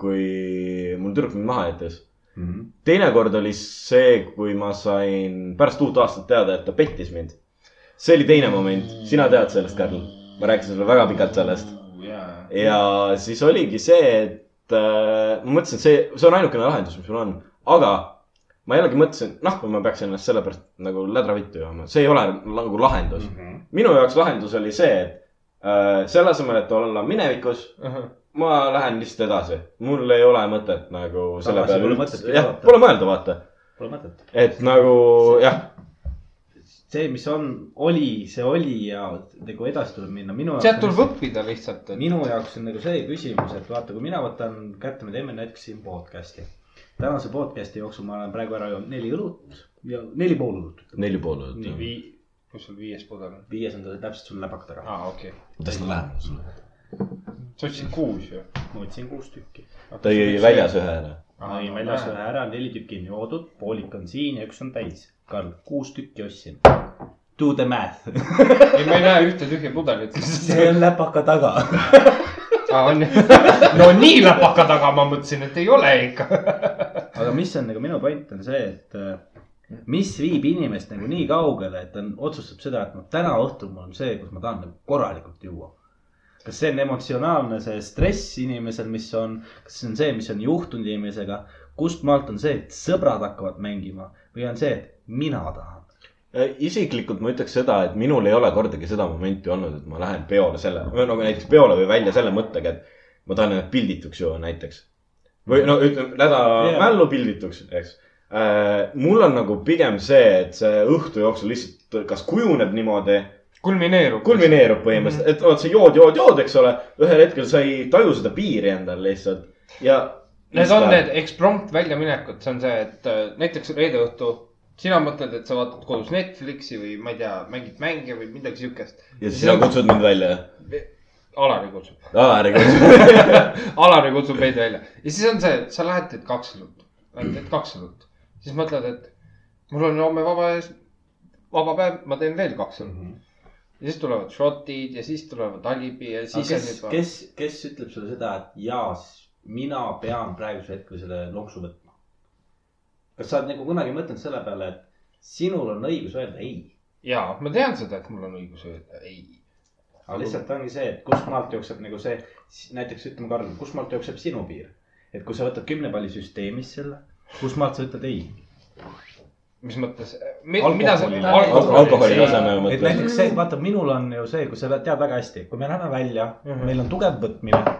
S4: kui mul tüdruk mind maha jättis .
S5: Mhm.
S4: teinekord oli see , kui ma sain pärast uut aastat teada , et ta pettis mind . see oli teine moment , sina tead sellest , Karl . ma rääkisin sulle väga pikalt sellest .
S1: Oh,
S4: ja siis oligi see , et äh, ma mõtlesin , see , see on ainukene lahendus , mis mul on , aga ma jällegi mõtlesin , noh , ma peaks ennast sellepärast nagu lädravittu jooma , see ei ole nagu lahendus mm .
S1: Mhm.
S4: -hmm. minu jaoks lahendus oli see , et äh, selle asemel , et olla minevikus , ma lähen lihtsalt edasi , mul ei ole mõtet nagu selle
S5: Tagasi
S4: peale
S5: pole mõtetki
S4: jah
S5: vaadata. ,
S4: pole mõelda , vaata .
S5: Pole mõtet .
S4: et nagu jah ,
S5: see , mis on , oli , see oli ja nagu edasi tuleb minna , minu
S1: sealt
S5: jaoks
S1: tuleb . õppida lihtsalt , et
S5: minu jaoks on nagu see küsimus , et vaata , kui mina võtan kätte , me teeme näiteks siin podcast'i . tänase podcast'i jooksul ma olen praegu ära joonud neli õlut ja neli pool õlut .
S4: neli pool on .
S5: Nii,
S1: vii- , kus sul viies pudel on ?
S5: viies on ta täpselt sul läbaka taga .
S1: aa , okei okay. .
S4: kuidas ta läheb sulle ?
S1: sa ütlesid kuus ju .
S5: ma võtsin kuus tükki .
S4: ta jäi väljas ühe ära .
S5: ma tõin väljas ühe . ära , neli tükki on joodud , poolik on siin ja üks on täis . Karl , kuus tükki ostsin . Do the math .
S1: ei , ma ei näe ühte tühja pudelit .
S5: see on läpaka taga .
S1: aa , on ju . no nii läpaka taga ma mõtlesin , et ei ole ikka .
S5: aga mis on nagu minu point on see , et äh, mis viib inimest nagu nii kaugele , et ta otsustab seda , et noh , täna õhtul mul on see , kus ma tahan nagu korralikult juua . kas see on emotsionaalne , see stress inimesel , mis on , kas see on see , mis on juhtunud inimesega , kust maalt on see , et sõbrad hakkavad mängima või on see , et mina tahan .
S4: Äh, isiklikult ma ütleks seda , et minul ei ole kordagi seda momenti olnud , et ma lähen peole selle , või nagu näiteks peole või välja selle mõttega , et ma tahan ennast pildituks juua näiteks . või no ütleme , läda
S5: Jaa.
S4: yeah. mällu pildituks , eks . mul on nagu pigem see , et see õhtu jooksul lihtsalt kas kujuneb niimoodi
S1: kulmineerub .
S4: kulmineerub põhimõtteliselt , et oled sa jood , jood , jood , eks ole , ühel hetkel sa ei taju seda piiri endal lihtsalt ja .
S1: Need on need eksprompt väljaminekud , see on see , et äh, näiteks reede õhtu , sina mõtled , et sa vaatad kodus Netflixi või ma ei tea , mängid mänge või midagi siukest .
S4: ja siis sina kutsud mind välja ,
S1: Alari kutsub ,
S4: Alari kutsub .
S1: Alari kutsub meid välja ja siis on see , et sa lähed , teed kaks õlut , teed kaks õlut , siis mõtled , et mul on homme vaba ees , vaba päev , ma teen veel kaks õlut . ja siis tulevad šotid ja siis tulevad alibi ja siis on
S5: kes ,
S1: juba .
S5: kes , kes ütleb sulle seda , et jaa , mina pean praegusel hetkel selle loksu võtma ? kas sa oled nagu kunagi mõtelnud selle peale , et sinul on õigus öelda ei ?
S1: ja ma tean seda , et mul on õigus öelda ei .
S5: aga lihtsalt ongi see , et kust maalt jookseb nagu see , näiteks ütleme , Karl , kust maalt jookseb sinu piir ? et kui sa võtad kümne palli süsteemis selle , kust maalt sa ütled ei ?
S1: mis mõttes , mida sa .
S5: Alkoholi.
S4: alkoholi taseme
S5: et
S4: mõttes .
S5: näiteks see , vaata , minul on ju see , kui sa tead väga hästi , kui me läheme välja mm , -hmm. meil on tugev võtmine .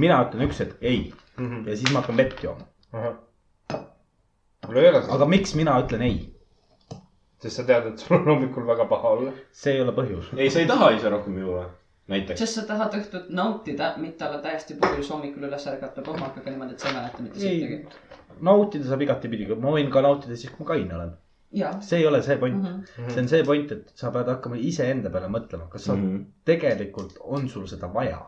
S5: mina ütlen üks hetk ei
S1: Mhm.
S5: ja siis ma hakkan vett jooma ,
S1: mul ei ole seda ,
S5: aga miks mina ütlen ei ,
S1: sest sa tead , et sul on hommikul väga paha olla .
S5: see ei ole põhjus .
S4: ei , sa ei taha ise rohkem juua , näiteks .
S6: sest sa tahad õhtut nautida , mitte olla täiesti purjus hommikul üles ärgata kohmakaga niimoodi , et sa ei mäleta mitte sittagi
S5: ei ., nautida saab igatipidi , ma võin ka nautida siis , kui ma kaine olen ,
S6: jaa .
S5: see ei ole see point mm .
S6: Mhm.
S5: -hmm. see on see point , et sa pead hakkama iseenda peale mõtlema , kas sa
S4: Mhm.
S5: mm -hmm. tegelikult on sul seda vaja .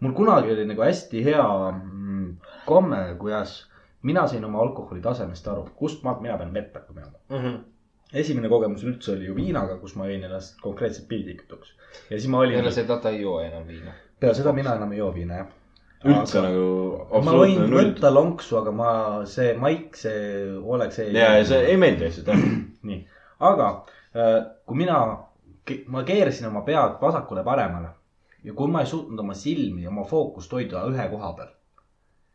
S5: mul kunagi oli nagu hästi hea mm, komme , kuidas mina sain oma alkoholi tasemest aru , kust maalt mina pean vett hakkama jooma .
S1: Mhm.
S5: esimene kogemus üldse oli ju viinaga , kus ma jõin ennast konkreetselt pildikutuks ja siis ma olin nagu,
S1: peale , seda ta ei joo enam viina .
S5: peale seda mina enam ei joo viina jah .
S4: üldse nagu
S5: ma võin
S4: absoluutne null .
S5: võtta lonksu , aga ma , see maik , see oleks see .
S4: ja , ja see ei meeldi lihtsalt .
S5: nii , aga äh, kui mina , ma keerasin oma pead vasakule-paremale ja kui ma ei suutnud oma silmi , oma fookust hoida ühe koha peal ,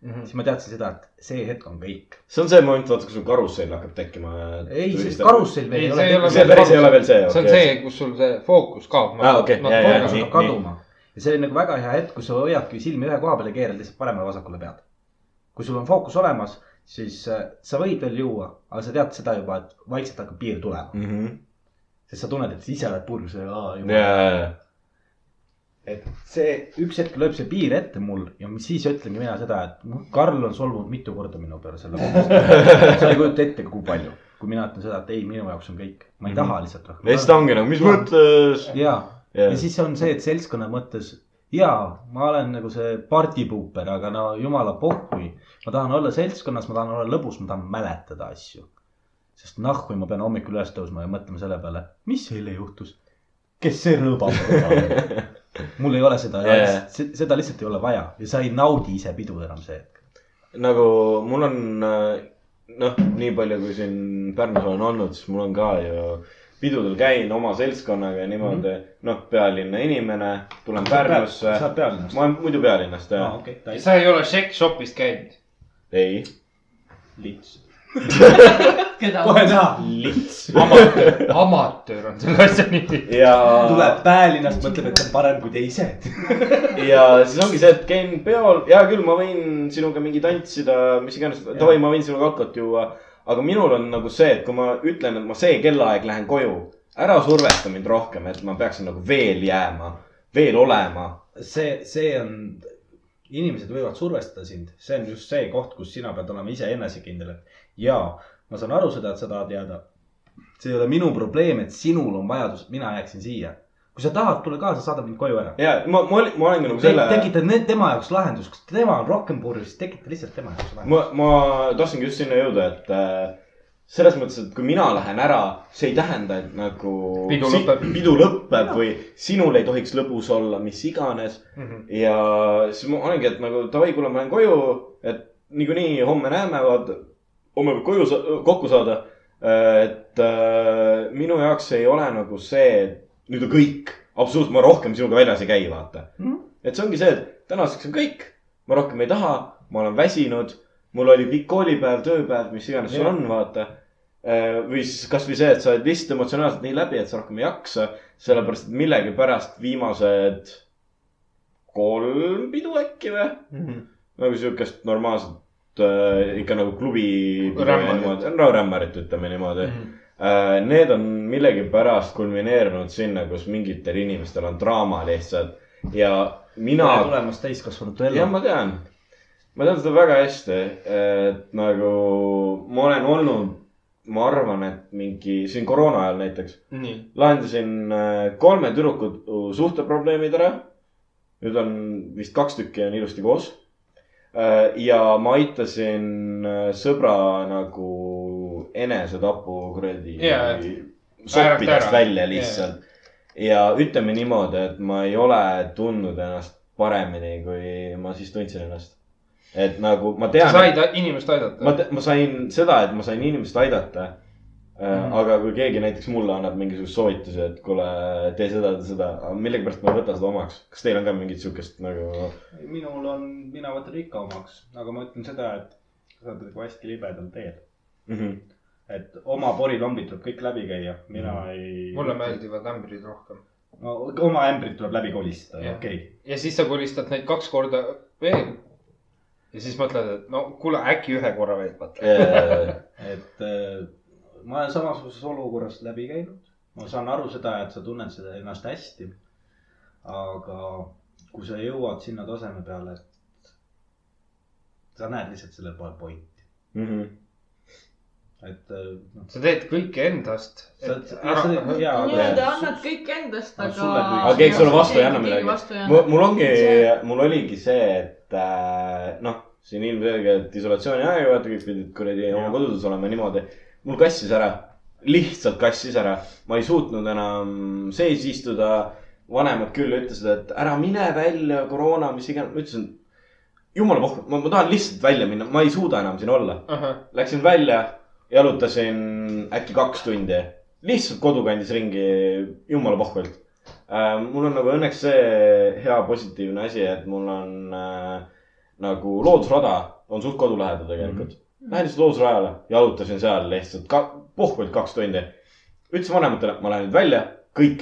S1: Mhm.
S5: siis ma teadsin seda , et see hetk on kõik .
S4: see on see moment , vaata , kui sul karussell hakkab tekkima .
S5: ei , sest . karussell veel
S1: ei ,
S5: ei
S1: see ei ole
S5: ole .
S4: See päris ei ole veel see,
S1: see on
S4: okei.
S1: see , kus sul see fookus kaob . Nagu
S4: Aa, okei, jaa, jaa,
S5: fookus
S4: nii,
S5: hakkab kaduma ja see oli nagu väga hea hetk , kui sa hoiadki silmi ühe koha peal ja keerad lihtsalt paremale-vasakule pead . kui sul on fookus olemas , siis äh, sa võid veel juua , aga sa tead seda juba , et vaikselt hakkab piir tulema ,
S4: Mhm.
S5: sest sa tunned , et sa ise oled purjus ja aa, juba
S4: ja , ja ,
S5: et see üks hetk lööb see piir ette mul ja mis siis ütlengi mina seda , et noh , Karl on solvunud mitu korda minu peale selle pärast . sa ei kujuta ette , kui palju , kui mina ütlen seda , et ei , minu jaoks on kõik , ma ei taha lihtsalt
S4: ja siis ta ongi nagu , mis mõttes .
S5: ja ,
S4: Jaa.
S5: ja siis on see , et seltskonna mõttes ja ma olen nagu see partipuuper , aga no jumala pohhui , ma tahan olla seltskonnas , ma tahan olla lõbus , ma tahan mäletada asju . sest nahku ma pean hommikul üles tõusma ja mõtlema selle peale , mis eile juhtus , kes see rõõbab . mul ei ole seda
S4: Jajah.
S5: yeah. , seda lihtsalt ei ole vaja ja sa ei naudi ise pidu enam see hetk .
S4: nagu mul on äh, noh , nii palju , kui siin Pärnus olen olnud , siis mul on ka ju pidudel käin oma seltskonnaga ja niimoodi mm -hmm. , noh , pealinna inimene , tulen Pärnusse .
S5: Mhm. sa oled pealinnast ?
S4: ma olen muidu pealinnast
S5: aa ,
S4: jah ,
S5: okei , täitsa
S1: sa ei ole Shack Shopist käinud .
S4: ei .
S5: lits .
S6: keda ?
S5: kohe näha ,
S4: lits .
S1: amatöör , amatöör on selle asja nimi .
S4: ja ,
S5: tuleb pealinnast , mõtleb , et on parem kui teised .
S4: ja siis ongi see , et käin peol , hea küll , ma võin sinuga mingi tantsida , mis iganes , davai , ma võin sinuga alkot juua . aga minul on nagu see , et kui ma ütlen , et ma see kellaaeg lähen koju , ära survesta mind rohkem , et ma peaksin nagu veel jääma , veel olema
S5: see , see on , inimesed võivad survestada sind , see on just see koht , kus sina pead olema ise enesekindel , et jaa , ma saan aru seda , et sa tahad jääda . see ei ole minu probleem , et sinul on vajadus , et mina jääksin siia . kui sa tahad , tule kaasa , saada mind koju ära .
S4: ja ma , ma , ma olengi nagu selle ,
S5: tekita ne- tema jaoks lahendus , kas tema on rohkem purjus , siis tekita lihtsalt tema jaoks lahendus .
S4: ma , ma tahtsingi just sinna jõuda , et äh, selles mõttes , et kui mina lähen ära , see ei tähenda , et nagu
S1: Pidu lõpeb.
S4: pidu lõpeb või sinul ei tohiks lõbus olla , mis iganes .
S1: Mhm.
S4: ja siis ma olengi , et nagu davai , kuule , ma lähen koju , et niikuinii homme näeme , vaata . homme võib koju sa- kokku saada . et äh, minu jaoks ei ole nagu see , et nüüd on kõik absoluutselt ma rohkem sinuga väljas ei käi , vaata mm. . et see ongi see , et tänaseks on kõik , ma rohkem ei taha , ma olen väsinud , mul oli pikk koolipäev , tööpäev , mis iganes sul on , vaata . või siis kasvõi see , et sa oled lihtsalt emotsionaalselt nii läbi , et sa rohkem ei jaksa , sellepärast et millegipärast viimased kolm pidu äkki või
S1: Mhm.
S4: nagu siukest normaalset äh, ikka nagu klubi .
S1: Rämmarit.
S4: no rämmarit ütleme niimoodi mm . -hmm. Äh, need on millegipärast kulmineerunud sinna , kus mingitel inimestel on draama lihtsalt ja mina .
S5: tulemas täiskasvanute
S4: jah ,
S5: ellu .
S4: ma tean . ma tean seda väga hästi , et nagu ma olen olnud , ma arvan , et mingi siin koroona ajal näiteks
S1: nii .
S4: lahendasin äh, kolme tüdruku suhteprobleemid ära . nüüd on vist kaks tükki on ilusti koos . ja ma aitasin äh, sõbra nagu enesetapu kuradi
S1: Jaa, et
S4: soppidest
S1: ära.
S4: välja lihtsalt . ja ütleme niimoodi , et ma ei ole tundnud ennast paremini , kui ma siis tundsin ennast . et nagu ma
S1: sa
S4: tean .
S1: said a- inimest aidata
S4: ma , ma sain seda , et ma sain inimest aidata mm. . aga kui keegi näiteks mulle annab mingisuguse soovituse , et kuule , tee seda , tee seda , millegipärast ma ei võta seda omaks . kas teil on ka mingit siukest nagu ?
S5: minul on , mina võtan ikka omaks , aga ma ütlen seda , et sa oled nagu hästi libedal teel .
S4: Mhm.
S5: et oma porilombid tuleb kõik läbi käia , mina ei .
S1: mulle . meeldivad ämbrid rohkem .
S5: no oma ämbrid tuleb läbi kolistada ,
S1: Jah.
S5: okei .
S1: ja siis sa kolistad neid kaks korda veel . ja siis mõtled , et no kuule , äkki ühe korra veel , vaata .
S5: et äh, ma olen samasuguses olukorras läbi käinud , ma saan aru seda , et sa tunned seda ennast hästi . aga kui sa jõuad sinna taseme peale , et sa näed lihtsalt selle poole pointi ,
S4: mhm.
S5: et äh, noh ,
S1: sa teed kõike endast .
S5: sa oled , sa oled hea ,
S2: nii-öelda
S5: aga
S2: annad kõik endast ,
S5: No Noh,
S2: aga .
S5: sulle kõik.
S4: aga keegi sulle vastu ei anna midagi . mul ongi , mul oligi see , et äh, noh , siin ilmselgelt isolatsiooni aeg , vaata kõik pidid kuradi oma kodudes olema ja niimoodi . mul kassis ära , lihtsalt kassis ära , ma ei suutnud enam sees istuda . vanemad küll ütlesid , et ära mine välja , koroona , mis iganes , ma ütlesin . jumala pohhu , ma ma tahan lihtsalt välja minna , ma ei suuda enam siin olla . Läksin välja , jalutasin äkki kaks tundi , lihtsalt kodukandis ringi , jumala pohvelt . mul on nagu õnneks see hea positiivne asi , et mul on äh, nagu loodusrada on suht kodu lähedal tegelikult mm . -hmm. Lähen lihtsalt loodusrajale , jalutasin seal lihtsalt ka pohvelt kaks tundi . ütlesin vanematele , ma lähen nüüd välja , kõik .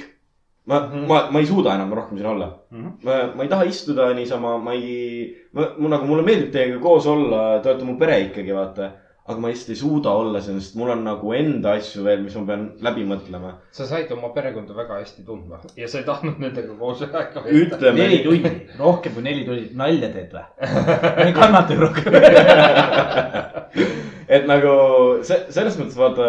S4: ma mm , -hmm. ma , ma ei suuda enam rohkem siin olla ma , ma ei taha istuda niisama , ma ei , ma , mul nagu , mulle meeldib teiega koos olla , te olete mu pere ikkagi , vaata . aga ma lihtsalt ei suuda olla siin , sest mul on nagu enda asju veel , mis ma pean läbi mõtlema .
S1: sa said oma perekonda väga hästi tundma ja sa ei tahtnud nendega koos aega veeta .
S4: ütleme
S5: neli , tundi , rohkem kui neli tundi , nalja teed või ? ma ei kannata ju rohkem .
S4: et nagu see , selles mõttes vaata ,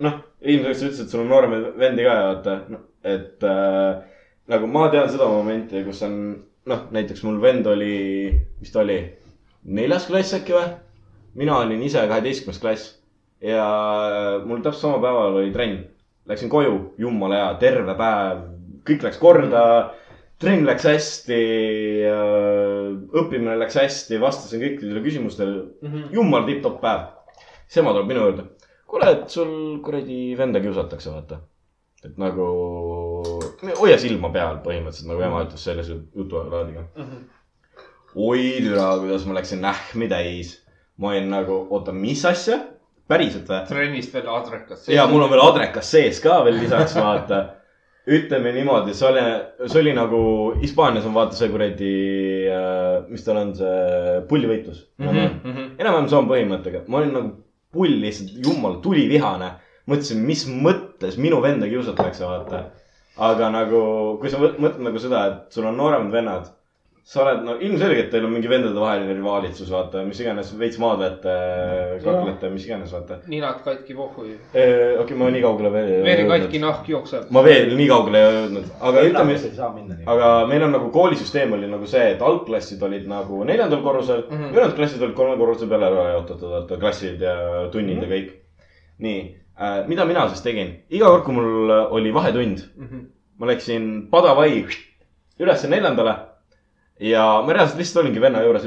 S4: noh , ilmselgelt sa ütlesid , et sul on nooremaid vendi ka , vaata , et äh, nagu ma tean seda momenti , kus on , noh , näiteks mul vend oli , mis ta oli , neljas klass äkki või ? mina olin ise kaheteistkümnes klass ja mul täpselt sama päeval oli trenn . Läksin koju , jumala hea , terve päev , kõik läks korda , trenn läks hästi , õppimine läks hästi , vastasin kõikidele küsimustele
S1: Mhm,
S4: Mm. jumal tipp-topp päev . siis ema tuleb minu juurde . kuule , et sul kuradi venda kiusatakse , vaata . et nagu hoia silma peal põhimõtteliselt nagu ema ütles selle su- jutuajalaadiga .
S1: mhm.
S4: oi türa , kuidas ma läksin nähmi täis . ma olin nagu , oota , mis asja ? päriselt või ?
S1: trennist veel adrekas .
S4: ja mul on veel adrekas sees ka veel lisaks , vaata . ütleme niimoodi , see oli , see oli nagu Hispaanias on vaata see kuradi , mis tal on see pullivõitlus
S1: Mhm.
S4: mm . -hmm. enam-vähem sama põhimõttega , ma olin nagu pull lihtsalt , jumal , tulivihane . mõtlesin , mis mõttes minu venda kiusatakse , vaata . aga nagu , kui sa mõt- mõtled nagu seda , et sul on nooremad vennad , sa oled , no ilmselgelt teil on mingi vendadevaheline rivaalitsus , vaata , mis iganes , veits maad vette , kaklete , mis iganes , vaata .
S1: ninad katki pohhu ju .
S4: okei okay, , ma nii kaugele veel ei
S1: veri katki , nahk jookseb .
S4: ma veel nii kaugele ei jõudnud , aga ütleme
S5: ei saa minna nii .
S4: aga meil on nagu koolisüsteem oli nagu see , et algklassid olid nagu neljandal korrusel mm -hmm. , ülejäänud klassid olid kolme korruse peale ära jaotatud , vaata klassid ja tunnid mm -hmm. ja kõik . nii äh, , mida mina siis tegin , iga kord , kui mul oli vahetund mm , -hmm.
S1: Mhm,
S4: ma läksin padavai ülesse neljandale ja ma reaalselt lihtsalt olingi venna juures ,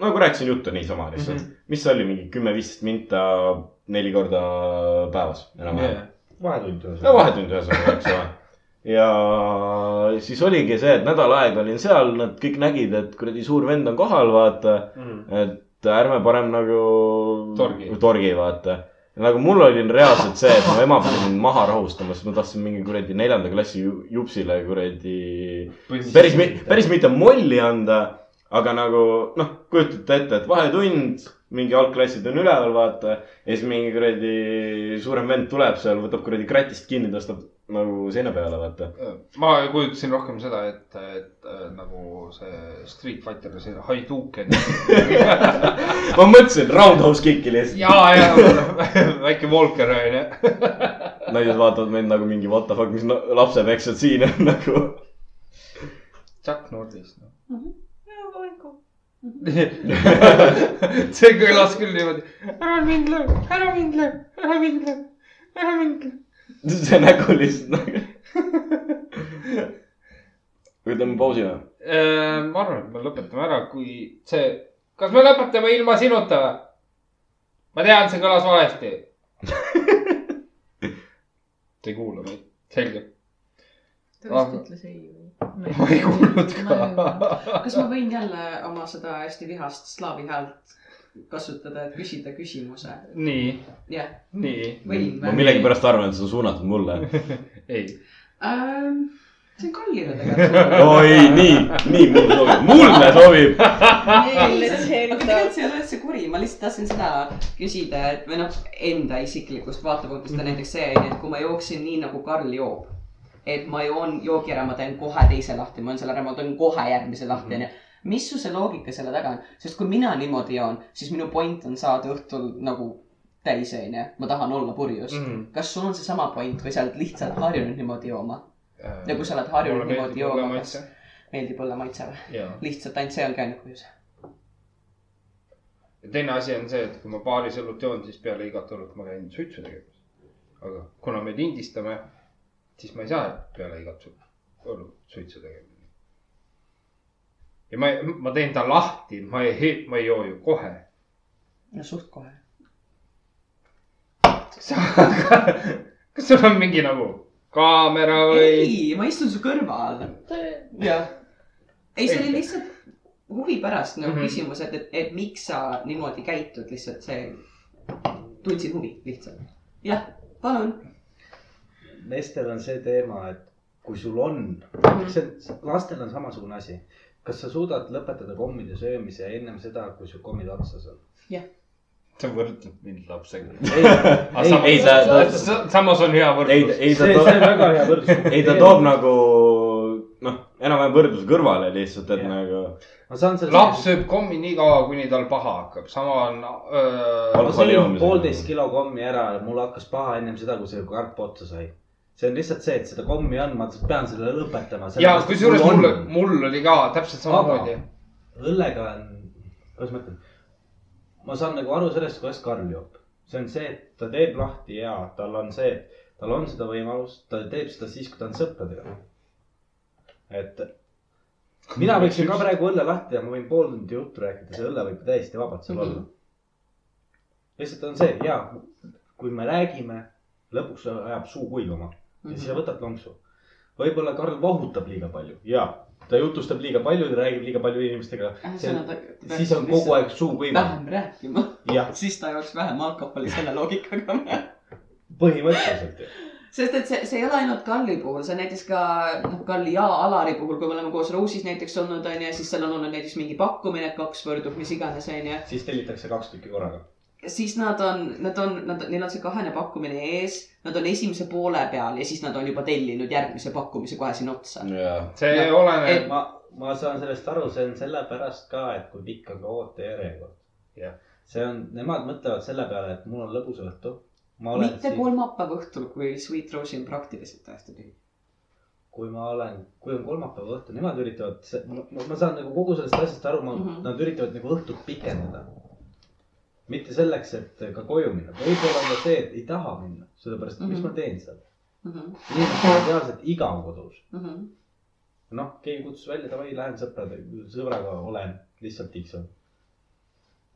S4: nagu rääkisin juttu niisama lihtsalt mm , -hmm. mis see oli mingi kümme-viisteist minta neli korda päevas enam-vähem yeah. .
S5: vahetund
S4: no vahetund ühesõnaga , eks ole . ja siis oligi see , et nädal aega olin seal , nad kõik nägid , et kuradi suur vend on kohal , vaata
S1: Mhm.
S4: mm. . et ärme parem nagu .
S1: Torgi.
S4: torgi , vaata . nagu mul oli reaalselt see , et mu ema pani mind maha rahustama , sest ma tahtsin mingi kuradi neljanda klassi ju- jupsile kuradi päris , päris mitte molli anda , aga nagu noh , kujutate ette , et vahetund , mingi algklassid on üleval , vaata . ja siis mingi kuradi suurem vend tuleb seal , võtab kuradi kratist kinni , tõstab nagu seina peale , vaata .
S1: äh, ma kujutasin rohkem seda , et , et äh, nagu see Street Fighter , see Hadouken
S4: ma mõtlesin roundhouse kick'i lihtsalt .
S1: ja , ja väike Walker onju .
S4: naised vaatavad mind nagu mingi what the fuck , mis na- lapsepeksjad siin on nagu .
S1: Chuck Norris noh. no. .
S2: ära
S1: see kõlas küll niimoodi , ära mind löö , ära mind löö , ära mind löö , ära mind löö .
S4: see nägu lihtsalt nagu . ütleme pausi või ?
S1: Äh, ma arvan , et me lõpetame ära , kui see , kas me lõpetame ilma sinuta või ? ma tean , see kõlas valesti . Te ei kuula meid , selge .
S6: Ta
S1: vist
S2: ütles ei ju .
S1: ma ei kuulnud ka .
S2: ka .
S6: kas ma võin jälle oma seda hästi vihast slaavi häält kasutada , et küsida küsimuse ?
S1: nii ,
S6: jah ,
S1: nii ,
S6: võin
S4: ma . millegipärast arvan , et see on suunatud mulle .
S1: ei .
S6: Ehm, see on Kallile tegelikult .
S4: oi , nii , nii mulle sobib , mulle sobib .
S2: Let's hear it
S6: aga tegelikult
S2: out .
S6: see ei ole üldse kuri , ma lihtsalt tahtsin seda küsida , et või noh , enda isiklikust vaatepunktist on näiteks see , et kui ma jooksin nii nagu Karl joob , et ma joon joogi ära , ma teen kohe teise lahti , ma joon selle ära , ma teen kohe järgmise lahti , onju . mis su see loogika selle taga on , sest kui mina niimoodi joon , siis minu point on saada õhtul nagu täis , onju . ma tahan olla purjus mm .
S1: Mhm.
S6: -hmm. kas sul on seesama point või sa oled lihtsalt harjunud niimoodi jooma ?
S1: Äh,
S6: ja kui sa oled harjunud niimoodi jooma , kas meeldib olla maitse või ?
S1: jaa .
S6: lihtsalt ainult see ongi ainuke põhjus .
S1: ja teine asi on see , et kui ma paaris õlut joon , siis peale igat õlut ma käin suitsu tegemas . aga kuna me lindistame , siis ma ei saa peale igat su- õlut suitsu tegema . ja ma , ma teen ta lahti , ma ei , ma ei joo ju kohe .
S6: no suht kohe .
S1: kas sul on mingi nagu kaamera või ?
S6: ei , ma istun su kõrval . jah . ei , see oli lihtsalt huvi pärast nagu mm
S1: Mhm.
S6: -hmm. küsimus , et , et , et miks sa niimoodi käitud , lihtsalt see , tundsin huvi lihtsalt . jah , palun .
S5: meestel on see teema , et kui sul on , see lastel on samasugune asi , kas sa suudad lõpetada kommide söömise ennem seda , kui su kommid otsas on ?
S1: sa võrdled mind lapsega .
S5: ei ,
S1: ei ,
S5: ei ,
S1: ei
S4: ei, ta- ta-
S1: samas on hea
S4: ei ,
S1: võrdlus .
S4: ei ta
S5: see , see on
S4: toob ,
S5: väga hea võrdlus .
S4: ei ta toob . nagu noh , enam-vähem võrdluse kõrvale lihtsalt , et
S5: Jah.
S4: nagu
S5: ma saan selle .
S1: laps sööb kommi nii kaua , kuni tal paha hakkab , sama on äh, öö,
S5: ma
S4: alkoholi
S5: sõin
S4: joomisega.
S5: poolteist kilo kommi ära ja mul hakkas paha ennem seda , kui see karp otsa sai . see on lihtsalt see , et seda kommi on , ma pean selle lõpetama .
S1: ja kusjuures mul , mul oli ka täpselt samamoodi .
S5: õllega on , kuidas ma ütlen , ma saan nagu aru sellest , kuidas Karl joob . see on see , et ta teeb lahti ja tal on see , tal on seda võimalust , ta teeb seda siis , kui ta on sõpradega . et mina võiksin ka praegu õlle lahti ja ma võin pool tundi juttu rääkida , see õlle võib täiesti vabalt seal olla . lihtsalt on see ja kui me räägime , lõpuks ajab suu kuivama ja siis sa võtad lonksu . võib-olla Karl vahutab liiga palju ja ta jutustab liiga palju , räägib liiga palju inimestega . siis on kogu aeg suu kuivam .
S6: vähem rääkima ,
S5: jah ,
S6: siis ta jooks vähem alkoholi selle loogikaga .
S5: põhimõtteliselt ju .
S6: sest et see , see ei ole ainult Kalli puhul , see on näiteks ka noh , Kalli ja Alari puhul , kui me oleme koos Roosis näiteks olnud , onju , siis seal on olnud näiteks mingi pakkumine , et kaks võrdub , mis iganes , onju .
S5: siis tellitakse kaks tükki korraga .
S6: siis nad on , nad on , nad , neil on see kahene pakkumine ees , nad on esimese poole peal ja siis nad on juba tellinud järgmise pakkumise kohe sinna otsa .
S4: jaa .
S1: see
S6: Ja-
S1: oleneb
S6: et-
S5: ma , ma saan sellest aru , see on sellepärast ka , et kui pikk on ka ootejärjekord .
S1: Jah.
S5: see on , nemad mõtlevad selle peale , et mul on lõbus õhtu . ma olen
S6: mitte
S5: siin ,
S6: kolmapäeva õhtul , kui Sweet Rosie on praktiliselt täiesti tühi .
S5: kui ma olen , kui on kolmapäeva õhtu , nemad üritavad , ma saan nagu kogu sellest asjast aru , ma mm ,
S6: Mhm.
S5: -hmm. nad üritavad nagu õhtut pikendada . mitte selleks , et ka koju minna , võib-olla on ka see , et ei taha minna , sellepärast , mis
S6: Mhm.
S5: ma teen seal . inimestel on reaalselt igav kodus .
S6: mhm.
S5: noh , keegi kutsus välja , davai , lähen sõprade , sõbraga olen , lihtsalt tiksun .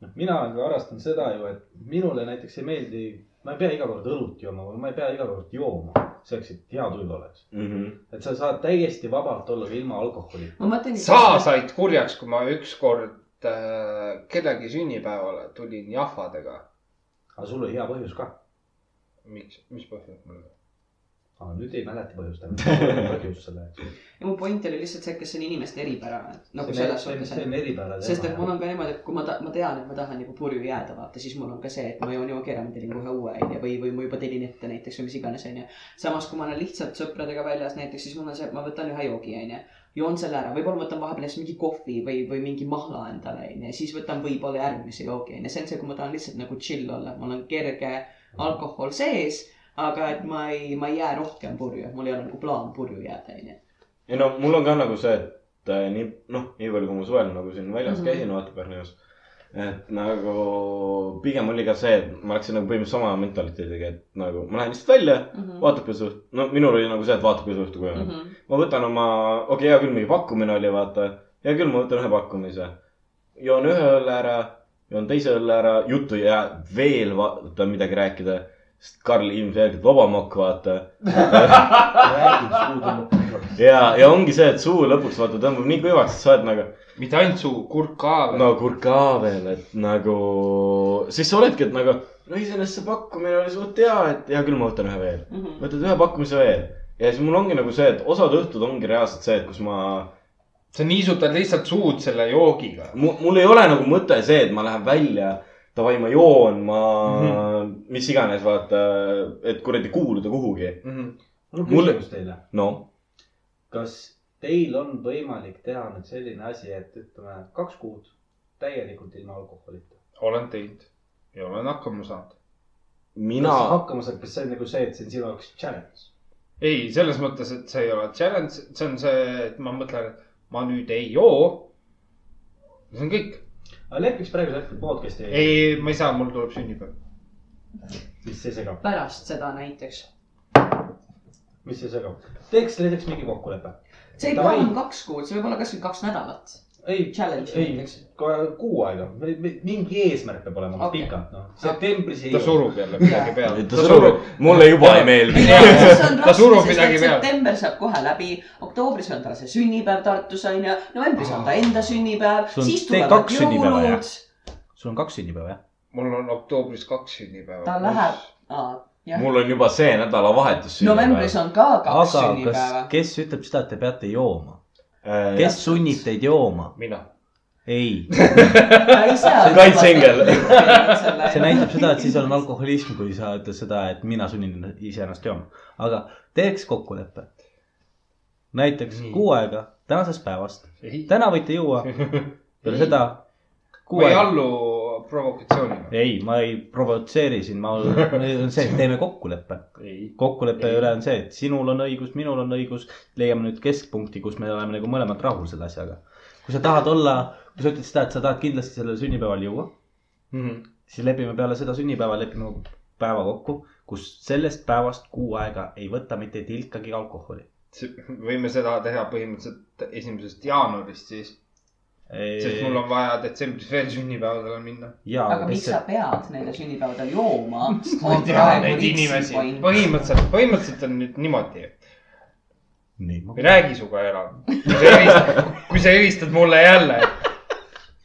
S5: noh , mina olen ka harrastanud seda ju , et minule näiteks ei meeldi , ma ei pea iga kord õlut jooma või ma ei pea iga kord jooma selleks , et hea tuju oleks .
S4: Mhm.
S5: et sa saad täiesti vabalt olla ka ilma alkoholita .
S6: ma mõtlen .
S1: sa said kurjaks , kui ma ükskord äh, kellegi sünnipäevale tulin jahvadega .
S5: aga sul oli hea põhjus ka .
S1: miks , mis põhjus mul oli ?
S5: aga nüüd ei mäleta põhjust enam . põhjus selle .
S6: ja mu point oli lihtsalt see , et kas see on inimeste eripära nagu
S5: see on-
S6: selles suhtes ,
S5: see on
S6: et
S5: eripärane .
S6: sest et mul on ka niimoodi , et kui ma , ma tean , et ma tahan nagu purju jääda , vaata , siis mul on ka see , et ma joon joogi ära , ma tellin kohe uue , onju , või , või ma juba tellin ette näiteks või mis iganes , onju . samas , kui ma olen lihtsalt sõpradega väljas näiteks , siis mul on see , et ma võtan ühe joogi , onju , joon selle ära , võib-olla võtan vahepeal siis mingi kohvi või , või mingi mahla endale , onju , siis võtan võib-olla järgmise joogi , onju . see on see , kui ma tahan lihtsalt nagu chill olla , mul on kerge alkohol sees , aga et ma ei , ma ei jää rohkem purju , mul ei ole nagu plaan purju jääda , onju .
S4: ei no mul on ka nagu see , et äh, nii noh , nii palju kui ma suvel nagu siin väljas
S6: Mhm.
S4: käisin , vaata Pärnus . et nagu pigem oli ka see , et ma läksin nagu põhimõtteliselt sama mentaliteediga , et nagu ma lähen lihtsalt välja ,
S5: Mhm.
S6: Mhm.
S4: vaatab kui suht- , no minul oli nagu see , et vaatab kui suht- kui on mm . -hmm. ma võtan oma , okei okay, , hea küll , mingi pakkumine oli , vaata . hea küll , ma võtan ühe pakkumise . joon ühe õlle ära , joon teise õlle ära , juttu ei jää veel vaata midagi rääkida . sest Karl ilmselgelt vabamokk , vaata .
S5: räägib suud on kokku .
S4: ja , ja ongi see , et suu lõpuks vaata tõmbab nii kuivaks , et sa oled nagu ,
S1: mitte ainult suu , kurk ka või no. ?
S4: no kurka veel , et nagu . siis sa oledki , et nagu , no iseenesest see pakkumine oli suht hea , et hea küll , ma võtan ühe veel .
S6: Mm-hmm.
S4: võtad ühe pakkumise veel . ja siis mul ongi nagu see , et osad õhtud ongi reaalselt see , et kus ma
S1: sa niisutad lihtsalt suud selle joogiga .
S4: mul , mul ei ole nagu mõte see , et ma lähen välja , davai , ma joon , ma mm , -hmm. mis iganes , vaata , et kuradi kuuluda kuhugi .
S1: Mhm.
S5: mul on
S4: Mul-
S5: küsimus teile .
S4: noh ,
S5: kas teil on võimalik teha nüüd selline asi , et ütleme kaks kuud täielikult ilma alkoholita ?
S1: olen teinud ja olen hakkama saanud .
S4: mina
S5: kas sa , hakkama saad , kas see on nagu see , et see on sinu jaoks challenge ?
S1: ei , selles mõttes , et see ei ole challenge , see on see , et ma mõtlen , et ma nüüd ei joo . see on kõik .
S5: aga lepiks praegusel hetkel podcast'i ,
S1: ei , ma ei saa , mul tuleb sünnipäev .
S5: mis see segab ,
S6: pärast seda näiteks .
S5: mis see segab , teeks näiteks mingi kokkulepe .
S6: see ei pea
S5: Davai.
S6: olema kaks kuud , see võib olla kasvõi kaks nädalat .
S5: ei ,
S6: Challenge
S5: ei
S6: näiteks. ,
S5: kuu aega , mingi eesmärk peab olema
S6: Okei.
S5: okay. pikalt , noh , septembris ei
S1: ta . surub jälle midagi peale .
S4: ta surub , mulle juba ei meeldi .
S1: ta surub midagi peale .
S6: september saab kohe läbi , oktoobris on tal see sünnipäev Tartus onju , novembris on ta
S1: Ah.
S6: enda sünnipäev ,
S5: See on
S6: siis
S5: te-
S6: tulevad
S5: kaks sünnipäeva, jah?
S6: jõulud .
S5: sul on kaks sünnipäeva , jah ?
S1: mul on oktoobris kaks sünnipäeva .
S6: ta läheb , jah ,
S4: mul on juba see nädalavahetus .
S6: novembris on ka kaks
S5: aga kas
S6: sünnipäeva ,.
S5: kes ütleb seda , et te peate jooma ?
S4: on .
S5: kes sunnib teid jooma ?
S1: mina .
S5: ei ,
S4: kaitseengel. .
S5: see näitab seda , et siis on alkoholism , kui sa ütled seda , et mina sunnin iseennast jooma . aga teeks kokkuleppe . näiteks
S1: Nii.
S5: kuu aega tänasest päevast ,
S1: ei ,
S5: täna võite juua , peale seda .
S1: ma ei allu provokatsioonile .
S5: ei , ma ei provotseeri sind , ma , on see , et teeme kokkuleppe .
S1: ei .
S5: kokkuleppe
S1: Ei.
S5: üle on see , et sinul on õigus , minul on õigus , leiame nüüd keskpunkti , kus me oleme nagu mõlemad rahul selle asjaga . kui sa tahad olla , kui sa ütled seda , et sa tahad kindlasti sellel sünnipäeval juua ,
S1: Mhm.
S5: siis lepime peale seda sünnipäeva , lepime päeva kokku , kus sellest päevast kuu aega ei võta mitte tilkagi alkoholi .
S1: võime seda teha põhimõtteliselt esimesest jaanuarist siis , sest mul
S5: ja ,
S1: on vaja detsembris veel sünnipäevadele minna .
S6: aga miks sa
S5: sa...
S6: pead nendel sünnipäevadel jooma ?
S1: ma ei tea neid inimesi , põhimõtteliselt , põhimõtteliselt on nüüd niimoodi ,
S5: nii , ma
S1: ma ei räägi sinuga enam . kui sa helistad , kui sa helistad mulle jälle ,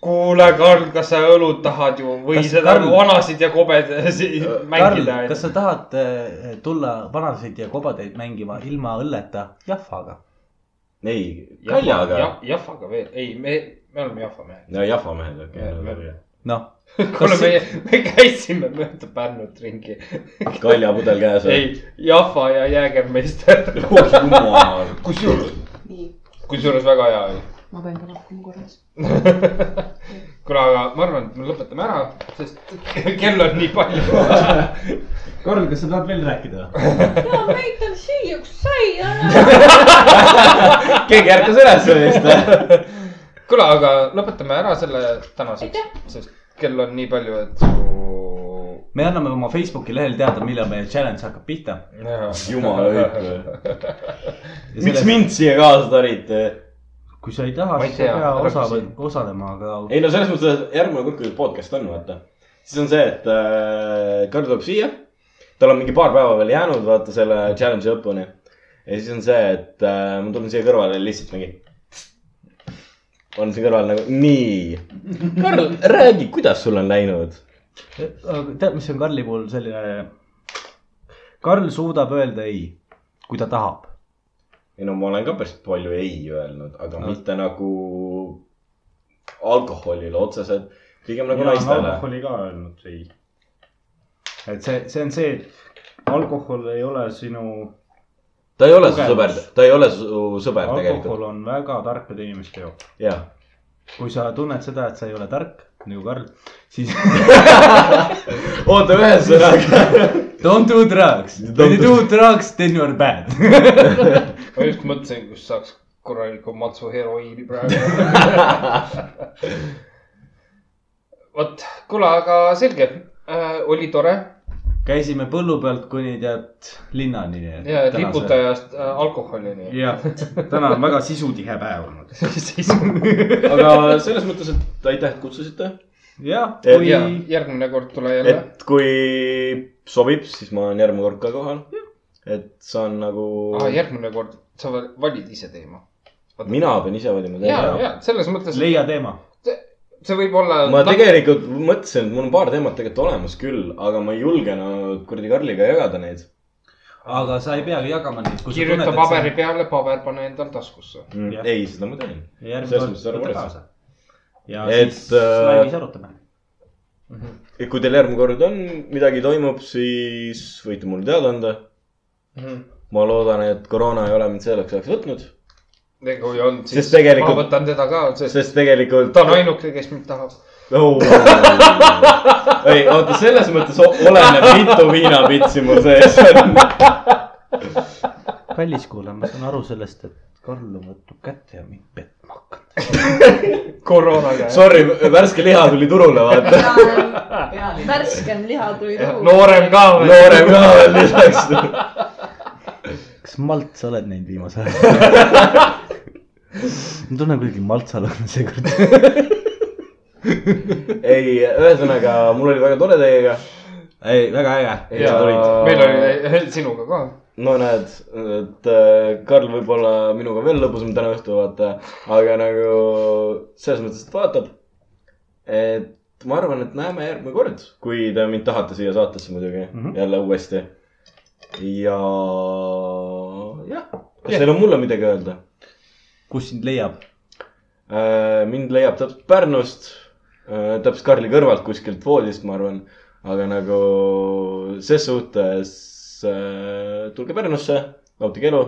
S1: kuule , Karl , kas sa õlut tahad ju või
S5: Kas
S1: kas seda
S5: Karl-
S1: Karl... vanasid ja kobedasid
S5: Karl
S1: mängida ,?
S5: kas sa tahad äh, tulla vanasid ja kobadeid mängima ilma õlleta jahvaga ?
S4: ei , kaljaga .
S1: Jahvaga veel , ei , me , me oleme Jahva mehed .
S4: ja jahvamehed , okei
S1: Jah. .
S5: noh ,
S1: kuule ,
S5: Kas-
S1: meie , me käisime mööda Pärnut ringi .
S4: kaljapudel käes või ?
S1: ei , Jahva ja Jäägermeister .
S4: oh jumal .
S1: kusjuures ,
S6: nii ,
S1: kusjuures väga hea oli .
S6: ma pean ka lahkuma korraks .
S1: kuule , aga ma arvan , et me lõpetame ära , sest kell on nii palju .
S5: Karl , kas sa tahad veel rääkida ?
S2: ja näitan siia , kus sai ära .
S4: keegi ärkas üles vist või ?
S1: kuule , aga lõpetame ära selle tänaseks , sest kell on nii palju , et su .
S5: me anname oma Facebooki lehel teada , millal meie challenge hakkab pihta .
S4: jumala õige . miks
S5: Sellest-
S4: mind siia kaasa tariti ?
S5: kui sa ei taha ,
S1: Ma ei
S5: siis sa ei
S1: tea,
S5: pea
S1: ära
S5: osa
S1: küsi. ,
S5: osalema , aga
S4: ei no selles mõttes , et järgmine kord , kui podcast on , vaata , siis on see , et äh, Karl tuleb siia . tal on mingi paar päeva veel jäänud , vaata selle challenge'i lõpuni . ja siis on see , et äh, ma tulen siia kõrvale ja lihtsalt mingi . on siin kõrval nagu nii . Karl , räägi , kuidas sul on läinud ?
S5: aga tead , mis on Karli puhul selline ? Karl suudab öelda ei , kui ta tahab .
S4: ei no ma olen ka päris palju ei öelnud , aga mitte nagu alkoholile otseselt , pigem nagu naistele .
S5: alkoholi ka öelnud ei . et see , see on see , et alkohol ei ole sinu ,
S4: ta ei ole su
S5: Kogemus.
S4: sõber , ta ei ole su sõber tegelikult ,
S5: alkohol on väga tarkade inimeste jook .
S4: jah .
S5: kui sa tunned seda , et sa ei ole tark nagu Karl , siis
S4: oota , ühesõnaga .
S5: don't do drugs . When you do drugs , then you are bad .
S1: ma just mõtlesin , kus saaks korraliku matsu heroiini praegu . vot , kuule , aga selge äh, , oli tore
S5: käisime põllu pealt kuni tead linnani .
S1: ja liputajast äh, alkoholini .
S5: jah , täna on väga sisutihe päev olnud .
S4: aga selles mõttes , et aitäh , et kutsusite .
S5: jah ,
S4: Ja-
S5: kui
S1: ja järgmine kord tule jälle .
S4: et kui sobib , siis ma olen järgmine kord ka kohal . et saan nagu ,
S1: Ah, järgmine kord sa val- valid ise teema .
S4: mina pean ise valima
S1: ja ,
S4: teema .
S1: ja selles mõttes
S5: leia teema .
S1: see võib olla .
S4: ma tegelikult mõtlesin , et mul on paar teemat tegelikult olemas küll , aga ma ei julgenud kuradi Karliga jagada neid
S5: aga sa ei peagi jagama neid , kui sa
S1: kirjuta
S5: tunned ,
S1: paberi peale , paber pane endal taskusse .
S4: mm,
S5: Jah. .
S4: ei , seda ma teen .
S5: et sa järgmine kord
S4: selles mõttes ära
S5: võta
S4: muretse.
S5: kaasa . ja
S4: Et,
S5: siis
S4: äh,
S5: laivis arutame .
S4: kui teil järgmine kord on , midagi toimub , siis võite mulle teada anda . ma loodan , et koroona ei ole mind selleks ajaks võtnud ,
S1: ega kui on , siis
S4: Sest tegelikult-
S1: ma võtan teda ka , sest
S4: sest tegelikult
S1: ta on ainuke , kes mind tahab .
S4: oh. . ei , oota , selles mõttes o- oleneb , mitu viinapitsi mul sees on .
S5: kallis kuulaja , ma saan aru sellest , et Karl on võtnud kätte ja mind petma hakanud .
S1: koroonaga .
S4: Sorry , värske liha tuli turule , vaata .
S6: pealinn .
S2: värskem liha tuli turule .
S1: noorem ka või ?
S4: noorem ka veel lisaks .
S5: kas malt sa oled näinud viimase aja ? ma tunnen kuidagi maltsal on seekord .
S4: ei , ühesõnaga , mul oli väga tore teiega .
S5: ei , väga äge .
S1: ja meil oli eh, sinuga ka .
S4: no näed , et äh, Karl võib-olla minuga veel lõbusam täna õhtul vaata , aga nagu selles mõttes , et vaatab . et ma arvan , et näeme järgmine kord , kui te mind tahate siia saatesse muidugi mm -hmm. jälle uuesti . ja jah , kas teil on mulle midagi öelda
S5: kus sind leiab ?
S4: äh, ? mind leiab täpselt Pärnust äh, , täpselt Karli kõrvalt kuskilt voodist , ma arvan . aga nagu ses suhtes äh, tulge Pärnusse , nautige elu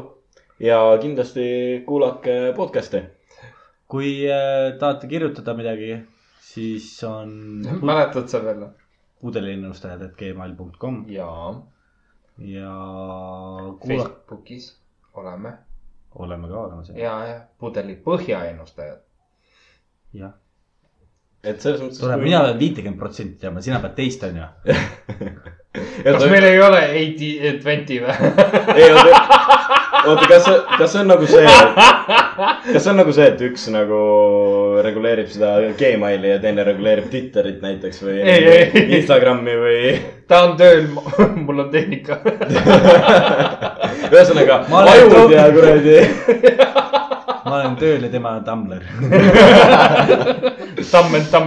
S4: ja kindlasti kuulake podcast'e .
S5: kui äh, tahate kirjutada midagi , siis on
S1: mäletad sa veel ?
S5: pudeliennustajad et gmail punkt kom
S1: jaa .
S5: ja kuula ,
S1: Facebookis oleme
S5: oleme ka olemas .
S1: ja , ja pudeli põhjaennustajad .
S5: jah ,
S4: et selles mõttes .
S5: tore , mina pean viitekümmet protsenti teadma , sina pead teist , onju .
S1: kas meil ei ole eighty , twenty või ?
S4: ei , oota , oota , kas , kas see on nagu see , kas see on nagu see , et üks nagu reguleerib seda Gmaili ja teine reguleerib Twitterit näiteks või
S1: Ei, ei.
S4: Instagrami või ?
S1: ta on tööl , mul on tehnika .
S4: ühesõnaga ,
S5: Ma olen tõ-
S4: ajud ja kuradi .
S5: ma olen tööl ja tema on Tumblr .
S1: tamm , tamm ,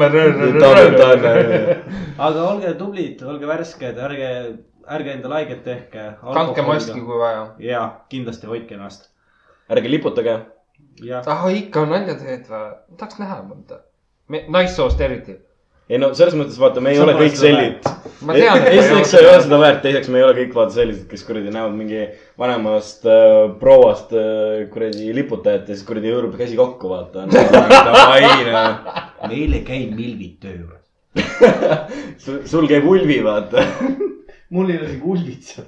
S5: aga olge tublid , olge värsked , ärge , ärge endale haiget tehke .
S1: kandke maski , kui vaja .
S5: ja kindlasti hoidke ennast .
S4: ärge liputage .
S5: ja
S1: ah , ikka nalja teed või ? ma tahaks näha mõnda . naissoost eriti .
S4: ei no selles mõttes vaata , me ei ole kõik sellid .
S1: Ma tean, et ei ole
S4: E- esiteks , sa ei ole seda väärt , teiseks , me ei ole kõik vaata sellised , kes kuradi näevad mingi vanemast äh, prouast äh, kuradi liputajat ja siis kuradi hõõrub käsi kokku , vaata . davai , noh .
S5: meil ei käi milvid töö juures .
S4: sul sul käib ulvi , vaata .
S3: mul ei ole isegi ulbit seal .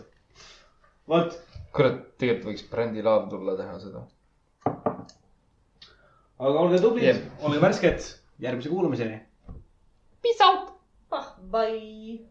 S3: vot ,
S1: kurat , tegelikult võiks brändilaev tulla teha seda .
S5: aga olge tublid
S1: Jah.
S5: yeah. , olge värsked , järgmise kuulamiseni .
S2: Peace out . Bye .